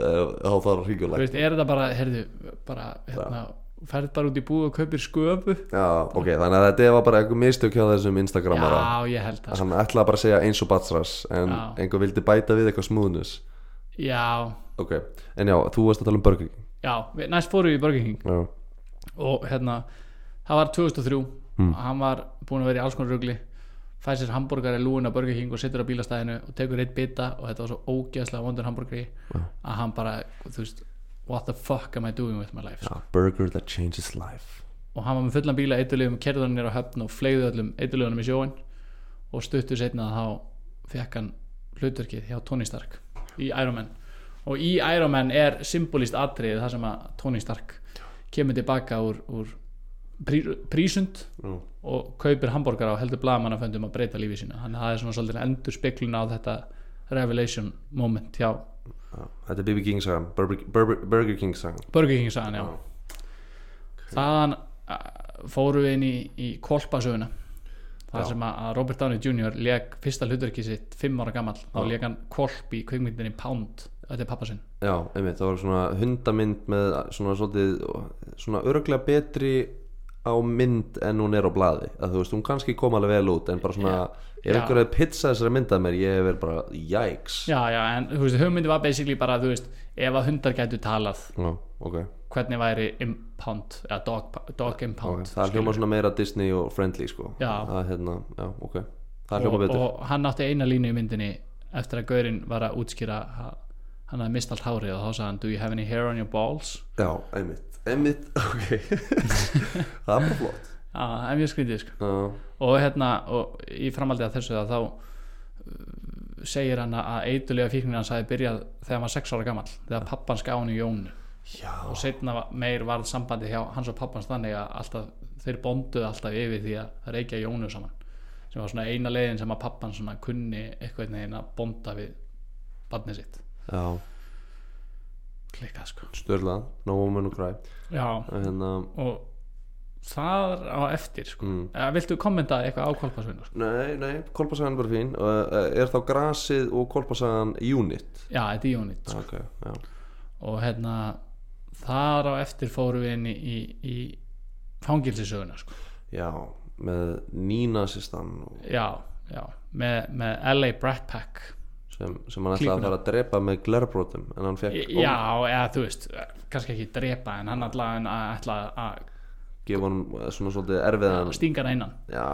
[SPEAKER 2] eh, þá þarf að hringja á
[SPEAKER 1] sko, þú
[SPEAKER 2] lækni
[SPEAKER 1] veist, er þetta bara, heyrðu, bara, hérna, ferð bara út í búð og kaupir sköpu
[SPEAKER 2] Já, ok, þannig að þetta var bara einhver mistök hjá þessum Instagramara
[SPEAKER 1] Já, ég held það, sko.
[SPEAKER 2] hann ætlaði bara að segja eins og batsrass en
[SPEAKER 1] Já.
[SPEAKER 2] einhver vildi bæta við eitthvað smoothness
[SPEAKER 1] sko. Já,
[SPEAKER 2] ok, en já, þú varst að tala um Burger King
[SPEAKER 1] já, við- næst fórum við í Burger King
[SPEAKER 2] já,
[SPEAKER 1] og hérna það var 2003 hann var búin að vera í alls konar rugli fær sér hambúrgari lúin á Burger King og situr á bílastæðinu og tekur eitt bita og þetta var svo ógeðslega vondur hambúrgari að hann bara, þú veist what the fuck am I doing with my life
[SPEAKER 2] já, Burger that changes life
[SPEAKER 1] og hann var með fullan bíla eitulöfum, kerði hann nýra á höfn og fleigði öllum eitulöfunum í sjóin og stuttu setna þá fekk hann hlutverkið hjá Tony Stark í Iron Man og í Iron Man er symbolist atriðið þar sem að Tony Stark kemur tilbaka úr, úr prí, prísund
[SPEAKER 2] Nú.
[SPEAKER 1] og kaupir hambúrgar á heldur blagamannaföndum að breyta lífi sína þannig að það er svona svolítið endur speklun á þetta revelation moment hjá
[SPEAKER 2] já, þetta er BB King sagan Burger, Burger, Burger King sagan
[SPEAKER 1] Burger King sagan, já þaðan uh, fórum við inn í, í kolpasöguna þar sem að að Robert Downey Jr. leg fyrsta hlutverki sitt fimm ára gamall þá leg hann kolp í kvikmyndinni Pound þetta er pappasinn
[SPEAKER 2] já, einmitt, það var svona hundamynd með svona svolítið svona örglega betri á mynd en hún er á blaði að þú veist, hún kannski kom alveg vel út en bara svona, ef
[SPEAKER 1] Já.
[SPEAKER 2] einhver hefði pizzað þessari myndað mér, ég hef verið bara, jæks
[SPEAKER 1] já, já, en þú veist, hugmyndi var basically bara þú veist, ef að hundar gætu talað
[SPEAKER 2] já ok
[SPEAKER 1] hvernig væri impound eða dog, dog impound
[SPEAKER 2] Ok, það hljóma svona meira Disney og friendly sko
[SPEAKER 1] Já.
[SPEAKER 2] það, er hérna, já, ok Það hljóma
[SPEAKER 1] og,
[SPEAKER 2] betur
[SPEAKER 1] og hann átti eina línu í myndinni eftir að Gaurinn var að útskýra að hann hafði mist allt hárið og þá sagði hann do you have any hair on your balls
[SPEAKER 2] Já, einmitt, einmitt, ok Það er bara flott
[SPEAKER 1] Já, það er mjög skrítið sko
[SPEAKER 2] Já,
[SPEAKER 1] og hérna og í framhaldi að þessu að þá uh, segir hann að eitulega fíknir hans hafi byrjað þegar hann var 6 ára gamall þegar pappan ská hann í jónu
[SPEAKER 2] Já,
[SPEAKER 1] og setna meir varð sambandi hjá hans og pappans þannig að alltaf, þeir bonduðu alltaf yfir því að reykja Jónu saman sem var svona eina leiðin sem að pappan svona kunni eitthvað neginn að bonda við barnið sitt,
[SPEAKER 2] já,
[SPEAKER 1] klikkað sko
[SPEAKER 2] störla No woman who cry
[SPEAKER 1] já,
[SPEAKER 2] Hérna,
[SPEAKER 1] og það er á eftir sko.
[SPEAKER 2] Mm.
[SPEAKER 1] eða viltu kommenta eitthvað á kolpasvinnu sko?
[SPEAKER 2] nei, nei, kolpasagan er bara fín og, uh, Er þá grasið og kolpasagan unit?
[SPEAKER 1] já, þetta er Jónit sko.
[SPEAKER 2] Ok, já
[SPEAKER 1] og hérna þar á eftir fórum við inn í, í, í fangilsisöguna sko.
[SPEAKER 2] Já, með nínasistan
[SPEAKER 1] já, já með, með LA Brat Pack
[SPEAKER 2] sem, sem hann ætlaði
[SPEAKER 1] Klíkuna.
[SPEAKER 2] að fara að drepa með glerbrotum en hann fekk
[SPEAKER 1] Í- já, eða þú veist kannski ekki drepa en hann allavega en að- ætla að
[SPEAKER 2] gefa hann svona svolítið erfiðan
[SPEAKER 1] stinga hann innan
[SPEAKER 2] Já,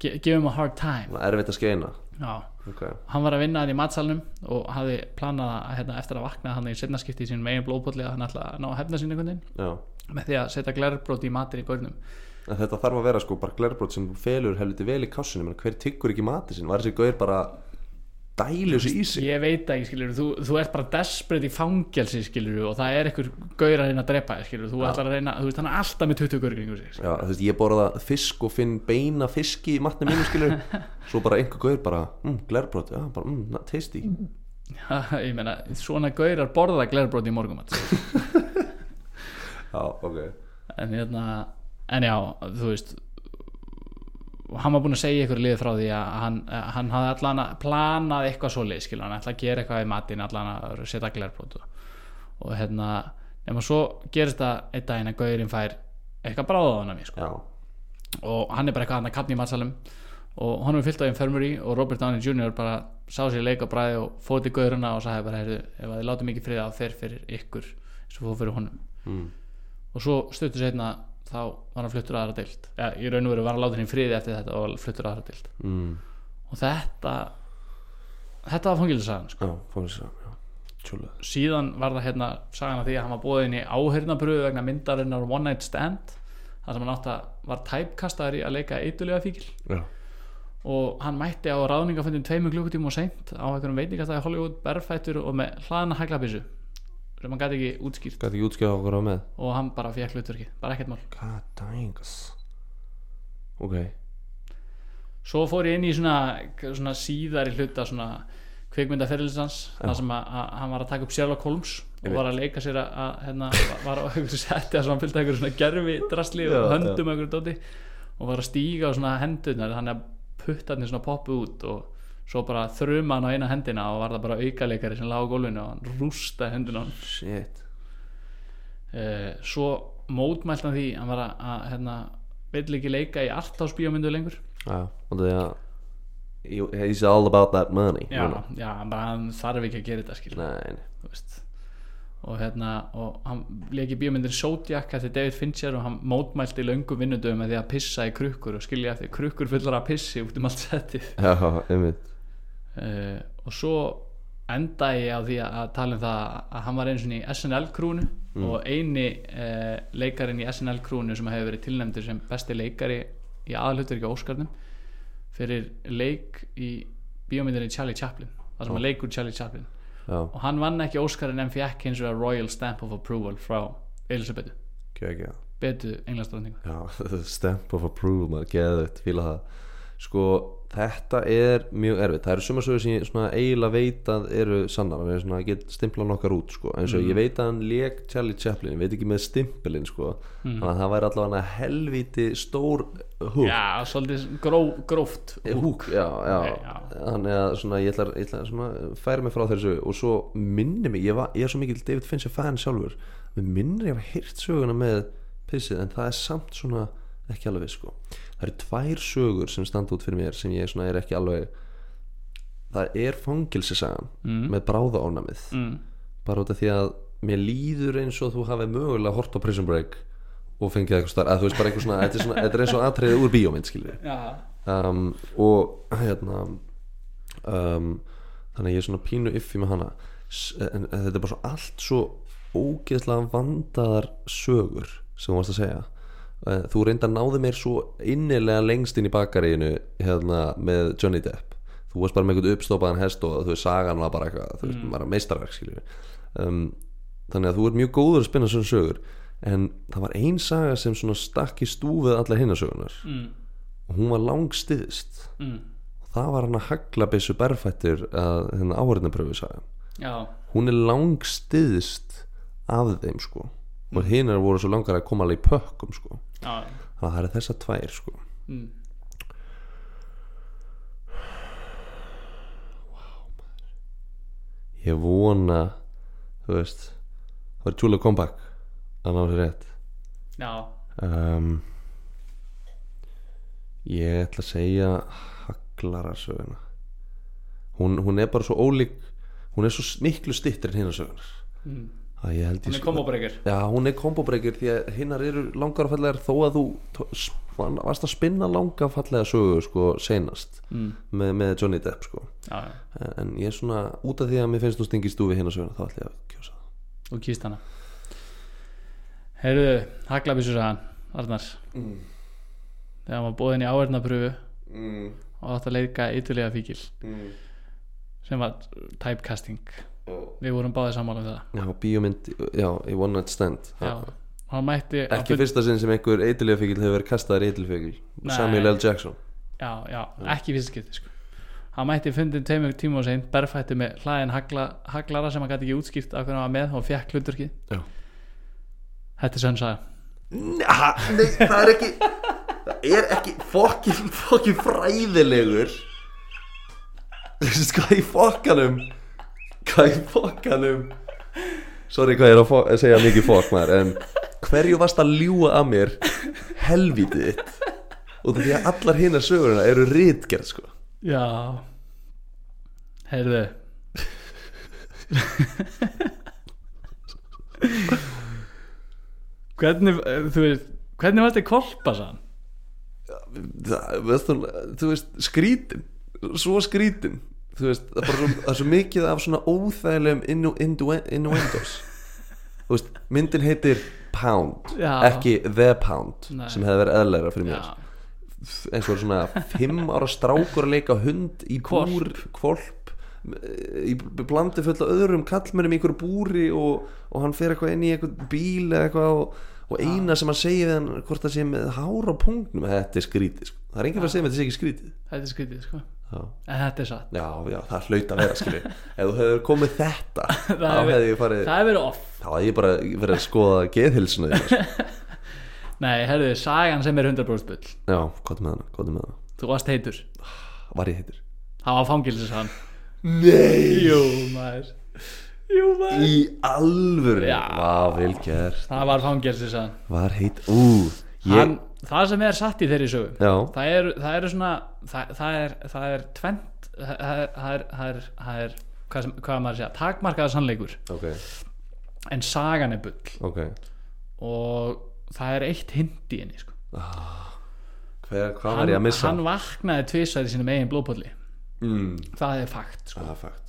[SPEAKER 1] Ge- give him a hard time
[SPEAKER 2] svona erfitt að skeina
[SPEAKER 1] já
[SPEAKER 2] Ok,
[SPEAKER 1] hann var að vinna hann í matsalnum og hafði planað að hérna, eftir að vakna hann í setnaskipti í sínum megin blóðbólli að hann ætla að ná að hefna sín einhvern veginn
[SPEAKER 2] já
[SPEAKER 1] með því að setja glerbrót í matin í gaurnum
[SPEAKER 2] En þetta þarf að vera sko bara glerbrot sem felur helviti vel í kassunum en hver tyggur ekki mati sín var þessi gaur bara dælu þessu í sig
[SPEAKER 1] ég veit ekki skilur, þú, þú ert bara desperate í fangelsi skilur og það er einhver gaur að reyna að drepa þig, skilur, þú ætlar að reyna þú veist hann er alltaf með 20 gaur kringu sig skilurðu.
[SPEAKER 2] Já, þú veist, ég borða fisk og finn beina fiski í matni mínu skilur svo bara einhver gaur bara, mm, glerbrot já, bara, mm, na- tasty
[SPEAKER 1] ég meina, svona gaurar borða glerbrót í morgumat
[SPEAKER 2] Já, ok
[SPEAKER 1] en hérna, en já þú veist og hann var búin að segja ykkur liðið frá því að hann, að hann hafði allan að planað eitthvað svoleið, skilur, hann ætla að gera eitthvað í matinn allan að setja glerbrót og, og hérna, nema svo gerist það einn daginn að gaurinn fær eitthvað bráðaðan að mér, sko
[SPEAKER 2] Já,
[SPEAKER 1] og hann er bara eitthvað hann að kapni í matsalum og honum er fyllt af infirmary og Robert Downey Jr. bara sá sér leik og bræði og fóði til gauruna og sagði bara heyrðu, ef að þið látum ekki friða að fer fyrir ykkur eins og fóð fyrir honum
[SPEAKER 2] Mm.
[SPEAKER 1] og svo stuttu setna þá var hann fluttur aðra dild ja, í raun og veru var hann látið hinn í friði eftir þetta og var fluttur aðra dild
[SPEAKER 2] mm,
[SPEAKER 1] og þetta þetta var fangilsagan sko.
[SPEAKER 2] já, fórum sér já, tjúlega
[SPEAKER 1] síðan var það hérna sagan að því að hann var bóðin í áhyrnabröðu vegna myndarinnar One Night Stand þar sem hann átt að var tæpkastaður í að leika eitulega fíkil
[SPEAKER 2] Já,
[SPEAKER 1] og hann mætti á ráðningafundin tveimur klukkutíma og seint á einhverjum veitingastæði í Hollywood berfættur og með hlaðana hæglabissu sem hann gæti ekki útskýrt
[SPEAKER 2] gæti ekki útskjáða okkur á með
[SPEAKER 1] og hann bara fekk hlutverki, bara ekkert mál
[SPEAKER 2] God dang Ok,
[SPEAKER 1] svo fór ég inn í svona, svona síðari hluta svona kvikmyndaferðilisans þar sem að, að hann var að taka upp Sherlock Holmes og
[SPEAKER 2] Einmitt.
[SPEAKER 1] var að leika sér að, að hérna, var- var á einhverju setti að hann fylgta einhverju svona gerfi drasli og
[SPEAKER 2] Já,
[SPEAKER 1] höndum og einhverju dóti og var að stíga á svona hendunar þannig að puttarnir svona poppu út og svo bara þruma hann á eina hendina og var það bara aukaleikari sem lág á gólfinu og hann rústa hendina á hann
[SPEAKER 2] shit
[SPEAKER 1] uh, svo mótmælt hann því hann var að, að hérna, vill ekki leika í artásbíómyndu lengur
[SPEAKER 2] Já, og það er að you- He's all about that money
[SPEAKER 1] já,
[SPEAKER 2] núna.
[SPEAKER 1] já, hann bara hann þarf ekki að gera þetta skil
[SPEAKER 2] Nei, nei.
[SPEAKER 1] þú veist og hérna, og hann leik í bíómyndin Zodiac eftir David Fincher og hann mótmælti löngu vinnudöfum með því að pissa í krukkur og skilja eftir krukkur fullar að pissi út um allt settið
[SPEAKER 2] Já, einmitt
[SPEAKER 1] uh, og svo endaði ég á því að að tala um það að hann var einu sinni í SNL krúnu og eini uh, leikarinn í SNL krúnu sem hefur verið tilnæmdur sem besti leikari í aðalhutur ekki á Óskarnum fyrir leik í bíómyndinni Charlie Chaplin það sem hann leikur Charlie Chaplin
[SPEAKER 2] Já,
[SPEAKER 1] og hann vann ekki Óskarinn en fekk hins vegar Royal Stamp of Approval frá Elisabethu
[SPEAKER 2] kjökja
[SPEAKER 1] betu englandsdröndingu
[SPEAKER 2] Já, the stamp of approval maður geðið, fíla það Sko, þetta er mjög erfitt Það eru sumar sögur sem ég svona eiginlega veit að eru sannar Það er svona að geta stimpla nokkar út sko. eins og ég veit að hann lék Charlie Chaplin ég veit ekki með stimpilinn sko. þannig að það væri allavega helvíti stór hug
[SPEAKER 1] já, svolítið gró, gróft
[SPEAKER 2] húk, já, já.
[SPEAKER 1] Ok, já.
[SPEAKER 2] þannig að svona, ég ætla, ég ætla svona, að færa mig frá þessu og svo minni mig, ég, var, ég er svo mikil David Fincher fan sjálfur, við minnir ég að hýrt söguna með pissið en það er samt svona ekki alveg viss, sko það eru tvær sögur sem standa út fyrir mér sem ég svona er ekki alveg það er fangilsisagan með bráðaónamið
[SPEAKER 1] Mhm. mm.
[SPEAKER 2] bara út af því að mér líður eins og þú hafið mögulega hort á Prison Break og fengið eitthvað starf, að þú veist bara eitthvað svona þetta er, svona, þetta er eins og atriðið úr bíómynd skilur
[SPEAKER 1] já,
[SPEAKER 2] um, og hérna um, þannig að ég er svona pínu yffi með hana S- en, en þetta er bara svo allt svo ógeðslega vandaðar sögur sem þú varst að segja Eh, þú reynda náði mér svo innilega lengst inn í bakaríinu hérna, með Johnny Depp þú varst bara með einhvern uppstoppaðan hest og þú veist sagan var bara eitthvað, þú veist, bara meistarverk skilju um, þannig að þú ert mjög góður að spinna svona sögur en það var ein saga sem svona stakk í stúfið allar hinna sögunar
[SPEAKER 1] mm,
[SPEAKER 2] og hún var langstiðist
[SPEAKER 1] mm,
[SPEAKER 2] og það var hann að hagla byssu berfættir að hérna áhörðnapröfu saga
[SPEAKER 1] já,
[SPEAKER 2] hún er langstiðist af þeim sko og hinar voru svo langar að koma alveg í pökkum sko
[SPEAKER 1] já,
[SPEAKER 2] þannig að það er þessar tvær sko
[SPEAKER 1] mm,
[SPEAKER 2] ég vona þú veist það var tjúlega comeback að ná sér rétt
[SPEAKER 1] já,
[SPEAKER 2] um, ég ætla að segja haglara söguna hún, hún er bara svo ólík hún er svo miklu stittir en hinnar sögunar
[SPEAKER 1] mm,
[SPEAKER 2] að ég held ég
[SPEAKER 1] hún
[SPEAKER 2] sko-
[SPEAKER 1] er kombobreykir
[SPEAKER 2] Já, hún er kombobreykir því að hinnar eru langarfallegar þó að þú tó- sp- varst að spinna langarfallega sögu sko seinast
[SPEAKER 1] mm,
[SPEAKER 2] með, með Johnny Depp sko
[SPEAKER 1] já, já,
[SPEAKER 2] En- en ég er svona út af því að mér finnst þú stingist þú við hinnar söguna þá ætla ég að kjósa það.
[SPEAKER 1] og kýst hana heyrðu, haglabissursagan Arnar þegar maður bóðin í áhörnapröfu
[SPEAKER 2] Mm,
[SPEAKER 1] og átt að leika ytterlega fíkil
[SPEAKER 2] mm.
[SPEAKER 1] sem var typecasting við vorum báðið sammála um það
[SPEAKER 2] Já, bíómynd, já, í One Night Stand
[SPEAKER 1] já, hann mætti á
[SPEAKER 2] Ekki
[SPEAKER 1] fund-
[SPEAKER 2] fyrsta sinn sem einhver eitilefíkil hefur verið kastaðar eitilefíkil
[SPEAKER 1] Nei.
[SPEAKER 2] Samuel L. Jackson
[SPEAKER 1] já, já, ekki fyrst skipti sko. hann mætti fundin tveimur tíma og sein berfætti með hlaðin hagla, haglara sem hann gæti ekki útskýrt af hvernig hann var með og fekk hluturki
[SPEAKER 2] Já.
[SPEAKER 1] þetta er sönnsaga
[SPEAKER 2] Nja, nei, það er ekki Það er ekki fokkin, fokkin fræðilegur Þú veist hvað í fokkanum Hvað í fokkanum Sorry hvað ég er að fok- að segja mikið fokk maður En hverju varst að ljúga að mér Helvítið þitt Og því að allar hinnar sögurina eru rítgerð sko
[SPEAKER 1] já heyrðu hvernig eh, þú veist hvernig varst þið kolpa sann
[SPEAKER 2] það, veist, þú- þú veist, skrítin svo skrítin þú veist, það, er bara, svo- það er svo mikið af svona óþægilegum innu, innu, innuendos þú veist, myndin heitir Pound,
[SPEAKER 1] Já.
[SPEAKER 2] ekki The Pound
[SPEAKER 1] Nei.
[SPEAKER 2] sem hefði verið eðlæra fyrir mér
[SPEAKER 1] já,
[SPEAKER 2] eins og svona fimm ára strákur að leika hund í
[SPEAKER 1] Hvolp.
[SPEAKER 2] búr, kvolp í blandi fullt af öðrum kallmennum í einhverju búri og, og hann fer eitthvað inn í eitthvað bíl eða eitthvað og, og eina sem hann segir við hann hvort það sé með hár á pungnum þetta er skrítið, sko. það er enginn að segja með þetta sé ekki skrítið
[SPEAKER 1] þetta er skrítið sko
[SPEAKER 2] já,
[SPEAKER 1] en þetta er satt
[SPEAKER 2] já, já það hlaut að vera skilji ef þú hefur komið þetta þá
[SPEAKER 1] hefur-
[SPEAKER 2] hefði ég farið
[SPEAKER 1] Það hefur verið off
[SPEAKER 2] þá hefði ég bara verið að skoða geðhilsuna þína, sko.
[SPEAKER 1] Nei, herðu, sagan sem er 100% bull
[SPEAKER 2] já, gott með hana, gott með hana
[SPEAKER 1] Þú varst heitur
[SPEAKER 2] var ég heitir?
[SPEAKER 1] Það var fangilsisann
[SPEAKER 2] Nei!
[SPEAKER 1] Jú, maður Jú, maður
[SPEAKER 2] Í alvöru
[SPEAKER 1] Já.
[SPEAKER 2] Vá, vel gert
[SPEAKER 1] Það var fangilsisann
[SPEAKER 2] Var heit Ú, ég
[SPEAKER 1] Hann, Það sem er satt í þeirri sögu
[SPEAKER 2] Já,
[SPEAKER 1] Það eru það eru svona Það, það er, það er tvent Það er, það er, það er, það er hvað, sem, hvað á maður að segja, takmarkaða sannleikur
[SPEAKER 2] ok,
[SPEAKER 1] En sagan er bull
[SPEAKER 2] ok
[SPEAKER 1] Og það er eitt hindi henni sko.
[SPEAKER 2] Hver, Hvað
[SPEAKER 1] hann,
[SPEAKER 2] var ég að missa?
[SPEAKER 1] hann vaknaði tvisar í sínum eigin blóðpolli
[SPEAKER 2] mm.
[SPEAKER 1] Það er fakt sko.
[SPEAKER 2] Það er fakt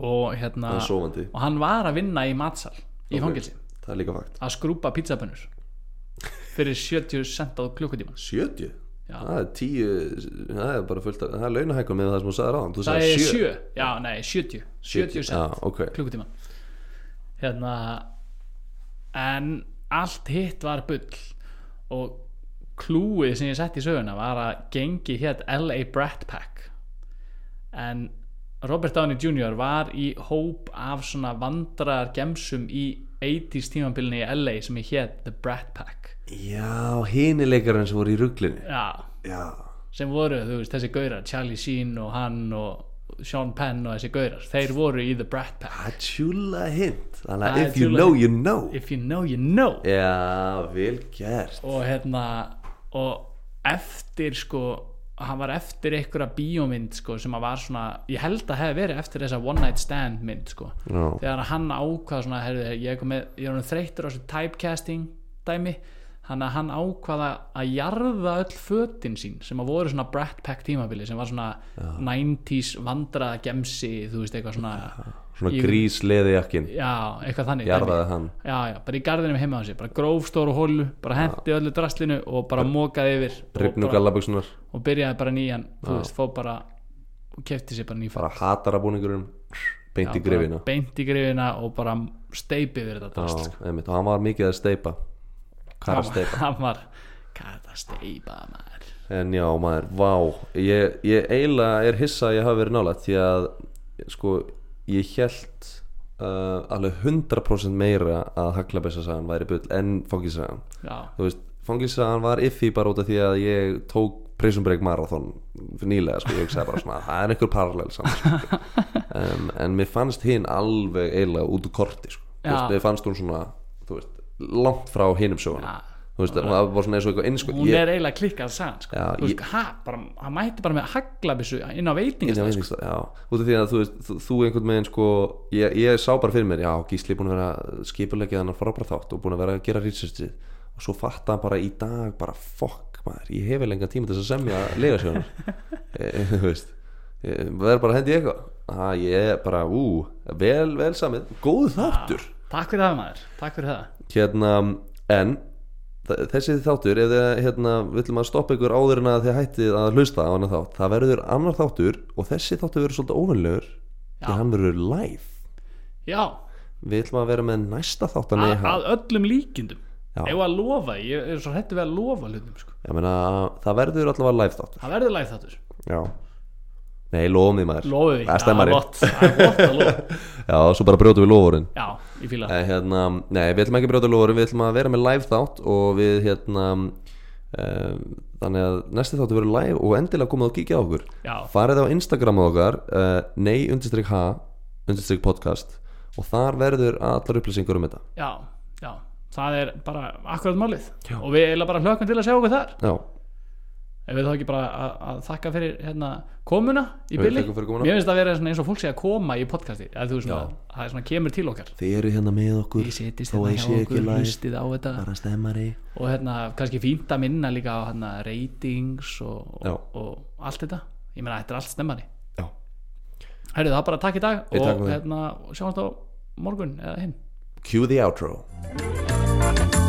[SPEAKER 1] og, hérna,
[SPEAKER 2] Það er sovandi
[SPEAKER 1] og hann var að vinna í matsal í
[SPEAKER 2] Ok.
[SPEAKER 1] fangilsi
[SPEAKER 2] Það er líka fakt
[SPEAKER 1] að skrúpa pizzabönnur fyrir 70 cent á klukkutíman
[SPEAKER 2] 70?
[SPEAKER 1] Já.
[SPEAKER 2] Það er 10 Það er bara fullt af Það er launahækkum með það sem þú sagði ráðan Þú
[SPEAKER 1] það
[SPEAKER 2] sagði
[SPEAKER 1] er
[SPEAKER 2] 7
[SPEAKER 1] 7, já nei 70 70
[SPEAKER 2] Já,
[SPEAKER 1] cent
[SPEAKER 2] ok
[SPEAKER 1] klukkutíman hérna en allt hitt var bull og klúið sem ég sett í söguna var að gengi hétt LA Brat Pack en Robert Downey Jr. var í hóp af svona vandrar gemsum í 80s tímambilinu í LA sem hétt The Brat Pack
[SPEAKER 2] Já, hini leikarinn sem voru í rugglinni
[SPEAKER 1] já
[SPEAKER 2] Já
[SPEAKER 1] sem voru, þú veist, þessi gaurar Charlie Sheen og hann og Sean Penn og þessi gaurar, þeir voru í The Brat Pack
[SPEAKER 2] Það er tjúla hint Þannig
[SPEAKER 1] Það
[SPEAKER 2] að
[SPEAKER 1] er
[SPEAKER 2] if you
[SPEAKER 1] tjúlla
[SPEAKER 2] know,
[SPEAKER 1] hint.
[SPEAKER 2] you know
[SPEAKER 1] If you know, you know
[SPEAKER 2] Já, vel gert
[SPEAKER 1] og hérna og eftir sko hann var eftir einhverja bíómynd sko, sem að var svona, ég held að hefði verið eftir þessa One Night Stand mynd sko
[SPEAKER 2] Já,
[SPEAKER 1] þegar hann ákvað svona, heyrðu, ég, er komið, ég er hann þreyttur á þessu typecasting dæmi, hann að hann ákvaða að jarða öll fötin sín sem að voru svona Brat Pack tímabili sem var svona 90s vandraða gemsi, þú veist, eitthvað svona
[SPEAKER 2] svona
[SPEAKER 1] Ég-
[SPEAKER 2] grísleði jakkin
[SPEAKER 1] já, eitthvað þannig
[SPEAKER 2] Jarðaði hann
[SPEAKER 1] dæmi. já, já, bara í garðinum heima á sér, bara grófstóru hólu bara hendi öllu draslinu og bara mokaði yfir og,
[SPEAKER 2] Ripnu
[SPEAKER 1] bara,
[SPEAKER 2] gallaböksunar
[SPEAKER 1] og byrjaði bara nýjan, þú veist, fó bara og kefti sér bara nýfæ
[SPEAKER 2] bara hatarabúningurum beint í grifina
[SPEAKER 1] beint í grifina og bara steipið við þetta drast
[SPEAKER 2] Já, einmitt, og hann var mikið að steipa Hvað er að steipa?
[SPEAKER 1] hann var hvað er það steipa maður
[SPEAKER 2] En já maður, vá Ég, ég eiginlega er hissa að ég hafi verið nálægt Því að sko Ég held uh, alveg 100% meira að Haglabessasagan væri bull en fangisagan
[SPEAKER 1] já,
[SPEAKER 2] Þú veist, fangisagan var iffi bara út af því að ég tók Prison Break Marathon nýlega sko, ég hugsaði bara svona, það er einhver parallel saman sko. um, en mér fannst hinn alveg eiginlega út úr korti sko. Þú
[SPEAKER 1] Já.
[SPEAKER 2] veist, mér fannst hún svona þú veist, langt frá hinum söguna
[SPEAKER 1] Já.
[SPEAKER 2] þú veist, hún var bara svona eins og eitthvað sko. eins
[SPEAKER 1] hún er eiginlega klikkað sann sko.
[SPEAKER 2] Já,
[SPEAKER 1] Þú veist, ha, bara, hann mætti bara með haglabissu inn á veitingast
[SPEAKER 2] Já, sko. já, út af því að þú, veist, þú, þú einhvern veginn sko, ég, ég sá bara fyrir mér já, Gísli er búin að vera skipulegið hann að frábæra þátt og búin að vera að gera researchið og svo fatta hann bara í dag bara fokk maður, ég hef lengan tíma til þess að semja legasjónar þú veist Eh, verður bara að hendi í eitthvað ah, ég er bara, ú, vel, vel samið góð þáttur
[SPEAKER 1] takk fyrir það maður, takk fyrir það
[SPEAKER 2] hérna, en þ- þessi þáttur, ef þið hérna, villum að stoppa ykkur áður en að þið hættið að hlusta á annar þátt, það verður annar þáttur og þessi þáttur verður svolítið óvönlegur því
[SPEAKER 1] Já.
[SPEAKER 2] hann verður live
[SPEAKER 1] já,
[SPEAKER 2] við ætlum að vera með næsta þátt að
[SPEAKER 1] að,
[SPEAKER 2] neha
[SPEAKER 1] að öllum líkindum
[SPEAKER 2] Já.
[SPEAKER 1] ef að lofa, því, ég er svo hætti við að lofa hlutum sko.
[SPEAKER 2] ég meina, það verður allavega live þáttur
[SPEAKER 1] það verður lægt þáttur,
[SPEAKER 2] já, nei, lofum því maður
[SPEAKER 1] lofið því
[SPEAKER 2] Það er stemmari.
[SPEAKER 1] Já, gott. það er gott að lofa
[SPEAKER 2] já, svo bara brjótu við lofurinn
[SPEAKER 1] já, ég fíla það
[SPEAKER 2] Eh, hérna, nei, við ætlum ekki að brjóta lóður við ætlum að vera með live þátt og við hérna uh, þannig að næsti þáttu verður live og endilega komið og kíkja á okkur
[SPEAKER 1] Já.
[SPEAKER 2] farið á Instagram á okkar uh, nei undirstrykk h undirstrykk podcast og þar verður allar upplýsingur um þetta
[SPEAKER 1] já, já, það er bara akkurat málið og við eiginlega bara hlökkum til að sjá okkur þar
[SPEAKER 2] já,
[SPEAKER 1] ef við þá ekki bara að, að þakka fyrir hérna, komuna í
[SPEAKER 2] Við
[SPEAKER 1] bylli
[SPEAKER 2] þökkum fyrir komuna.
[SPEAKER 1] mér finnst það að vera svona eins og fólk sé að koma í podcasti eða þú veist svona, það er svona kemur til okkar
[SPEAKER 2] þið eru hérna með okkur
[SPEAKER 1] ég setist
[SPEAKER 2] þó að
[SPEAKER 1] hérna
[SPEAKER 2] ég
[SPEAKER 1] hjá
[SPEAKER 2] sé ekki
[SPEAKER 1] okkur,
[SPEAKER 2] live
[SPEAKER 1] hlustið á þetta
[SPEAKER 2] bara stemmari
[SPEAKER 1] og hérna kannski fínt að minna líka á hérna ratings og,
[SPEAKER 2] Já.
[SPEAKER 1] og, og allt þetta ég meina þetta er allt stemmari
[SPEAKER 2] já,
[SPEAKER 1] Herðu það bara takk í dag
[SPEAKER 2] Ég takk
[SPEAKER 1] og
[SPEAKER 2] fyrir.
[SPEAKER 1] hérna, sjáumst á morgun eða hinn
[SPEAKER 2] cue the outro
[SPEAKER 4] Thank